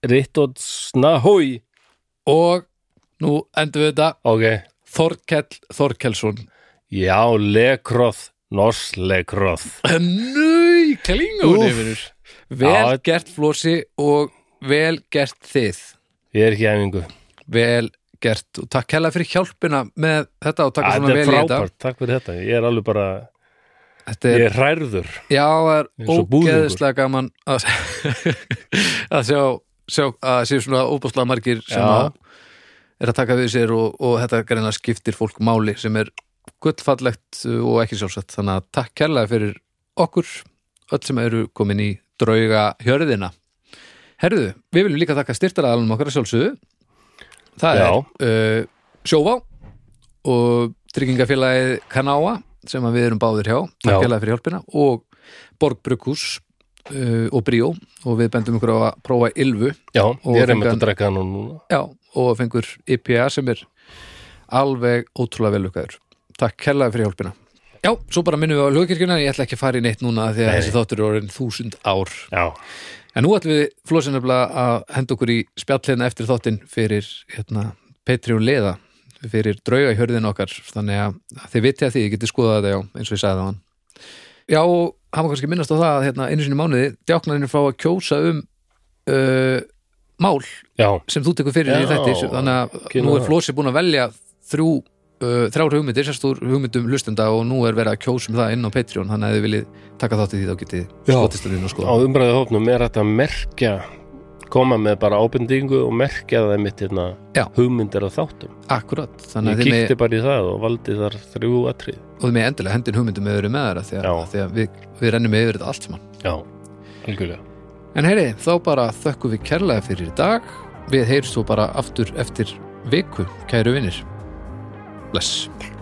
[SPEAKER 1] Rittot Snahói
[SPEAKER 2] og nú endur við þetta
[SPEAKER 1] Ok
[SPEAKER 2] Þorkell Þorkelsson
[SPEAKER 1] Já, Lekroth Nors Lekroth
[SPEAKER 2] Nú, klingun
[SPEAKER 1] Úff.
[SPEAKER 2] yfir Vel
[SPEAKER 1] Já.
[SPEAKER 2] gert Flósi og vel gert þið
[SPEAKER 1] Ég er ekki æfingu
[SPEAKER 2] Vel gert og takk hella fyrir hjálpina með þetta og taka
[SPEAKER 1] Þetta
[SPEAKER 2] svona
[SPEAKER 1] er
[SPEAKER 2] vel í þetta
[SPEAKER 1] frábært, takk fyrir þetta Ég er alveg bara,
[SPEAKER 2] Þetta er
[SPEAKER 1] ég er hrærður
[SPEAKER 2] Já, það er
[SPEAKER 1] Eins og búðingur.
[SPEAKER 2] ógeðislega gaman að, að sjá, sjá að séu svona óbúslega margir sem
[SPEAKER 1] Já.
[SPEAKER 2] að er að taka við sér og, og þetta greinlega skiptir fólk máli sem er gullfallegt og ekki sjálfsett þannig að takk kærlega fyrir okkur öll sem eru komin í drauga hjörðina Herðu, við viljum líka taka styrtaraðalum okkar að sjálfsögðu Það
[SPEAKER 1] Já.
[SPEAKER 2] er uh, sjóvá og tryggingafélagið Kanáa sem að við erum báðir hjá,
[SPEAKER 1] Já.
[SPEAKER 2] takkjalega fyrir hjálpina og Borg Brukhus uh, og Bríó og við bendum ykkur á að prófa Ylfu
[SPEAKER 1] Já, ég er einmitt
[SPEAKER 2] fengan-
[SPEAKER 1] að drekka hann núna
[SPEAKER 2] já, og fengur IPA sem er alveg ótrúlega velukaður Takk kærlega fyrir hjálpina Já, svo bara minnum við á lögkirkjuna, ég ætla ekki að fara í neitt núna því að
[SPEAKER 1] Nei.
[SPEAKER 2] þessi þáttur er orðin þúsund ár
[SPEAKER 1] Já,
[SPEAKER 2] En nú ætlum við flóðsynaflega að henda okkur í spjallina eftir þáttinn fyrir hérna, Patreon leða fyrir drauga í hörðin okkar þannig að þið vitið að því, ég geti skoðað þetta já, eins og ég sagði það hann Já, og hann var kannski minnast á það að hérna, einu sinni í mánuði, djáknarinn fá að kjósa um uh, mál
[SPEAKER 1] já,
[SPEAKER 2] sem þú tekur fyrir í
[SPEAKER 1] Já,
[SPEAKER 2] þetta þannig að
[SPEAKER 1] kynna
[SPEAKER 2] nú er
[SPEAKER 1] það.
[SPEAKER 2] Flósi búin að velja þrjú, uh, þrjár hugmyndir, sérstúr hugmyndum hlustenda og nú er verið að kjósa um það inn á Patreon þannig að ef þið viljið taka þátt í því þá getið
[SPEAKER 1] Já.
[SPEAKER 2] skotist að línu og
[SPEAKER 1] á
[SPEAKER 2] skoða
[SPEAKER 1] umræðu hópnum er þetta að merkja koma með bara ábendingu og merkja það mitt hérna
[SPEAKER 2] Já.
[SPEAKER 1] hugmyndir að þáttum
[SPEAKER 2] Akkurat, þannig
[SPEAKER 1] Ég
[SPEAKER 2] að þið með
[SPEAKER 1] kíkti bara í það og valdi þar þrjú atrið
[SPEAKER 2] og þið með endilega hendin hugmyndum með öðru með þeirra því að,
[SPEAKER 1] Já.
[SPEAKER 2] af því að við, við rennum yfir þetta allt saman
[SPEAKER 1] Já, algjörlega
[SPEAKER 2] en heyri, þá bara þökkum við kærlega fyrir í dag við heyrst svo bara aftur eftir viku, kæru vinnir bless